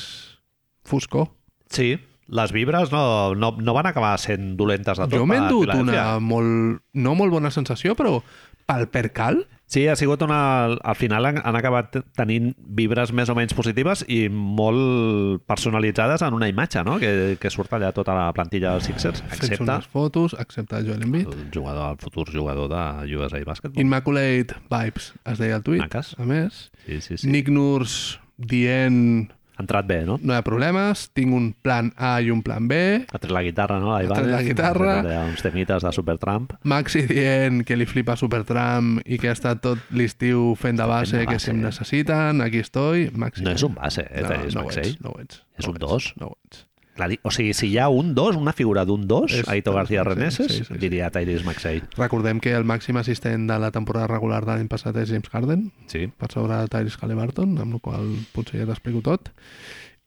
Speaker 3: foscor.
Speaker 2: Sí, les vibres no, no, no van acabar sent dolentes de tot.
Speaker 3: Jo m'he
Speaker 2: per
Speaker 3: endut
Speaker 2: Filadèlfia.
Speaker 3: una molt, no molt bona sensació, però pel percal,
Speaker 2: Sí, ha sigut una... Al final han, han acabat tenint vibres més o menys positives i molt personalitzades en una imatge, no? Que, que surt allà tota la plantilla dels Sixers,
Speaker 3: fets
Speaker 2: excepte
Speaker 3: unes fotos, excepte Joel Embiid.
Speaker 2: el jugador, el futur jugador de USA Basketball.
Speaker 3: Immaculate Vibes, es deia el tuit,
Speaker 2: Maques.
Speaker 3: a més.
Speaker 2: Sí, sí,
Speaker 3: Sí.
Speaker 2: sí.
Speaker 3: Nick Nurse dient
Speaker 2: Ha entrat bé, no?
Speaker 3: No hi ha problemes, tinc un plan A i un plan B,
Speaker 2: Ha tret la guitarra, no? La
Speaker 3: tret
Speaker 2: Ibanez.
Speaker 3: la guitarra.
Speaker 2: Ha tret uns temites de Supertramp.
Speaker 3: Maxi dient que li flipa Supertramp i que ha estat tot l'estiu fent de base,
Speaker 2: de
Speaker 3: que
Speaker 2: base.
Speaker 3: si em necessiten, aquí estoy. Maxi.
Speaker 2: No és un base, eh?
Speaker 3: no,
Speaker 2: és
Speaker 3: no, ho
Speaker 2: Maxey.
Speaker 3: ets, no ho ets.
Speaker 2: És
Speaker 3: no ho
Speaker 2: un
Speaker 3: ets,
Speaker 2: dos.
Speaker 3: No ho ets.
Speaker 2: Clar, o sigui, si hi ha un 2, una figura d'un 2,
Speaker 3: És-
Speaker 2: Aito García
Speaker 3: sí,
Speaker 2: Reneses,
Speaker 3: sí, sí, sí.
Speaker 2: diria Tyrese Maxey.
Speaker 3: Recordem que el màxim assistent de la temporada regular de l'any passat és James Harden,
Speaker 2: Sí.
Speaker 3: per sobre de Tyrese Halliburton, amb la qual cosa potser ja t'explico tot.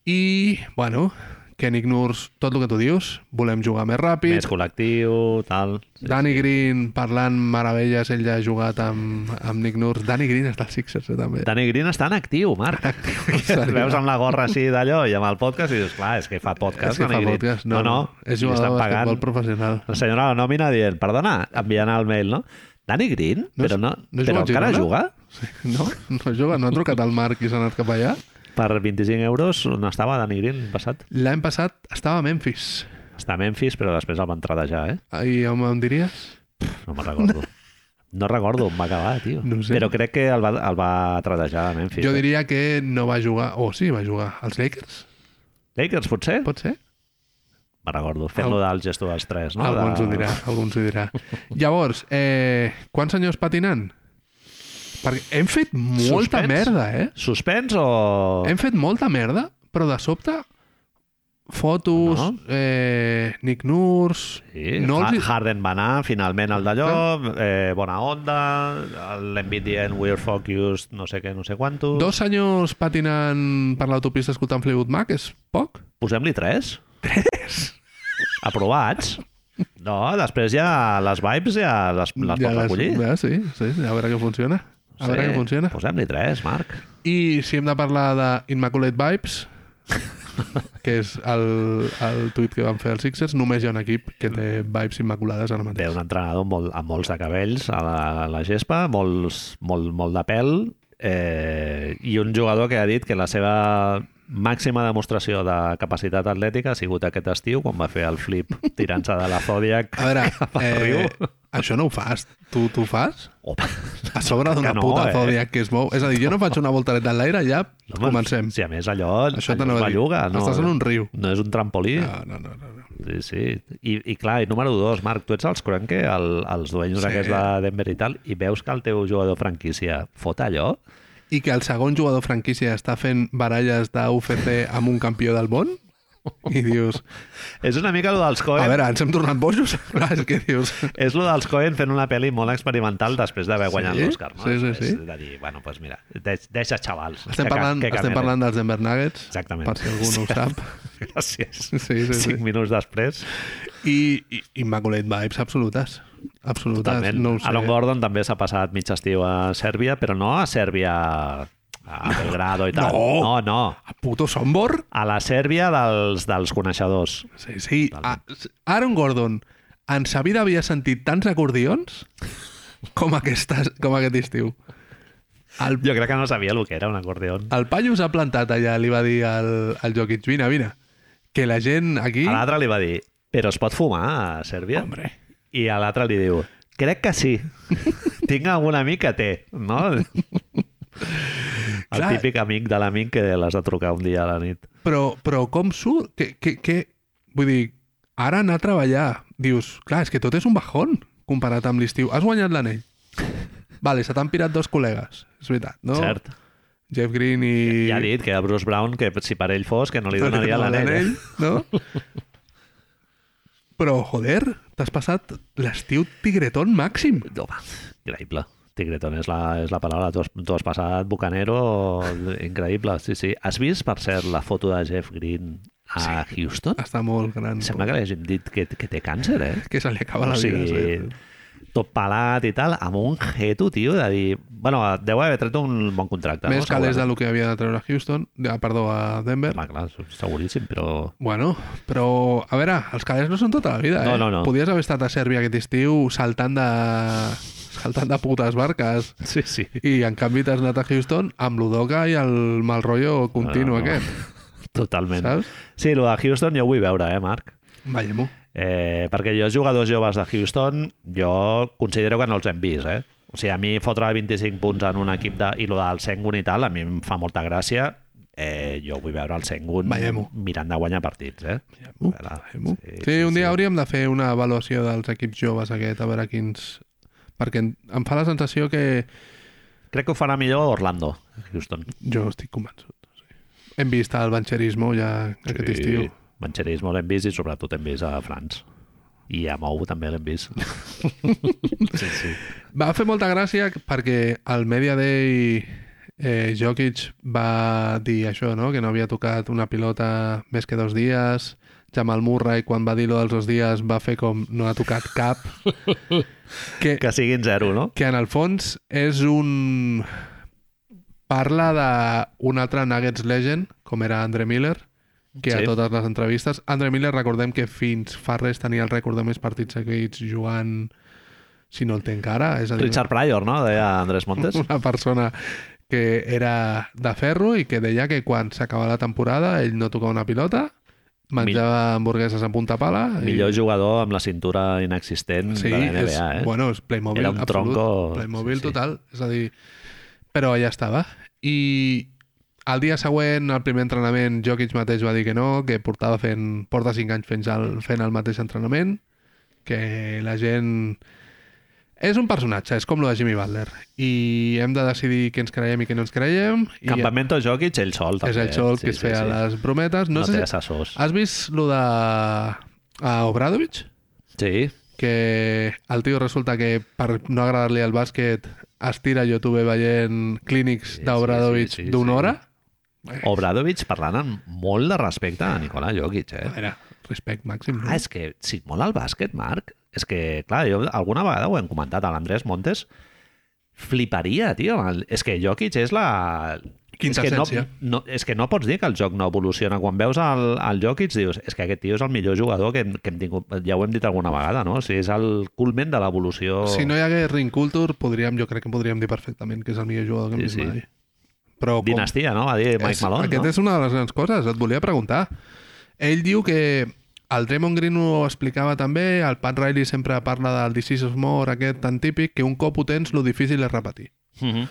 Speaker 3: I, bueno, Kenny Knurs, tot el que tu dius, volem jugar més ràpid.
Speaker 2: Més col·lectiu, tal. Sí.
Speaker 3: Danny Green parlant meravelles, ell ja ha jugat amb, amb Nick Nurse. Danny Green està als Sixers, eh, també.
Speaker 2: Danny Green està en actiu, Marc.
Speaker 3: seria.
Speaker 2: Veus amb la gorra així d'allò i amb el podcast i dius, clar, és que fa podcast,
Speaker 3: És que fa
Speaker 2: Danny Green.
Speaker 3: podcast,
Speaker 2: no, no,
Speaker 3: És
Speaker 2: li
Speaker 3: jugador
Speaker 2: estan
Speaker 3: de
Speaker 2: pagant.
Speaker 3: basquetbol professional.
Speaker 2: La senyora de la nòmina dient, perdona, enviant el mail, no? Danny Green?
Speaker 3: No és-
Speaker 2: però no,
Speaker 3: no és
Speaker 2: però
Speaker 3: jugador
Speaker 2: encara juga?
Speaker 3: Girona? No? No juga, no ha trucat al Marc i s'ha anat cap allà.
Speaker 2: Per 25 euros on estava Danny Green l'any passat?
Speaker 3: L'any passat estava a Memphis.
Speaker 2: Està a Memphis, però després el van tradejar, eh?
Speaker 3: I on em diries?
Speaker 2: No me'n recordo. No recordo on va acabar, tio.
Speaker 3: No ho sé.
Speaker 2: Però crec que el va, el va tradejar a Memphis.
Speaker 3: Jo
Speaker 2: eh?
Speaker 3: diria que no va jugar... O oh, sí, va jugar als Lakers,
Speaker 2: Lakers, potser?
Speaker 3: pot ser?
Speaker 2: Me'n recordo. Fent-lo del gesto dels tres, no?
Speaker 3: Alguns
Speaker 2: de...
Speaker 3: ho dirà, alguns ho dirà. Llavors, eh, quants senyors patinant? Perquè hem fet molta
Speaker 2: Suspens?
Speaker 3: merda, eh?
Speaker 2: Suspens o...
Speaker 3: Hem fet molta merda, però de sobte fotos,
Speaker 2: No?
Speaker 3: eh, Nick Nurs...
Speaker 2: Sí,
Speaker 3: no
Speaker 2: Ha-
Speaker 3: els hi-
Speaker 2: Harden va anar finalment al d'allò, eh, bona onda, l'envit dient we're focused, no sé què, no sé quantos.
Speaker 3: Dos senyors patinant per l'autopista escoltant Fleetwood Mac és poc?
Speaker 2: Posem-li tres. Tres? Aprovats. No, després ja les vibes ja les, les ja pots recollir.
Speaker 3: Ja, sí, sí, sí, a veure què funciona. A veure què funciona.
Speaker 2: Posem-li tres, Marc.
Speaker 3: I si hem de parlar de Immaculate Vibes, que és el, el tuit que van fer els Sixers, només hi ha un equip que té vibes immaculades ara
Speaker 2: Té
Speaker 3: mateix.
Speaker 2: un entrenador amb, molt, amb molts de cabells a la, a la gespa, molts, molt, molt de pèl, eh, i un jugador que ha dit que la seva màxima demostració de capacitat atlètica ha sigut aquest estiu quan va fer el flip tirant-se de la Zodiac.
Speaker 3: A veure,
Speaker 2: riu.
Speaker 3: eh, això no ho fas. Tu, tu ho fas?
Speaker 2: Opa,
Speaker 3: A sobre d'una
Speaker 2: Que no,
Speaker 3: no, puta
Speaker 2: eh?
Speaker 3: eh? Zodiac que es mou. És a dir, jo no faig una voltareta en l'aire, ja
Speaker 2: home,
Speaker 3: comencem.
Speaker 2: Si a més allò,
Speaker 3: Això
Speaker 2: allò
Speaker 3: t'anava
Speaker 2: es
Speaker 3: a dir.
Speaker 2: belluga. No,
Speaker 3: Estàs en un riu.
Speaker 2: No és un trampolí.
Speaker 3: No, no, no, no. no.
Speaker 2: Sí, sí. I, I clar, i número dos, Marc, tu ets els cranque, el, els dueños
Speaker 3: Sí.
Speaker 2: sí. aquests de Denver i tal, i veus que el teu jugador franquícia fot allò?
Speaker 3: I que el segon jugador franquícia està fent baralles d'UFC amb un campió del món? I dius,
Speaker 2: És una mica el dels Cohen.
Speaker 3: a veure, ens hem tornat bojos? Clar, és que dius...
Speaker 2: És lo dels Cohen fent una pel·li molt experimental després d'haver
Speaker 3: Sí?
Speaker 2: guanyat l'Oscar. No?
Speaker 3: Sí, sí, sí.
Speaker 2: És de dir, bueno, doncs mira, deix, deixa xavals. que
Speaker 3: Estem
Speaker 2: ca-
Speaker 3: parlant,
Speaker 2: que
Speaker 3: estem
Speaker 2: caminen.
Speaker 3: parlant dels Denver Nuggets,
Speaker 2: Exactament.
Speaker 3: per si algú no ho sap.
Speaker 2: Gràcies.
Speaker 3: Sí, sí, Ah, sí.
Speaker 2: Cinc minuts després,
Speaker 3: I, i Immaculate Vibes absolutes. Absolutes,
Speaker 2: totalment.
Speaker 3: no ho sé.
Speaker 2: Aaron Gordon també s'ha passat mig estiu a Sèrbia, però no a Sèrbia a Belgrado i tal.
Speaker 3: No.
Speaker 2: no. no.
Speaker 3: A puto Sombor?
Speaker 2: A la Sèrbia dels, dels coneixedors.
Speaker 3: Sí, sí. A, Aaron Gordon, en sa vida havia sentit tants acordions com, aquesta, com aquest estiu. El,
Speaker 2: Jo crec que no sabia el que era un acordeon.
Speaker 3: el paio s'ha plantat allà, li va dir al, al Jokic, vine, vine, que la gent aquí...
Speaker 2: A l'altre li va dir, però es pot fumar a Sèrbia?
Speaker 3: Hombre.
Speaker 2: I a l'altre li diu, crec que sí. Tinc algun amic que té, no? El
Speaker 3: Clar.
Speaker 2: típic amic de l'amic que l'has de trucar un dia a la nit.
Speaker 3: Però, però com surt? Que, que, que... Vull dir, ara anar a treballar, dius, clar, és que tot és un bajón comparat amb l'estiu. Has guanyat l'anell. Vale, se t'han pirat dos col·legues. És veritat, no?
Speaker 2: No. Cert.
Speaker 3: Jeff Green i...
Speaker 2: Ja ha dit que a Bruce Brown, que si per ell fos, que no li donaria l'anell. eh?
Speaker 3: No? Però, joder, t'has passat l'estiu tigretón màxim.
Speaker 2: Home, increïble. Tigretón és la, és la paraula. Tu has, tu has passat bucanero increïble. Sí, sí. Has vist, per cert, la foto de Jeff Green a sí. Houston?
Speaker 3: Està molt gran.
Speaker 2: Sembla que li hagin dit que, que té càncer, eh?
Speaker 3: Que se li acaba
Speaker 2: o
Speaker 3: la vida.
Speaker 2: sigui, tot pelat i tal, amb un jeto, tio, de dir... Bueno, deu haver tret un bon contracte.
Speaker 3: Més
Speaker 2: no?
Speaker 3: calés del que havia de treure a Houston, ah, perdó, a Denver.
Speaker 2: Home, clar, seguríssim, però...
Speaker 3: Bueno, però, a veure, els calés no són tota la vida,
Speaker 2: No,
Speaker 3: eh?
Speaker 2: no, no.
Speaker 3: Podies haver estat a Sèrbia aquest estiu saltant de, saltant de putes barques
Speaker 2: Sí, sí.
Speaker 3: i, en canvi, t'has anat a Houston amb l'Udoka i el mal rotllo continu
Speaker 2: No, no, no.
Speaker 3: no, aquest,
Speaker 2: Totalment.
Speaker 3: saps?
Speaker 2: Sí, lo de Houston jo ho vull veure, eh, Marc?
Speaker 3: Veiem-ho.
Speaker 2: Eh, perquè jo, els jugadors joves de Houston, jo considero que no els hem vist, eh? O sigui, a mi fotre 25 punts en un equip de... i lo del Sengun i tal, a mi em fa molta gràcia eh, jo vull veure el Sengun
Speaker 3: Veiem-ho.
Speaker 2: mirant de guanyar partits, eh?
Speaker 3: Veiem-ho,
Speaker 2: Ara,
Speaker 3: Fem-ho. Sí, un dia hauríem de fer una avaluació dels equips joves aquest, a veure quins... Perquè em- em fa la sensació que
Speaker 2: Crec que ho farà millor Orlando, Houston.
Speaker 3: jo estic convençut. Sí. Hem vist el banxerismo ja aquest
Speaker 2: Sí,
Speaker 3: estiu.
Speaker 2: Mancherismo l'hem vist i sobretot hem vist a França. I a Mou també l'hem vist. sí, sí.
Speaker 3: Va fer molta gràcia perquè al Media Day eh, Jokic va dir això, no? que no havia tocat una pilota més que dos dies. Jamal Murray, quan va dir-ho dels dos dies, va fer com no ha tocat cap. que,
Speaker 2: Que siguin zero, no?
Speaker 3: que en el fons és un... Parla d'un altre Nuggets Legend, com era Andre Miller, que sí. a
Speaker 2: Sí.
Speaker 3: totes les entrevistes... Andre Miller, recordem que fins fa res tenia el rècord de més partits seguits jugant, si no el té encara, és a dir,
Speaker 2: Richard Pryor, no? Deia Andrés Montes.
Speaker 3: una persona que era de ferro i que deia que quan s'acabava la temporada ell no tocava una pilota, menjava hamburgueses en punta pala...
Speaker 2: Millor jugador amb la cintura inexistent
Speaker 3: Sí,
Speaker 2: de la NBA,
Speaker 3: és,
Speaker 2: eh?
Speaker 3: bueno, és Playmobil
Speaker 2: Era un
Speaker 3: absolut,
Speaker 2: tronco- sí,
Speaker 3: Playmobil
Speaker 2: sí.
Speaker 3: total, és a dir... Però allà estava. I el dia següent, al primer entrenament, Jokic mateix va dir que no, que portava fent... Porta 5 anys fent el, fent el mateix entrenament, que la gent... És un personatge, és com lo de Jimmy Butler. I hem de decidir què ens creiem i què no ens creiem. I
Speaker 2: Campamento Jokic, ell sol, també. eh?
Speaker 3: és el xol que es feia les brometes. No,
Speaker 2: No,
Speaker 3: sé
Speaker 2: té
Speaker 3: si... Ah.
Speaker 2: assessors.
Speaker 3: Has vist lo de... A Obradovich?
Speaker 2: Sí,
Speaker 3: que el tio resulta que per no agradar-li el bàsquet es tira a YouTube veient clínics
Speaker 2: Sí,
Speaker 3: d'Obradovic
Speaker 2: sí, sí, sí,
Speaker 3: d'una
Speaker 2: sí.
Speaker 3: hora.
Speaker 2: Obradovic parlant amb molt de respecte a Nicola Jokic, eh?
Speaker 3: A veure, respect màxim. No?
Speaker 2: Ah, és que si et mola el bàsquet, Marc, és que, clar, jo alguna vegada ho hem comentat a l'Andrés Montes, fliparia, tio. El- És que Jokic és la... És que, no,
Speaker 3: Quintessència.
Speaker 2: no, és que no pots dir que el joc no evoluciona. Quan veus el, el Jokic dius és que aquest tio és el millor jugador que hem, que hem tingut. Ja ho hem dit alguna vegada, no? O sigui, és el culmen de l'evolució.
Speaker 3: Si no hi hagués Ring Culture, podríem, jo crec que podríem dir perfectament que és el millor jugador que hem
Speaker 2: Sí,
Speaker 3: vist
Speaker 2: sí.
Speaker 3: mai. Però com-
Speaker 2: Dinastia, no? Va dir Mike
Speaker 3: és,
Speaker 2: Malone,
Speaker 3: Aquest
Speaker 2: no?
Speaker 3: és una de les grans coses, et volia preguntar. Ell diu que el Draymond Green ho explicava també, el Pat Riley sempre parla del This is more, aquest tan típic, que un cop ho tens, lo difícil és repetir.
Speaker 2: Mhm.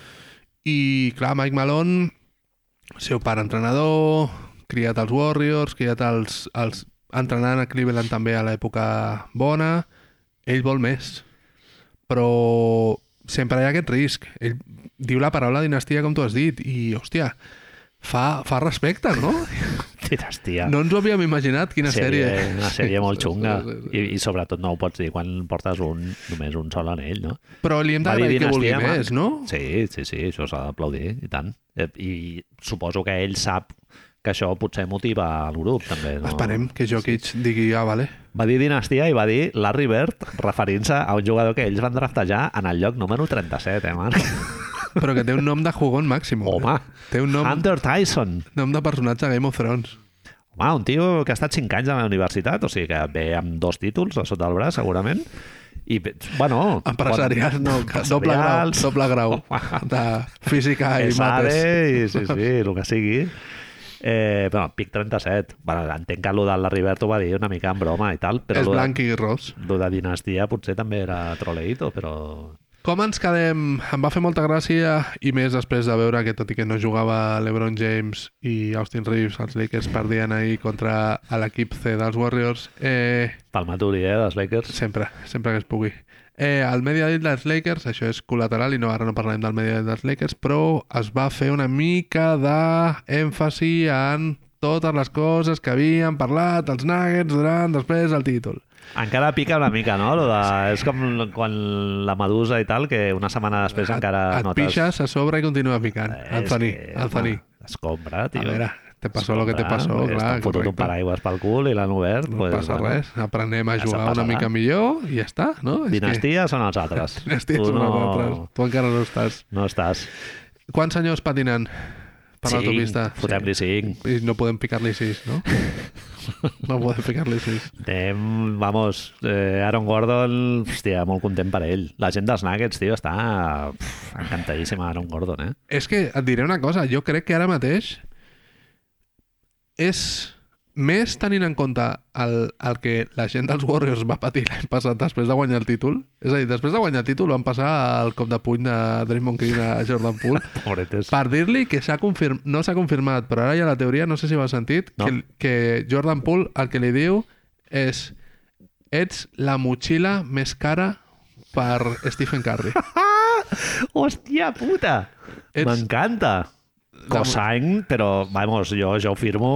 Speaker 3: I, clar, Mike Malone, seu pare entrenador, criat als Warriors, criat als, als entrenant a Cleveland també a l'època bona, ell vol més. Però sempre hi ha aquest risc. Ell diu la paraula dinastia, com tu has dit, i, hòstia, fa, fa respecte, no?
Speaker 2: Dinastia.
Speaker 3: No ens ho havíem imaginat, quina sèrie.
Speaker 2: Una sèrie molt
Speaker 3: Sí, sí,
Speaker 2: xunga.
Speaker 3: sí, sí.
Speaker 2: I, I sobretot no ho pots dir quan portes un, només un sol anell, no?
Speaker 3: Però li hem
Speaker 2: Va dir
Speaker 3: d'agrair que vulgui
Speaker 2: dinastia,
Speaker 3: més, no?
Speaker 2: Sí, sí, sí, això s'ha d'aplaudir, i tant. Eh, I suposo que ell sap que això potser motiva el grup, també. No?
Speaker 3: Esperem que Jokic digui, ah, vale,
Speaker 2: Va dir dinastia i va dir Larry Bird referint-se a un jugador que ells van draftejar en el lloc número 37, eh, Marc?
Speaker 3: però que té un nom de jugón màxim. eh?
Speaker 2: Home,
Speaker 3: Té un nom...
Speaker 2: Hunter Tyson.
Speaker 3: Nom de personatge Game of Thrones.
Speaker 2: Home, un tio que ha estat 5 anys a la universitat, o sigui que ve amb dos títols a sota el braç, segurament, i, bueno...
Speaker 3: Empresarial, no, doble grau,
Speaker 2: empresarials.
Speaker 3: doble grau de física i
Speaker 2: i
Speaker 3: mates.
Speaker 2: i sí, sí, el que sigui. Eh, bueno, pic 37. Bueno, entenc que allò del Larribert ho va dir una mica en broma i tal, però
Speaker 3: És
Speaker 2: allò de-
Speaker 3: blanc i ros.
Speaker 2: allò de dinastia potser també era troleïto, però...
Speaker 3: Com ens quedem? Em va fer molta gràcia i més després de veure que tot i que no jugava LeBron James i Austin Reeves, els Lakers perdien ahir contra l'equip C dels Warriors. Eh,
Speaker 2: Palmaturi, eh, dels Lakers.
Speaker 3: Sempre, sempre que es pugui. Eh, el Media Day dels Lakers, això és col·lateral i no, ara no parlarem del Media Day dels Lakers, però es va fer una mica d'èmfasi en totes les coses que havien parlat els Nuggets durant després el títol.
Speaker 2: Encara pica una mica, no? Lo de... És com quan la medusa i tal, que una setmana després encara
Speaker 3: et
Speaker 2: notes...
Speaker 3: pixes a sobre i continua picant.
Speaker 2: Eh, és
Speaker 3: Anthony,
Speaker 2: que,
Speaker 3: Anthony.
Speaker 2: home, Escombra, tio.
Speaker 3: A veure, te passó lo que te
Speaker 2: Escombra,
Speaker 3: passó,
Speaker 2: perquè
Speaker 3: clar,
Speaker 2: Estan fotut un
Speaker 3: correcte.
Speaker 2: paraigües pel cul i l'han obert.
Speaker 3: No
Speaker 2: pues,
Speaker 3: passa
Speaker 2: bueno.
Speaker 3: res, aprenem a
Speaker 2: ja
Speaker 3: jugar
Speaker 2: se'n
Speaker 3: una
Speaker 2: passarà.
Speaker 3: mica millor i ja està, no? És
Speaker 2: Dinastia són els altres.
Speaker 3: Que... Dinastia
Speaker 2: tu
Speaker 3: són
Speaker 2: no...
Speaker 3: nosaltres. Tu encara no estàs.
Speaker 2: No estàs.
Speaker 3: Quants senyors patinant per
Speaker 2: Cinc,
Speaker 3: l'autovista?
Speaker 2: Fotem-li cinc.
Speaker 3: I no podem picar-li sis, no? No podem picar-li sis.
Speaker 2: Anem, vamos, eh, Aaron Gordon, hòstia, molt content per ell. La gent dels Nuggets, tio, està pff, encantadíssima Aaron Gordon, eh?
Speaker 3: És que et diré una cosa, jo crec que ara mateix és Més tenint en compte el, el que la gent dels Warriors va patir l'any passat després de guanyar el títol, és a dir, després de guanyar el títol van passar el cop de puny de Draymond Green a Jordan Poole,
Speaker 2: Pobretes.
Speaker 3: per dir-li que s'ha confirm... no s'ha confirmat, però ara ja la teoria, no sé si ho has sentit,
Speaker 2: No.
Speaker 3: que, que Jordan Poole el que li diu és ets la motxilla més cara per Stephen Curry.
Speaker 2: Hòstia puta!
Speaker 3: Ets-
Speaker 2: M'encanta! Cosany, però, vamos, jo, jo ho firmo...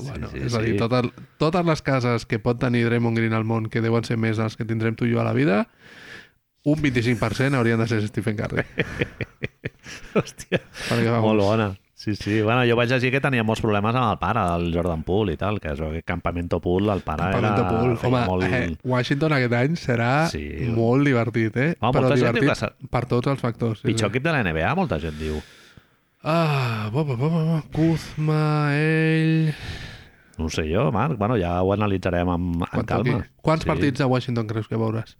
Speaker 3: Bueno, sí, és a dir, sí. totes, totes les cases que pot tenir Draymond Green al món, que deuen ser més dels que tindrem tu i jo a la vida, un 25% haurien de ser Stephen Curry.
Speaker 2: Hòstia,
Speaker 3: perquè, vamos,
Speaker 2: molt bona. Sí, sí. Bueno, jo vaig llegir que tenia molts problemes amb el pare, el Jordan Poole i tal, que això, que Campamento Poole, el pare
Speaker 3: Pamento
Speaker 2: era...
Speaker 3: Pool.
Speaker 2: feia
Speaker 3: Home,
Speaker 2: molt...
Speaker 3: eh, Washington aquest any serà sí.
Speaker 2: Sí.
Speaker 3: molt divertit, eh?
Speaker 2: Home,
Speaker 3: Però
Speaker 2: molta gent diu
Speaker 3: divertit
Speaker 2: que s'ha-
Speaker 3: per tots els factors. Sí,
Speaker 2: Pitjor equip de la NBA, molta gent diu.
Speaker 3: Ah, bo, bo, bo, bo, bo. Kuzma, ell...
Speaker 2: No ho sé jo, Marc. Bueno, ja ho analitzarem amb, amb
Speaker 3: Quan
Speaker 2: calma.
Speaker 3: toqui. Quants partits a Washington creus que veuràs?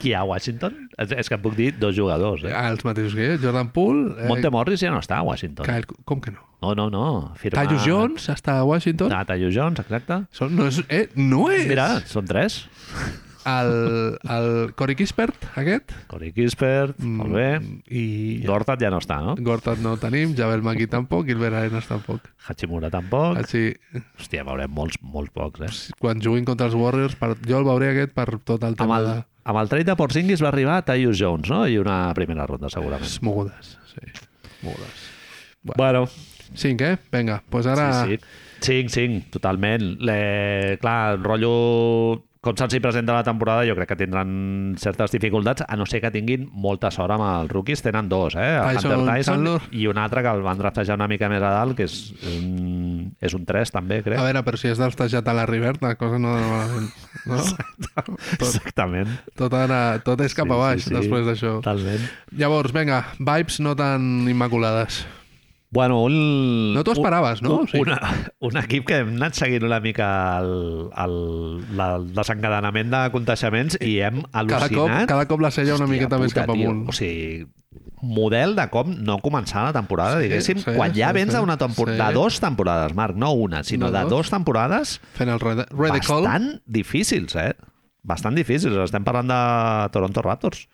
Speaker 2: Qui hi ha a Washington? És, és que et puc dir dos jugadors. Eh?
Speaker 3: Ah, els mateixos que jo, Jordan Poole... Eh,
Speaker 2: Monte Morris ja no està a Washington.
Speaker 3: Kyle, com que no?
Speaker 2: No, no, no. Firmat...
Speaker 3: Tyus Jones està a Washington?
Speaker 2: Ah, Tyus Jones, exacte.
Speaker 3: Són, no és, eh, no és
Speaker 2: Mira, són tres.
Speaker 3: el, el Cory Kispert, aquest.
Speaker 2: Corey Kispert, mm. molt bé.
Speaker 3: I
Speaker 2: Gortat ja no està, no?
Speaker 3: Gortat no el tenim, Javel Maki tampoc, i el Arenas tampoc.
Speaker 2: Hachimura tampoc.
Speaker 3: Així,
Speaker 2: Hòstia, veurem molts, molts pocs, eh?
Speaker 3: quan juguin contra els Warriors, per, jo el veuré aquest per tot el
Speaker 2: Amb
Speaker 3: tema
Speaker 2: el,
Speaker 3: de
Speaker 2: amb el trade de Porzingis va arribar Tyus Jones, no? I una primera ronda, segurament.
Speaker 3: les mogudes. Sí, mogudes.
Speaker 2: Bueno,
Speaker 3: Cinc, eh? Vinga, doncs pues ara...
Speaker 2: Sí, sí. Cinc, cinc, totalment. Le... Clar, el rotllo... Com se'ls hi presenta la temporada, jo crec que tindran certes dificultats, a no ser que tinguin molta sort amb els rookies. Tenen dos, eh? El
Speaker 3: Tyson
Speaker 2: Hunter Tyson
Speaker 3: Chandler.
Speaker 2: i un altre que el van draftejar una mica més a dalt, que és, un- és un 3, també, crec.
Speaker 3: A veure, però si has d'estejat a la Rivert, la cosa no... no? tot,
Speaker 2: Exactament.
Speaker 3: tot, ara, tot és cap a baix, sí, sí, sí. després d'això.
Speaker 2: Totalment.
Speaker 3: Llavors, vinga, vibes no tan immaculades.
Speaker 2: Bueno, un...
Speaker 3: No t'ho esperaves, no?
Speaker 2: Un,
Speaker 3: Sí.
Speaker 2: una, un equip que hem anat seguint una mica el, el, la, el desencadenament de contagiaments i hem
Speaker 3: Cada
Speaker 2: al·lucinat.
Speaker 3: cop, cada cop la sella una
Speaker 2: Hòstia
Speaker 3: miqueta més
Speaker 2: puta,
Speaker 3: cap
Speaker 2: tio.
Speaker 3: amunt.
Speaker 2: O sigui, model de com no començar la temporada,
Speaker 3: Sí,
Speaker 2: sí, diguéssim,
Speaker 3: sí,
Speaker 2: sí, quan ja
Speaker 3: sí,
Speaker 2: sí, vens
Speaker 3: sí,
Speaker 2: sí, d'una temporada,
Speaker 3: sí.
Speaker 2: sí. de dos temporades, Marc, no una, sinó
Speaker 3: No
Speaker 2: de
Speaker 3: dos.
Speaker 2: dos temporades
Speaker 3: Fent el red, red call.
Speaker 2: bastant difícils, eh? Bastant difícils. Estem parlant de Toronto Raptors.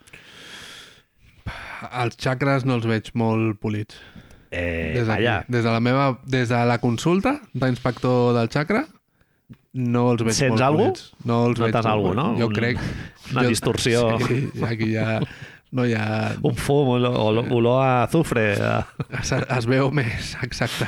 Speaker 3: Els xacres no els veig molt polits.
Speaker 2: Eh,
Speaker 3: Des, d'aquí.
Speaker 2: allà,
Speaker 3: des de la meva... Des de la consulta d'inspector del xacra, no els veig
Speaker 2: Sents
Speaker 3: molt
Speaker 2: algú?
Speaker 3: polits. No els veig
Speaker 2: notes
Speaker 3: molt
Speaker 2: alguna
Speaker 3: polits.
Speaker 2: no?
Speaker 3: Jo
Speaker 2: Un-
Speaker 3: crec...
Speaker 2: Una
Speaker 3: jo-
Speaker 2: distorsió.
Speaker 3: Sí, aquí ja... No hi ha...
Speaker 2: Un fum, olor, olor- olor a azufre.
Speaker 3: Es, es veu més, exacte.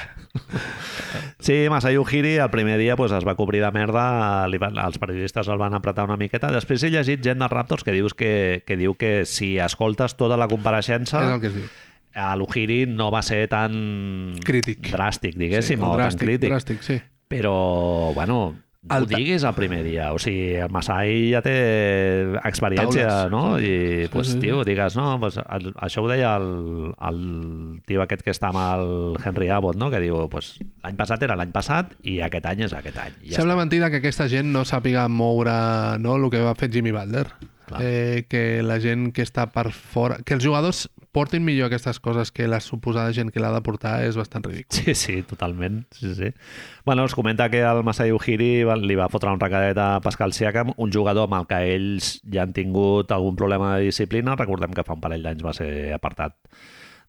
Speaker 2: Sí, Masayu Hiri el primer dia pues, es va cobrir de merda, li van, els periodistes el van apretar una miqueta. Després he llegit gent dels Raptors que, dius que, que diu que si escoltes tota la compareixença...
Speaker 3: És el que es diu.
Speaker 2: a l'Ujiri no va ser tan...
Speaker 3: Crític.
Speaker 2: Dràstic, diguéssim, sí, o
Speaker 3: dràstic,
Speaker 2: tan crític.
Speaker 3: dràstic, sí.
Speaker 2: Però, bueno, no
Speaker 3: El
Speaker 2: ho
Speaker 3: ta-
Speaker 2: diguis el primer dia. O sigui, el Masai ja té experiència,
Speaker 3: Taules.
Speaker 2: no? I,
Speaker 3: Sí,
Speaker 2: pues,
Speaker 3: sí, sí.
Speaker 2: tio, digues, no, pues, el, això ho deia el, el tio aquest que està amb el Henry Abbott, no? Que diu, pues, l'any passat era l'any passat i aquest any és aquest any. I
Speaker 3: Ja Sembla mentida que aquesta gent no sàpiga moure no, el que va fer Jimmy Butler.
Speaker 2: Clar.
Speaker 3: Eh, que la gent que està per fora... Que els jugadors portin millor aquestes coses que la suposada gent que l'ha de portar és bastant ridícul.
Speaker 2: Sí, sí, totalment. Sí, sí. Bueno, es comenta que el Masai Ujiri va- li va fotre un recadet a Pascal Siakam, un jugador amb el que ells ja han tingut algun problema de disciplina. Recordem que fa un parell d'anys va ser apartat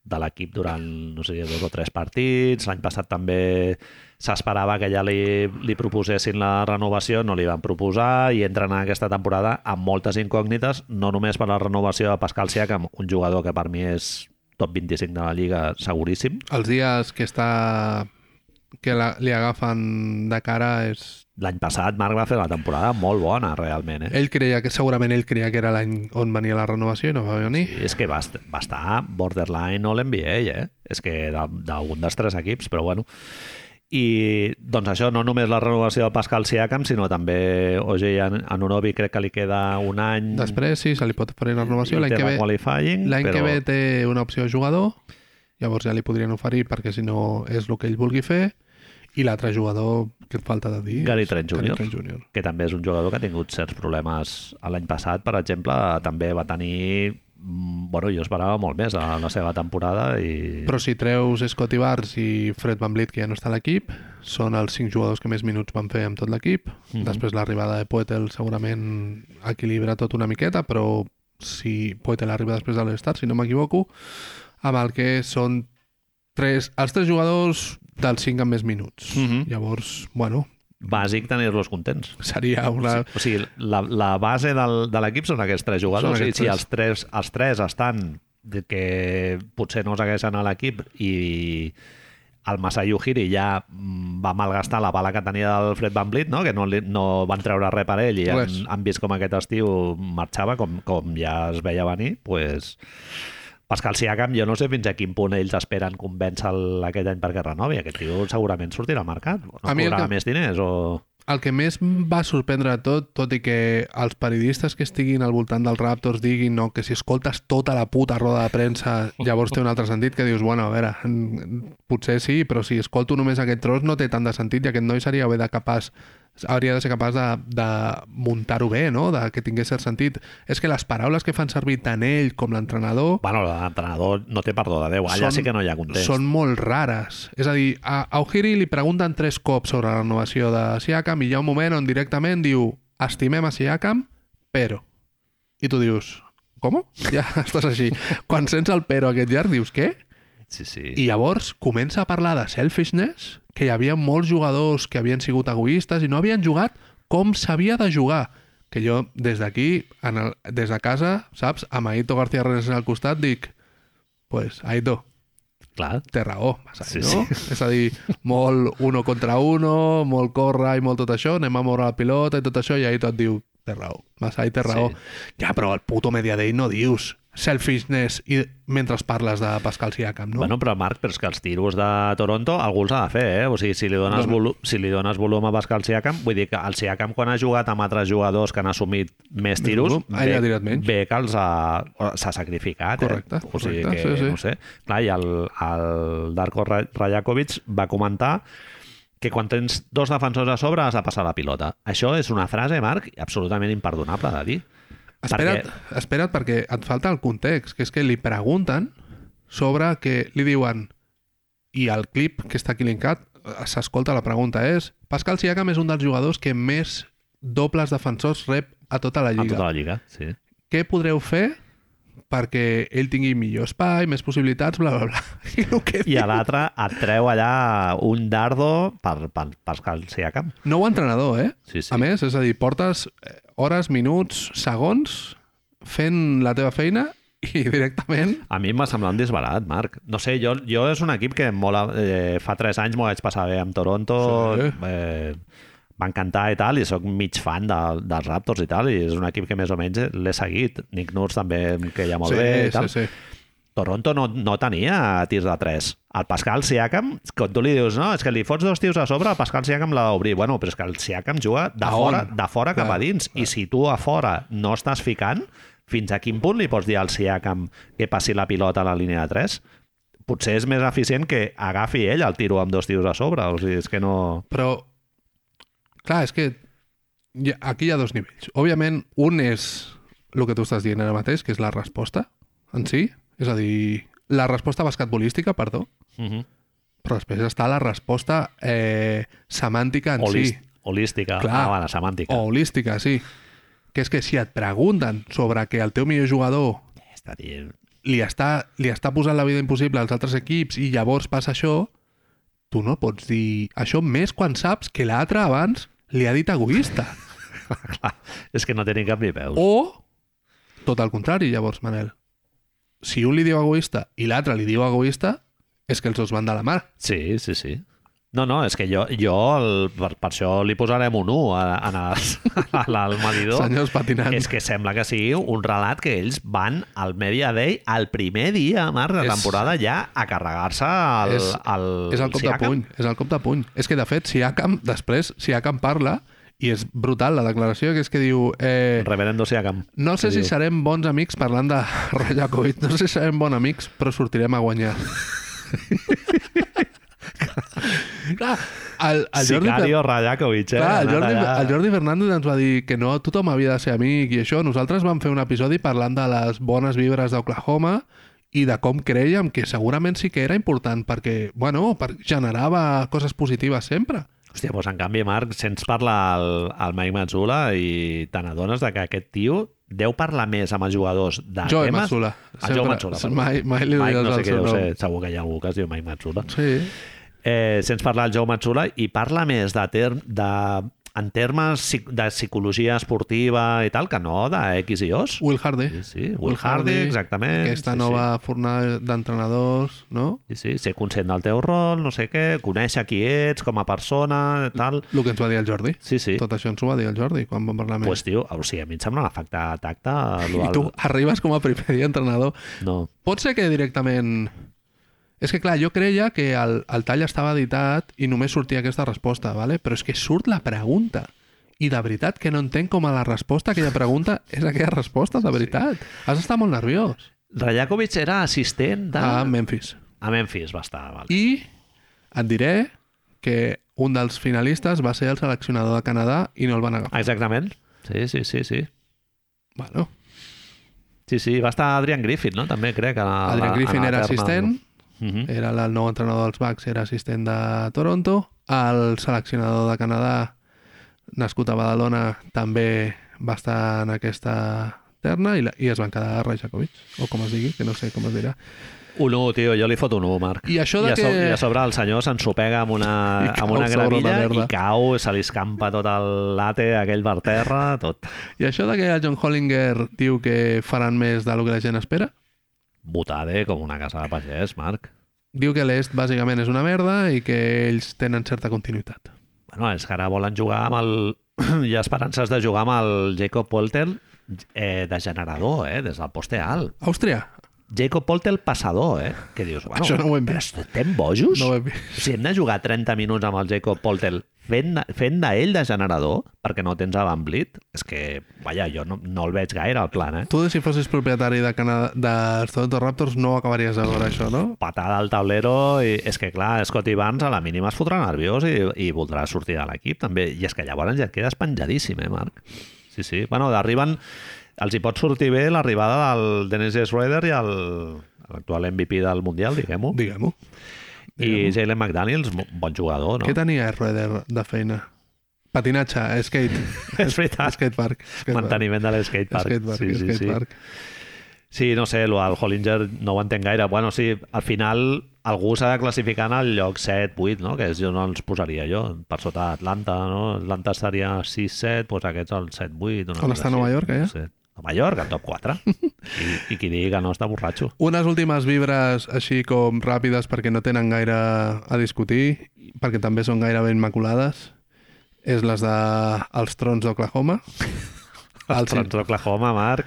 Speaker 2: de l'equip durant, no sé, dos o tres partits. L'any passat també s'esperava que ja li, li proposessin la renovació, no li van proposar i entren en aquesta temporada amb moltes incògnites, no només per la renovació de Pascal Siakam, un jugador que per mi és top 25 de la Lliga seguríssim,
Speaker 3: Els dies que està que la, li agafen de cara és...
Speaker 2: L'any passat Marc va fer una temporada molt bona, realment. Eh?
Speaker 3: Ell creia que segurament ell creia que era l'any on venia la renovació i no va venir.
Speaker 2: I És que va, est- va estar borderline all NBA, eh? És que d'al- d'algun dels tres equips, però bueno. I doncs això, no només la renovació de Pascal Siakam, sinó també OJ An- Anunobi crec que li queda un any
Speaker 3: Després sí, se li pot oferir la renovació.
Speaker 2: i
Speaker 3: L'any que
Speaker 2: tema
Speaker 3: ve
Speaker 2: qualifying,
Speaker 3: L'any
Speaker 2: però...
Speaker 3: que ve té una opció de jugador, llavors ja li podrien oferir perquè si no és el que ell vulgui fer, i l'altre jugador que et falta de dir...
Speaker 2: Gary
Speaker 3: és
Speaker 2: Trent Jr..
Speaker 3: Trent Jr.
Speaker 2: que també és un jugador que ha tingut certs problemes l'any passat, per exemple, també va tenir mm, bueno, jo esperava molt més a la seva temporada i...
Speaker 3: Però si treus Scotty Barnes i Fred Van Vliet, que ja no està a l'equip, són els cinc jugadors que més minuts van fer amb tot l'equip.
Speaker 2: Mhm.
Speaker 3: Després l'arribada de Poetel segurament equilibra tot una miqueta, però si Poetel arriba després de l'All-Star, si no m'equivoco, amb el que són tres, els tres jugadors dels cinc amb més minuts.
Speaker 2: Mhm.
Speaker 3: Llavors, bueno,
Speaker 2: Bàsic tenir-los contents.
Speaker 3: seria una...
Speaker 2: O sigui, la, la base del, de l'equip són aquests tres jugadors.
Speaker 3: Són
Speaker 2: Aquests
Speaker 3: aquests
Speaker 2: I si
Speaker 3: tres.
Speaker 2: els tres, els tres estan de que potser no segueixen a l'equip i el Masayu Hiri ja mm, va malgastar la bala que tenia del Fred Van Vliet, no? que no, li, no van treure res per ell i han,
Speaker 3: Res.
Speaker 2: han vist com aquest estiu marxava, com, com ja es veia venir, pues, Pascal Siakam, jo no sé fins a quin punt ells esperen convèncer aquest any perquè renovi. Aquest tio segurament sortirà al mercat. No
Speaker 3: A mi el
Speaker 2: cobrarà
Speaker 3: que-
Speaker 2: més diners o...
Speaker 3: El que més em va sorprendre de tot, tot i que els periodistes que estiguin al voltant dels Raptors diguin no, que si escoltes tota la puta roda de premsa llavors té un altre sentit que dius, bueno, a veure, mm, potser sí, però si escolto només aquest tros no té tant de sentit i aquest noi seria haver de capaç hauria de ser capaç de, de muntar-ho bé, no? de que tingués cert sentit. És que les paraules que fan servir tant ell com l'entrenador
Speaker 2: Bueno, l'entrenador no té perdó de Déu. Allà
Speaker 3: Són-
Speaker 2: sí que no hi ha context.
Speaker 3: són molt rares. És a dir, a, a O'Hiri li pregunten tres cops sobre la renovació de Siakam i hi ha un moment on directament diu estimem a Siakam, però... I tu dius, com? Ja estàs així. Quan sents el però aquest llarg dius, què?
Speaker 2: Sí, sí.
Speaker 3: I llavors comença a parlar de selfishness, que hi havia molts jugadors que havien sigut egoistes i no havien jugat com s'havia de jugar. Que jo, des d'aquí, en el- des de casa, saps, amb Aito García Renes al costat, dic, pues, Aito,
Speaker 2: Clar.
Speaker 3: té raó, Masai,
Speaker 2: Sí,
Speaker 3: sí, no? Sí. És a dir, molt uno contra uno, molt córrer i molt tot això, anem a moure la pilota i tot això, i ahir tot diu, té raó, Masai té raó. Sí. Ja, però el puto Media Day no dius selfishness i mentre parles de Pascal Siakam,
Speaker 2: No?
Speaker 3: no?
Speaker 2: Bueno, però Marc, però és que els tiros de Toronto algú els ha de fer, eh? O sigui, si li dones,
Speaker 3: Dona.
Speaker 2: volu si li dones volum a Pascal Siakam, vull dir que el Siakam quan ha jugat amb altres jugadors que han assumit més tiros,
Speaker 3: volum, ah, ja ha tirat menys.
Speaker 2: bé que els ha... o- s'ha sacrificat,
Speaker 3: Correcte,
Speaker 2: eh? O sigui
Speaker 3: correcte,
Speaker 2: que,
Speaker 3: sí, sí.
Speaker 2: no sé. Clar, i el, el Darko Ra- Rajakovic va comentar que quan tens dos defensors a sobre has de passar la pilota. Això és una frase, Marc, absolutament imperdonable de dir.
Speaker 3: Espera't, perquè... espera't perquè et falta el context, que és que li pregunten sobre que li diuen i el clip que està aquí linkat eh, s'escolta la pregunta és Pascal Siakam és un dels jugadors que més dobles defensors rep a tota la
Speaker 2: A
Speaker 3: lliga.
Speaker 2: tota la lliga, sí.
Speaker 3: què podreu fer perquè ell tingui millor espai, més possibilitats, bla, bla, bla. I, el que
Speaker 2: i
Speaker 3: diu,
Speaker 2: a l'altre et treu allà un dardo per, per, per Pascal Siakam.
Speaker 3: nou entrenador, eh?
Speaker 2: Sí, sí.
Speaker 3: A més, és a dir, portes eh, hores, minuts, segons fent la teva feina i directament...
Speaker 2: A mi em va semblar un disbarat, Marc. No sé, jo, jo és un equip que em mola, eh, fa 3 anys m'ho vaig passar bé amb Toronto,
Speaker 3: Sí.
Speaker 2: eh, m'encantar i tal, i sóc mig fan de, dels Raptors i tal, i és un equip que més o menys l'he seguit. Nick Nurse també em queia molt
Speaker 3: sí,
Speaker 2: bé i tal.
Speaker 3: sí, sí.
Speaker 2: Toronto no, no tenia tirs de 3. El Pascal Siakam, quan tu li dius, no, és que li fots dos tios a sobre, el Pascal Siakam l'ha d'obrir. Bueno, però és que el Siakam juga de
Speaker 3: A
Speaker 2: fora,
Speaker 3: on?
Speaker 2: de fora cap
Speaker 3: Clar,
Speaker 2: a dins. I si tu a fora no estàs ficant, fins a quin punt li pots dir al Siakam que passi la pilota a la línia de 3? Potser és més eficient que agafi ell el tiro amb dos tios a sobre. O sigui, és que no...
Speaker 3: Però, clar, és que hi ha- aquí hi ha dos nivells. Òbviament, un és el que tu estàs dient ara mateix, que és la resposta en si, és a dir, la resposta basquetbolística, perdó,
Speaker 2: Uh
Speaker 3: Mhm.
Speaker 2: -huh.
Speaker 3: Però després està la resposta eh, semàntica en
Speaker 2: Holist,
Speaker 3: si,
Speaker 2: Holística,
Speaker 3: Clar.
Speaker 2: ah, bueno, semàntica.
Speaker 3: o holística, sí. Que és que si et pregunten sobre que el teu millor jugador
Speaker 2: Està dient...
Speaker 3: li està, li està posant la vida impossible als altres equips i llavors passa això, tu no pots dir això més quan saps que l'altre abans li ha dit egoista.
Speaker 2: Clar, és que no tenen cap ni peus.
Speaker 3: O tot el contrari, llavors, Manel. Si un li diu egoista i l'altre li diu egoista, és que els dos van de la mar.
Speaker 2: Sí, sí, sí. No, no, és que jo, jo el, per, per això li posarem un 1 a, a, a, a, a, al medidor.
Speaker 3: Senyors patinants.
Speaker 2: És que sembla que sigui un relat que ells van al Media Day el primer dia, Marc, de
Speaker 3: És-
Speaker 2: temporada ja a carregar-se el,
Speaker 3: és,
Speaker 2: el,
Speaker 3: és el cop de
Speaker 2: Siakam.
Speaker 3: puny, és el cop de puny. És que, de fet, Siakam, després, Siakam parla, i és brutal la declaració, que és que diu... Eh,
Speaker 2: Reverendo Siakam.
Speaker 3: no sé
Speaker 2: que
Speaker 3: si
Speaker 2: diu.
Speaker 3: serem bons amics parlant de Rajakovic, no sé si serem bons amics, però sortirem a guanyar. Clar, El, el Jordi, Fer-
Speaker 2: Sicario Radakovic, eh?
Speaker 3: clar, el,
Speaker 2: Anat
Speaker 3: Jordi,
Speaker 2: allà.
Speaker 3: el Jordi Fernández ens va dir que no tothom havia de ser amic i això. Nosaltres vam fer un episodi parlant de les bones vibres d'Oklahoma i de com creiem que segurament sí que era important perquè, bueno, per, generava coses positives sempre.
Speaker 2: Hòstia, doncs en canvi, Marc, sents parlar el, el Mike Mazzula i te n'adones de que aquest tio deu parlar més amb els jugadors de
Speaker 3: Joe
Speaker 2: temes...
Speaker 3: Mazzulla.
Speaker 2: El Joe
Speaker 3: Sempre-
Speaker 2: Mazzula, perdó.
Speaker 3: mai- mai li
Speaker 2: Mike,
Speaker 3: diràs
Speaker 2: no sé
Speaker 3: el
Speaker 2: què
Speaker 3: seu
Speaker 2: deu
Speaker 3: nom.
Speaker 2: ser, segur que hi ha algú que es diu Mike Mazzula.
Speaker 3: Sí.
Speaker 2: Eh, sents parlar el Joe Mazzula i parla més de, term, de en termes psic- de psicologia esportiva i tal, que no de X i O's.
Speaker 3: Will Hardy.
Speaker 2: Sí, sí, Will Hardy, exactament.
Speaker 3: Aquesta
Speaker 2: sí,
Speaker 3: nova fornada d'entrenadors, no?
Speaker 2: Sí. sí, sí, ser conscient del teu rol, no sé què, conèixer qui ets com a persona, tal...
Speaker 3: El que ens va dir el Jordi.
Speaker 2: Sí, sí.
Speaker 3: Tot això ens ho va dir el Jordi quan vam parlar amb
Speaker 2: Pues, tio, o sigui, a mi em sembla un efecte tacte.
Speaker 3: ell. I tu arribes com a primer dia entrenador.
Speaker 2: No.
Speaker 3: Pot ser que directament... És que, clar, jo creia que el, el tall estava editat i només sortia aquesta resposta, ¿vale? però és que surt la pregunta. I de veritat que no entenc com a la resposta a aquella pregunta és aquella resposta, de veritat. Has d'estar molt nerviós.
Speaker 2: Rajakovic era assistent de...
Speaker 3: A Memphis.
Speaker 2: a Memphis va estar, val.
Speaker 3: I et diré que un dels finalistes va ser el seleccionador de Canadà i no el van agafar.
Speaker 2: Exactament. Sí, sí, sí, sí.
Speaker 3: Bueno,
Speaker 2: Sí, sí, va estar Adrian Griffin, no? També crec que...
Speaker 3: Adrian Griffin era assistent,
Speaker 2: Uh
Speaker 3: Eh.
Speaker 2: -huh.
Speaker 3: Mm-hmm. era el nou entrenador dels Bucks, era assistent de Toronto. El seleccionador de Canadà, nascut a Badalona, també va estar en aquesta terna i, la, i es van quedar Rajakovic, o com es digui, que no sé com es dirà.
Speaker 2: Un 1, tio, jo li foto un 1, Marc.
Speaker 3: I això de
Speaker 2: I a, sobre,
Speaker 3: que-
Speaker 2: I a sobre el senyor s'ensopega amb
Speaker 3: I
Speaker 2: una,
Speaker 3: cau
Speaker 2: amb una
Speaker 3: sobre una
Speaker 2: gravilla
Speaker 3: merda.
Speaker 2: i cau, se li escampa tot el late aquell per terra, tot.
Speaker 3: I això de que el John Hollinger diu que faran més del que la gent espera,
Speaker 2: Botade com una casa de pagès, Marc.
Speaker 3: diu que l'est bàsicament és una merda i que ells tenen certa continuïtat.
Speaker 2: Bueno, és que ara volen jugar amb el... Hi ha esperances de jugar amb el Jacob Poltel eh, de generador, eh, des del poste alt.
Speaker 3: Àustria,
Speaker 2: Jacob Poltel passador, eh? Que dius, bueno,
Speaker 3: Això no ho hem
Speaker 2: però
Speaker 3: vist.
Speaker 2: estem bojos?
Speaker 3: no ho he vist.
Speaker 2: Si hem de jugar 30 minuts amb el Jacob Poltel fent, fent d'ell de generador perquè no tens a Van Vliet, és que, vaja, jo no, no el veig gaire al plan, eh?
Speaker 3: Tu, si fossis propietari de Canadà, dels Toronto Raptors, no acabaries de veure això, no?
Speaker 2: patada al tablero i és que clar, Scotty Barnes a la mínima es fotrà nerviós i, i voldrà sortir de l'equip també, i és que llavors ja et quedes penjadíssim eh Marc? Sí, sí, bueno, arriben els hi pot sortir bé l'arribada del Dennis Schroeder i el l'actual MVP del Mundial, diguem-ho
Speaker 3: Diguem-ho.
Speaker 2: i Jalen McDaniels, mo- bon jugador
Speaker 3: No.
Speaker 2: no?
Speaker 3: Què tenia Schroeder de feina? Patinatge, skate.
Speaker 2: és veritat,
Speaker 3: Skatepark. skatepark.
Speaker 2: manteniment de l'escatepark
Speaker 3: Skatepark,
Speaker 2: sí, sí, sí.
Speaker 3: skatepark.
Speaker 2: Sí, no sé, el Hollinger no ho entenc gaire. Bueno, sí, al final algú s'ha de classificar en el lloc 7-8, no? que és, jo no els posaria jo, per sota Atlanta, no? Atlanta estaria 6-7, doncs aquests el 7-8. una
Speaker 3: On
Speaker 2: cosa
Speaker 3: està
Speaker 2: així.
Speaker 3: Nova York, allà?
Speaker 2: No sé. Nova York, el top 4. I, I qui digui que no està borratxo.
Speaker 3: Unes últimes vibres així com ràpides perquè no tenen gaire a discutir, perquè també són gairebé immaculades, és les de els trons d'Oklahoma.
Speaker 2: El
Speaker 3: Els
Speaker 2: Trans d'Oklahoma, Marc.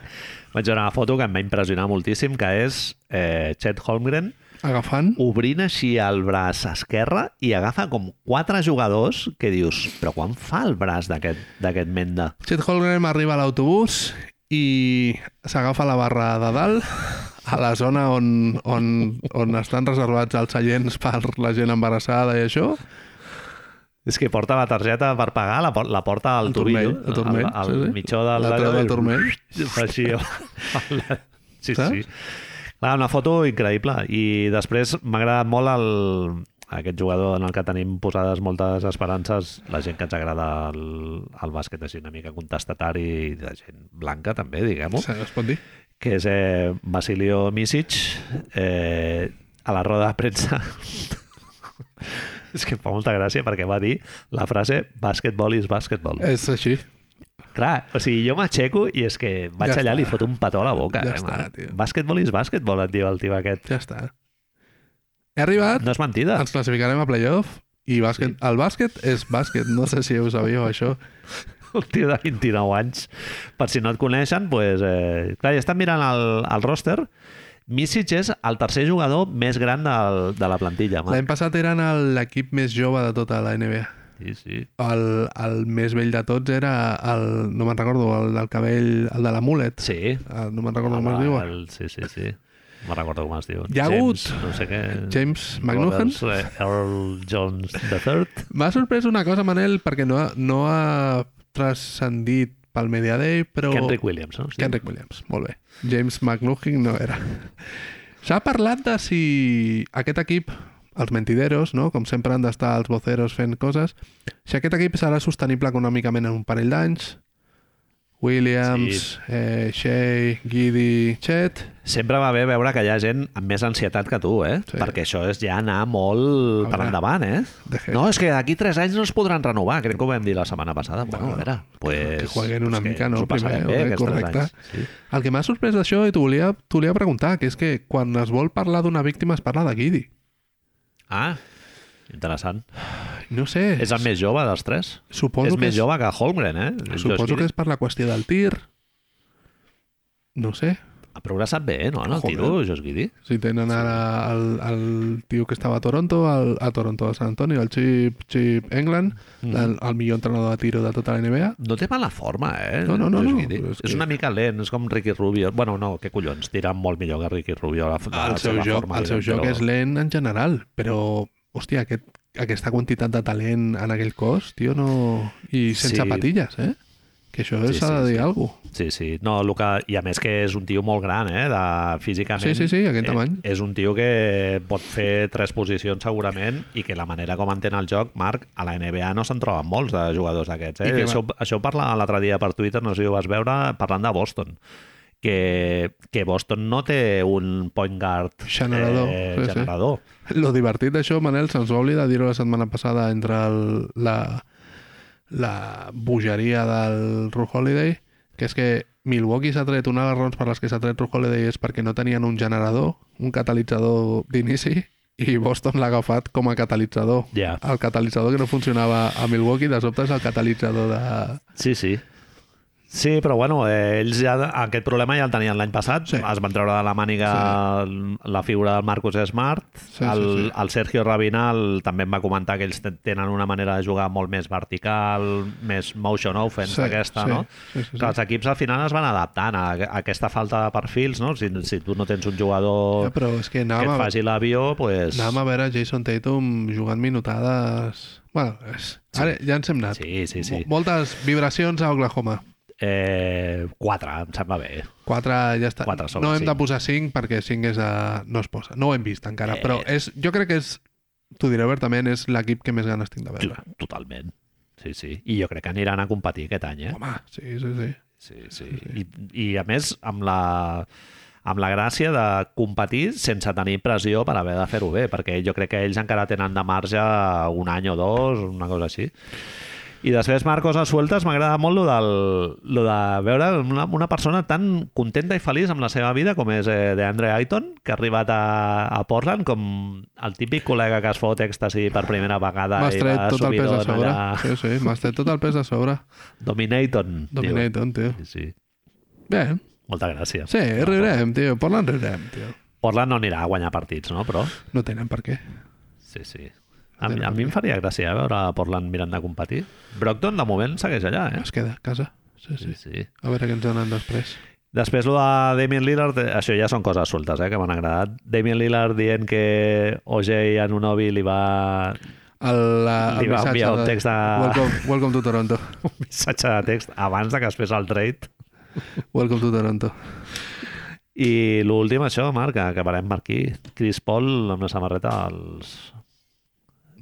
Speaker 2: Vaig veure una foto que em va impressionar moltíssim, que és eh, Chet Holmgren
Speaker 3: agafant.
Speaker 2: obrint així el braç esquerre i agafa com quatre jugadors que dius, però quan fa el braç d'aquest d'aquest menda?
Speaker 3: Chet Holmgren arriba a l'autobús i s'agafa la barra de dalt a la zona on, on, on estan reservats els seients per la gent embarassada i això.
Speaker 2: És que porta la targeta per pagar, la, por- la porta al
Speaker 3: El
Speaker 2: turmell,
Speaker 3: turmell, el turmell,
Speaker 2: al,
Speaker 3: sí,
Speaker 2: al
Speaker 3: sí.
Speaker 2: mitjó del...
Speaker 3: La treu del turmell.
Speaker 2: Fa així. el- Sí,
Speaker 3: Saps?
Speaker 2: sí. Clar, una foto increïble. I després m'ha agradat molt el, aquest jugador en el que tenim posades moltes esperances, la gent que ens agrada el, el bàsquet així una mica contestatari i de gent blanca també, diguem-ho
Speaker 3: Se- Es pot dir?
Speaker 2: que és eh, Basilio Misic, eh, a la roda de premsa. és que em fa molta gràcia perquè va dir la frase basketball is basketball. Eh.
Speaker 3: És així.
Speaker 2: Clar, o sigui, jo m'aixeco i és que vaig
Speaker 3: Ja
Speaker 2: allà
Speaker 3: està.
Speaker 2: i li foto un petó a la boca.
Speaker 3: Ja
Speaker 2: eh,
Speaker 3: està,
Speaker 2: Marc?
Speaker 3: tio.
Speaker 2: basketball is basketball, et diu el tio aquest.
Speaker 3: Ja està. He arribat,
Speaker 2: No és mentida.
Speaker 3: ens classificarem a playoff i bàsquet. el bàsquet és bàsquet. No sé si ho sabíeu, això.
Speaker 2: un tio de 29 anys. Per si no et coneixen, doncs, eh, clar, ja estan mirant el, el roster. Misic és el tercer jugador més gran del, de la plantilla. Marc.
Speaker 3: L'any passat eren el- l'equip més jove de tota la NBA.
Speaker 2: Sí, sí.
Speaker 3: El, el més vell de tots era el, no me'n recordo, el del cabell, el de la mulet.
Speaker 2: Sí,
Speaker 3: Ah, No me'n recordo com
Speaker 2: Home,
Speaker 3: es diuen.
Speaker 2: El, sí, sí, sí. me'n recordo com es diu.
Speaker 3: Hi ha hagut
Speaker 2: James, no sé què...
Speaker 3: James McNaughton.
Speaker 2: Roberts, eh, Earl Jones III.
Speaker 3: M'ha sorprès una cosa, Manel, perquè no ha, no ha transcendit pel Media Day, però...
Speaker 2: Kendrick Williams, no? Sí.
Speaker 3: Kendrick Williams, molt bé. James McLaughlin no era. S'ha parlat de si aquest equip, els mentideros, no? com sempre han d'estar els voceros fent coses, si aquest equip serà sostenible econòmicament en un parell d'anys, Williams, sí. eh, Shea, Giddy, Chet...
Speaker 2: Sempre va bé veure que hi ha gent amb més ansietat que tu, eh? Sí.
Speaker 3: Sí.
Speaker 2: Perquè això és ja anar molt per
Speaker 3: A veure.
Speaker 2: endavant, eh?
Speaker 3: De Gea.
Speaker 2: No, és que d'aquí 3 anys no es podran renovar, crec que ho vam dir la setmana passada. Bueno, a veure, pues,
Speaker 3: que jueguen una
Speaker 2: pues que
Speaker 3: mica, no?
Speaker 2: ens ho passarem
Speaker 3: Primer,
Speaker 2: bé,
Speaker 3: eh?
Speaker 2: aquests tres
Speaker 3: Correcte.
Speaker 2: anys. Sí.
Speaker 3: El que m'ha sorprès d'això, i t'ho volia, t'ho volia preguntar, que és que quan es vol parlar d'una víctima es parla de Giddy.
Speaker 2: Ah, interessant.
Speaker 3: No sé,
Speaker 2: És el més jove dels tres?
Speaker 3: suposo
Speaker 2: és
Speaker 3: que
Speaker 2: més jove que Holmgren, eh?
Speaker 3: Suposo que és per la qüestió del tir. No sé.
Speaker 2: Ha progressat bé, eh, no, en el
Speaker 3: Joder.
Speaker 2: tio, Josh Giddy?
Speaker 3: Si tenen ara el, el tio que estava a Toronto, el, a Toronto, a San Antonio, el Chip, Chip England, mm. el, el millor entrenador de tiro de tota la NBA.
Speaker 2: No té mala forma, eh?
Speaker 3: No, no, no,
Speaker 2: Josh
Speaker 3: no,
Speaker 2: Giddey.
Speaker 3: però
Speaker 2: És,
Speaker 3: és que-
Speaker 2: una mica lent, és com Ricky Rubio. Bueno, no, què collons, tira molt millor que Ricky Rubio. La, la,
Speaker 3: Ah, El seu
Speaker 2: la
Speaker 3: joc,
Speaker 2: forma,
Speaker 3: el seu joc és lent en general, però, hòstia, aquest, aquesta quantitat de talent en aquell cos, tio, no... I sense
Speaker 2: Sí.
Speaker 3: sí. patilles, eh? Que això
Speaker 2: Sí,
Speaker 3: s'ha sí,
Speaker 2: sí,
Speaker 3: de dir
Speaker 2: sí.
Speaker 3: sí. alguna cosa.
Speaker 2: Sí, sí. No, el que... I a més que és un tio molt gran, eh? De... Físicament.
Speaker 3: Sí, sí, sí, aquest
Speaker 2: eh,
Speaker 3: tamany.
Speaker 2: És un tio que pot fer tres posicions segurament i que la manera com entén el joc, Marc, a la NBA no se'n troben molts de jugadors d'aquests.
Speaker 3: I
Speaker 2: Eh?
Speaker 3: que
Speaker 2: Això, això ho parla l'altre dia per Twitter, no sé si ho vas veure, parlant de Boston. Que, que Boston no té un point guard
Speaker 3: Generador,
Speaker 2: eh,
Speaker 3: sí, sí.
Speaker 2: generador.
Speaker 3: Lo divertit d'això, Manel, se'ns va oblidar dir-ho la setmana passada entre el, la, la bogeria del Ru Holiday, que és que Milwaukee s'ha tret, una de les raons per les que s'ha tret Ru Holiday és perquè no tenien un generador, un catalitzador d'inici, i Boston l'ha agafat com a catalitzador.
Speaker 2: Ja.
Speaker 3: El catalitzador que no funcionava a Milwaukee, de sobte és el catalitzador de...
Speaker 2: Sí, sí. Sí, però bueno, eh, ells ja aquest problema ja el tenien l'any passat. Sí.
Speaker 3: Sí.
Speaker 2: Es van treure de la màniga sí. la figura del Marcus Smart.
Speaker 3: Sí,
Speaker 2: Sí, el, sí,
Speaker 3: sí, sí.
Speaker 2: sí. el Sergio Rabinal també em va comentar que ells te- tenen una manera de jugar molt més vertical, més motion offense
Speaker 3: Sí,
Speaker 2: sí, aquesta,
Speaker 3: sí,
Speaker 2: no?
Speaker 3: sí, sí, sí.
Speaker 2: Que els equips al final es van adaptant a, a aquesta falta de perfils, no? Si, si tu no tens un jugador
Speaker 3: Ja, però és que
Speaker 2: que
Speaker 3: anàvem
Speaker 2: et
Speaker 3: a,
Speaker 2: faci l'avió, pues...
Speaker 3: anàvem a veure Jason Tatum jugant minutades... Bueno, és... ara ja ens hem anat.
Speaker 2: Sí, sí, sí.
Speaker 3: Mo- Moltes vibracions a Oklahoma.
Speaker 2: Eh, quatre, em sembla bé.
Speaker 3: 4 ja està.
Speaker 2: Quatre sobre
Speaker 3: no hem de
Speaker 2: cinc.
Speaker 3: posar 5 perquè 5 és de... no es posa. No ho hem vist encara,
Speaker 2: Eh.
Speaker 3: però és, jo crec que és, t'ho diré obertament, és l'equip que més ganes tinc de veure.
Speaker 2: Totalment. Sí, sí. I jo crec que aniran a competir aquest any, eh?
Speaker 3: Home, sí, sí, sí.
Speaker 2: Sí, sí. I, I a més, amb la, amb la gràcia de competir sense tenir pressió per haver de fer-ho bé, perquè jo crec que ells encara tenen de marge un any o dos, una cosa així. I després, Marc, coses sueltes, m'agrada molt lo, del, lo de veure una, una persona tan contenta i feliç amb la seva vida com és eh, DeAndre Ayton, que ha arribat a, a Portland com el típic col·lega que es fot èxtasi per primera vegada
Speaker 3: M'has
Speaker 2: i
Speaker 3: tret
Speaker 2: va
Speaker 3: tot el pes de
Speaker 2: subidon
Speaker 3: sobre.
Speaker 2: allà.
Speaker 3: Sí, sí, m'has tret tot el pes de sobre.
Speaker 2: Dominaton. diu.
Speaker 3: Dominaton, tio.
Speaker 2: Sí, sí.
Speaker 3: Bé,
Speaker 2: Molta gràcia.
Speaker 3: sí, riurem, tio. Portland riurem, tio.
Speaker 2: Portland no anirà a guanyar partits, no? Però,
Speaker 3: No tenen per què.
Speaker 2: Eh? sí, sí. A, mi- a mi em faria gràcia eh, veure Portland mirant de competir. Brockton, de moment, segueix allà, eh?
Speaker 3: Es queda a casa. Sí,
Speaker 2: Sí,
Speaker 3: sí.
Speaker 2: sí.
Speaker 3: A veure què ens donen després.
Speaker 2: Després, lo de Damien Lillard, eh, això ja són coses soltes, eh, que m'han agradat. Damien Lillard dient que OJ Anunobi li va
Speaker 3: El, la,
Speaker 2: Li
Speaker 3: Ah, el
Speaker 2: va
Speaker 3: missatge
Speaker 2: enviar un
Speaker 3: de-
Speaker 2: text a-
Speaker 3: Welcome, welcome to Toronto.
Speaker 2: un missatge de text abans de que es fes el trade.
Speaker 3: Welcome to Toronto.
Speaker 2: I l'últim, això, Marc, que acabarem per aquí. Chris Paul amb la samarreta dels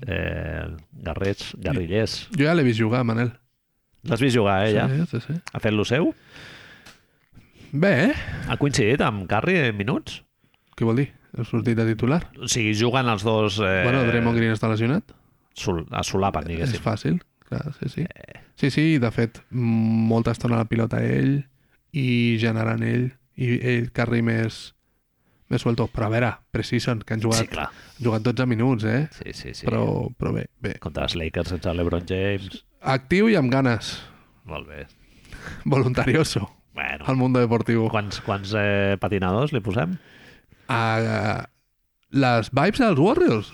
Speaker 2: eh, guerrers, guerrillers.
Speaker 3: Jo ja l'he vist jugar, Manel.
Speaker 2: L'has vist jugar, eh, ja?
Speaker 3: Sí, sí, sí.
Speaker 2: Ha fet lo seu?
Speaker 3: Bé, eh?
Speaker 2: Ha coincidit amb Curry en minuts?
Speaker 3: Què vol dir? Ha sortit de titular?
Speaker 2: O sigui, juguen els dos... Eh,
Speaker 3: Eh... Bueno, Draymond Eh, Green està lesionat.
Speaker 2: sol, a solapen,
Speaker 3: És
Speaker 2: diguéssim. Eh.
Speaker 3: fàcil, clar, sí, sí. Sí, sí, de fet, mm, molta estona la pilota a ell i generant ell i ell carri més més suelto. Però a veure, Precision, que han
Speaker 2: Sí,
Speaker 3: jugat,
Speaker 2: clar.
Speaker 3: han jugat 12 minuts, eh?
Speaker 2: Sí, sí, sí. Però...
Speaker 3: Però, però bé, bé.
Speaker 2: Contra els Lakers sense l'Ebron James.
Speaker 3: Actiu i amb ganes.
Speaker 2: Molt bé.
Speaker 3: Voluntarioso.
Speaker 2: Bueno,
Speaker 3: Al mundo deportivo.
Speaker 2: quants, quants eh, patinadors li posem?
Speaker 3: a les vibes dels Warriors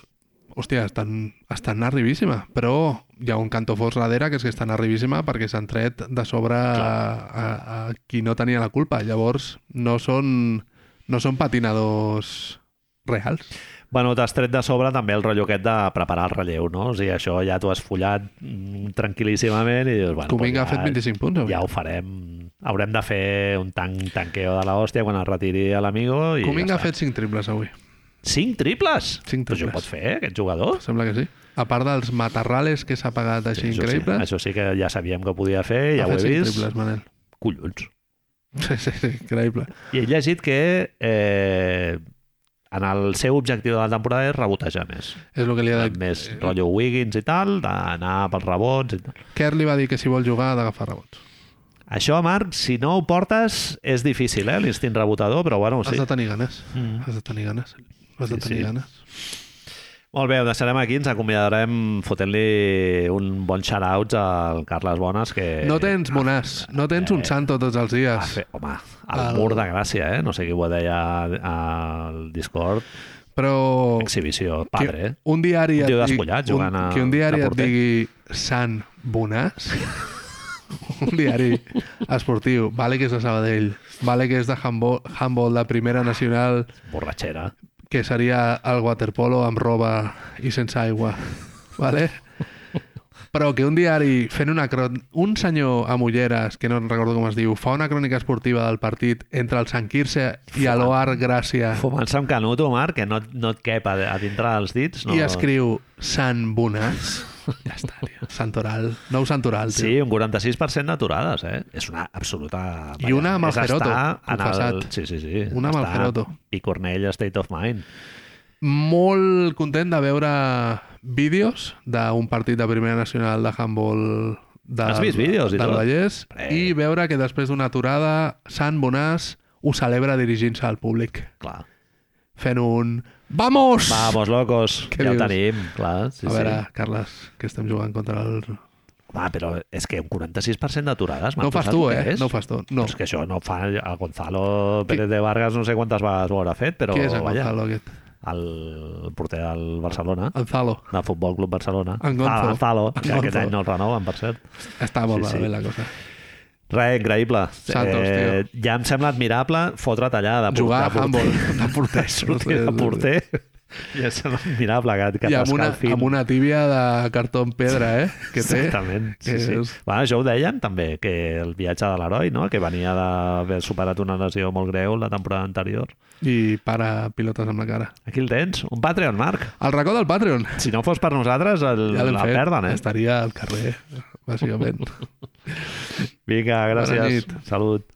Speaker 3: hòstia, estan, estan arribíssima però hi ha un cantó fos darrere que és que estan arribíssima perquè s'han tret de sobre a, a, a qui no tenia la culpa llavors no són No són patinadors reals.
Speaker 2: Bueno, t'has tret de sobre també el rotllo aquest de preparar el relleu, no? O sigui, això ja t'ho has follat mm, tranquil·líssimament i dius, bueno,
Speaker 3: Cominga ha
Speaker 2: doncs ja,
Speaker 3: fet 25 punts. avui.
Speaker 2: ja ho farem. Haurem de fer un tanc tanqueo de la hòstia quan es retiri a l'amigo i
Speaker 3: Cominga
Speaker 2: ja
Speaker 3: ha fet 5 triples avui.
Speaker 2: està. Cinc triples?
Speaker 3: Cinc
Speaker 2: Però això
Speaker 3: triples.
Speaker 2: ho pot fer, eh, aquest jugador?
Speaker 3: Sembla que sí. A part dels matarrales que s'ha pagat així
Speaker 2: això,
Speaker 3: sí,
Speaker 2: sí,
Speaker 3: increïbles,
Speaker 2: això sí que ja sabíem que podia fer, ja
Speaker 3: ha
Speaker 2: ho
Speaker 3: fet
Speaker 2: he
Speaker 3: 5
Speaker 2: vist.
Speaker 3: triples, Manel.
Speaker 2: Collons.
Speaker 3: Sí, sí, sí, increïble.
Speaker 2: I he llegit que eh, en el seu objectiu de la temporada és rebotejar més.
Speaker 3: És el que li ha
Speaker 2: Amb
Speaker 3: de...
Speaker 2: més rotllo Wiggins i tal, d'anar pels rebots i tal.
Speaker 3: Kerr li va dir que si vol jugar ha d'agafar rebots.
Speaker 2: Això, Marc, si no ho portes, és difícil, eh? L'instint rebotador, però bueno,
Speaker 3: Has
Speaker 2: sí.
Speaker 3: de tenir ganes.
Speaker 2: Mm.
Speaker 3: Has de tenir ganes. Has de
Speaker 2: Sí,
Speaker 3: tenir
Speaker 2: sí.
Speaker 3: ganes.
Speaker 2: Molt bé, ho deixarem aquí, ens acomiadarem fotent-li un bon shout-out al Carles Bones, que...
Speaker 3: No tens monàs,
Speaker 2: eh,
Speaker 3: no tens un santo tots els
Speaker 2: Ha
Speaker 3: dies.
Speaker 2: fet, Ah, home, el,
Speaker 3: El-
Speaker 2: mur de gràcia, eh? No sé qui ho deia al Discord.
Speaker 3: Però
Speaker 2: Exhibició,
Speaker 3: que
Speaker 2: padre, eh?
Speaker 3: un
Speaker 2: Un
Speaker 3: diari et
Speaker 2: tio
Speaker 3: digui-
Speaker 2: despullat jugant
Speaker 3: un,
Speaker 2: a-
Speaker 3: que un diari
Speaker 2: de
Speaker 3: et
Speaker 2: porter.
Speaker 3: digui Sant Bonàs un diari esportiu vale que és de Sabadell vale que és de handball, handball de primera nacional
Speaker 2: Borratxera.
Speaker 3: que seria el waterpolo amb roba i sense aigua vale? però que un diari fent una cron... un senyor amb ulleres que no recordo com es diu fa una crònica esportiva del partit entre el Sant Quirze i
Speaker 2: Fumant.
Speaker 3: l'Oar Gràcia
Speaker 2: Fumant-se amb canuto, Marc, que no, no et cap a, a dintre dels dits. No...
Speaker 3: I escriu Sant Bonàs. Ja està, tio. Santoral. Nou Santoral, tio.
Speaker 2: Sí, un 46% d'aturades, eh? És una absoluta...
Speaker 3: I una amb el
Speaker 2: És estar
Speaker 3: Geroto,
Speaker 2: en el...
Speaker 3: confessat.
Speaker 2: Sí, sí, sí.
Speaker 3: Una amb el
Speaker 2: Estar
Speaker 3: Geroto.
Speaker 2: I Cornell, State of Mind.
Speaker 3: Molt content de veure vídeos d'un partit de Primera Nacional de handball de,
Speaker 2: Has vist vídeos i
Speaker 3: del
Speaker 2: tot?
Speaker 3: Vallès
Speaker 2: Hombre.
Speaker 3: i veure que després d'una aturada Sant Bonàs ho celebra dirigint-se al públic
Speaker 2: Clar.
Speaker 3: fent un Vamos!
Speaker 2: Vamos, locos.
Speaker 3: Què
Speaker 2: Ja ho
Speaker 3: dius?
Speaker 2: tenim, clar. Sí,
Speaker 3: a veure,
Speaker 2: sí.
Speaker 3: Carles, que estem jugant contra el...
Speaker 2: Va, però és que un 46% d'aturades...
Speaker 3: No ho
Speaker 2: Marc,
Speaker 3: fas
Speaker 2: saps
Speaker 3: tu,
Speaker 2: què
Speaker 3: eh?
Speaker 2: és?
Speaker 3: No ho fas tu. No.
Speaker 2: Però és que això no ho fa el Gonzalo Pérez de Vargas, no sé quantes vegades ho haurà fet, però
Speaker 3: Qui és en
Speaker 2: vaja,
Speaker 3: Gonzalo aquest?
Speaker 2: el porter del Barcelona,
Speaker 3: Gonzalo.
Speaker 2: del Futbol Club Barcelona.
Speaker 3: En Gonzo.
Speaker 2: Ah, Gonzalo,
Speaker 3: En
Speaker 2: que aquest
Speaker 3: Gonzo.
Speaker 2: any no el renoven, per cert.
Speaker 3: Està molt
Speaker 2: Sí, sí.
Speaker 3: malament la cosa.
Speaker 2: Res, increïble. Eh,
Speaker 3: Santos,
Speaker 2: ja em sembla admirable fotre tallada. de
Speaker 3: Jugar a
Speaker 2: porter-
Speaker 3: handball, de porter.
Speaker 2: Sortir de porter. Ja em sembla admirable que, que
Speaker 3: I amb una,
Speaker 2: t'escalfin.
Speaker 3: amb una tíbia de cartó en pedra, eh? Que té.
Speaker 2: Exactament, sí,
Speaker 3: que
Speaker 2: sí.
Speaker 3: és-
Speaker 2: Bueno, això ho deien també, que el viatge de l'heroi, no? que venia d'haver superat una lesió molt greu la temporada anterior.
Speaker 3: I para pilotes amb la cara.
Speaker 2: Aquí el tens, un Patreon, Marc.
Speaker 3: El racó del Patreon.
Speaker 2: Si no fos per nosaltres, el,
Speaker 3: Ja l'hem
Speaker 2: la
Speaker 3: fet.
Speaker 2: perden, eh?
Speaker 3: Estaria al carrer, bàsicament.
Speaker 2: Vinga,
Speaker 3: Bona
Speaker 2: gràcies.
Speaker 3: nit.
Speaker 2: Salut.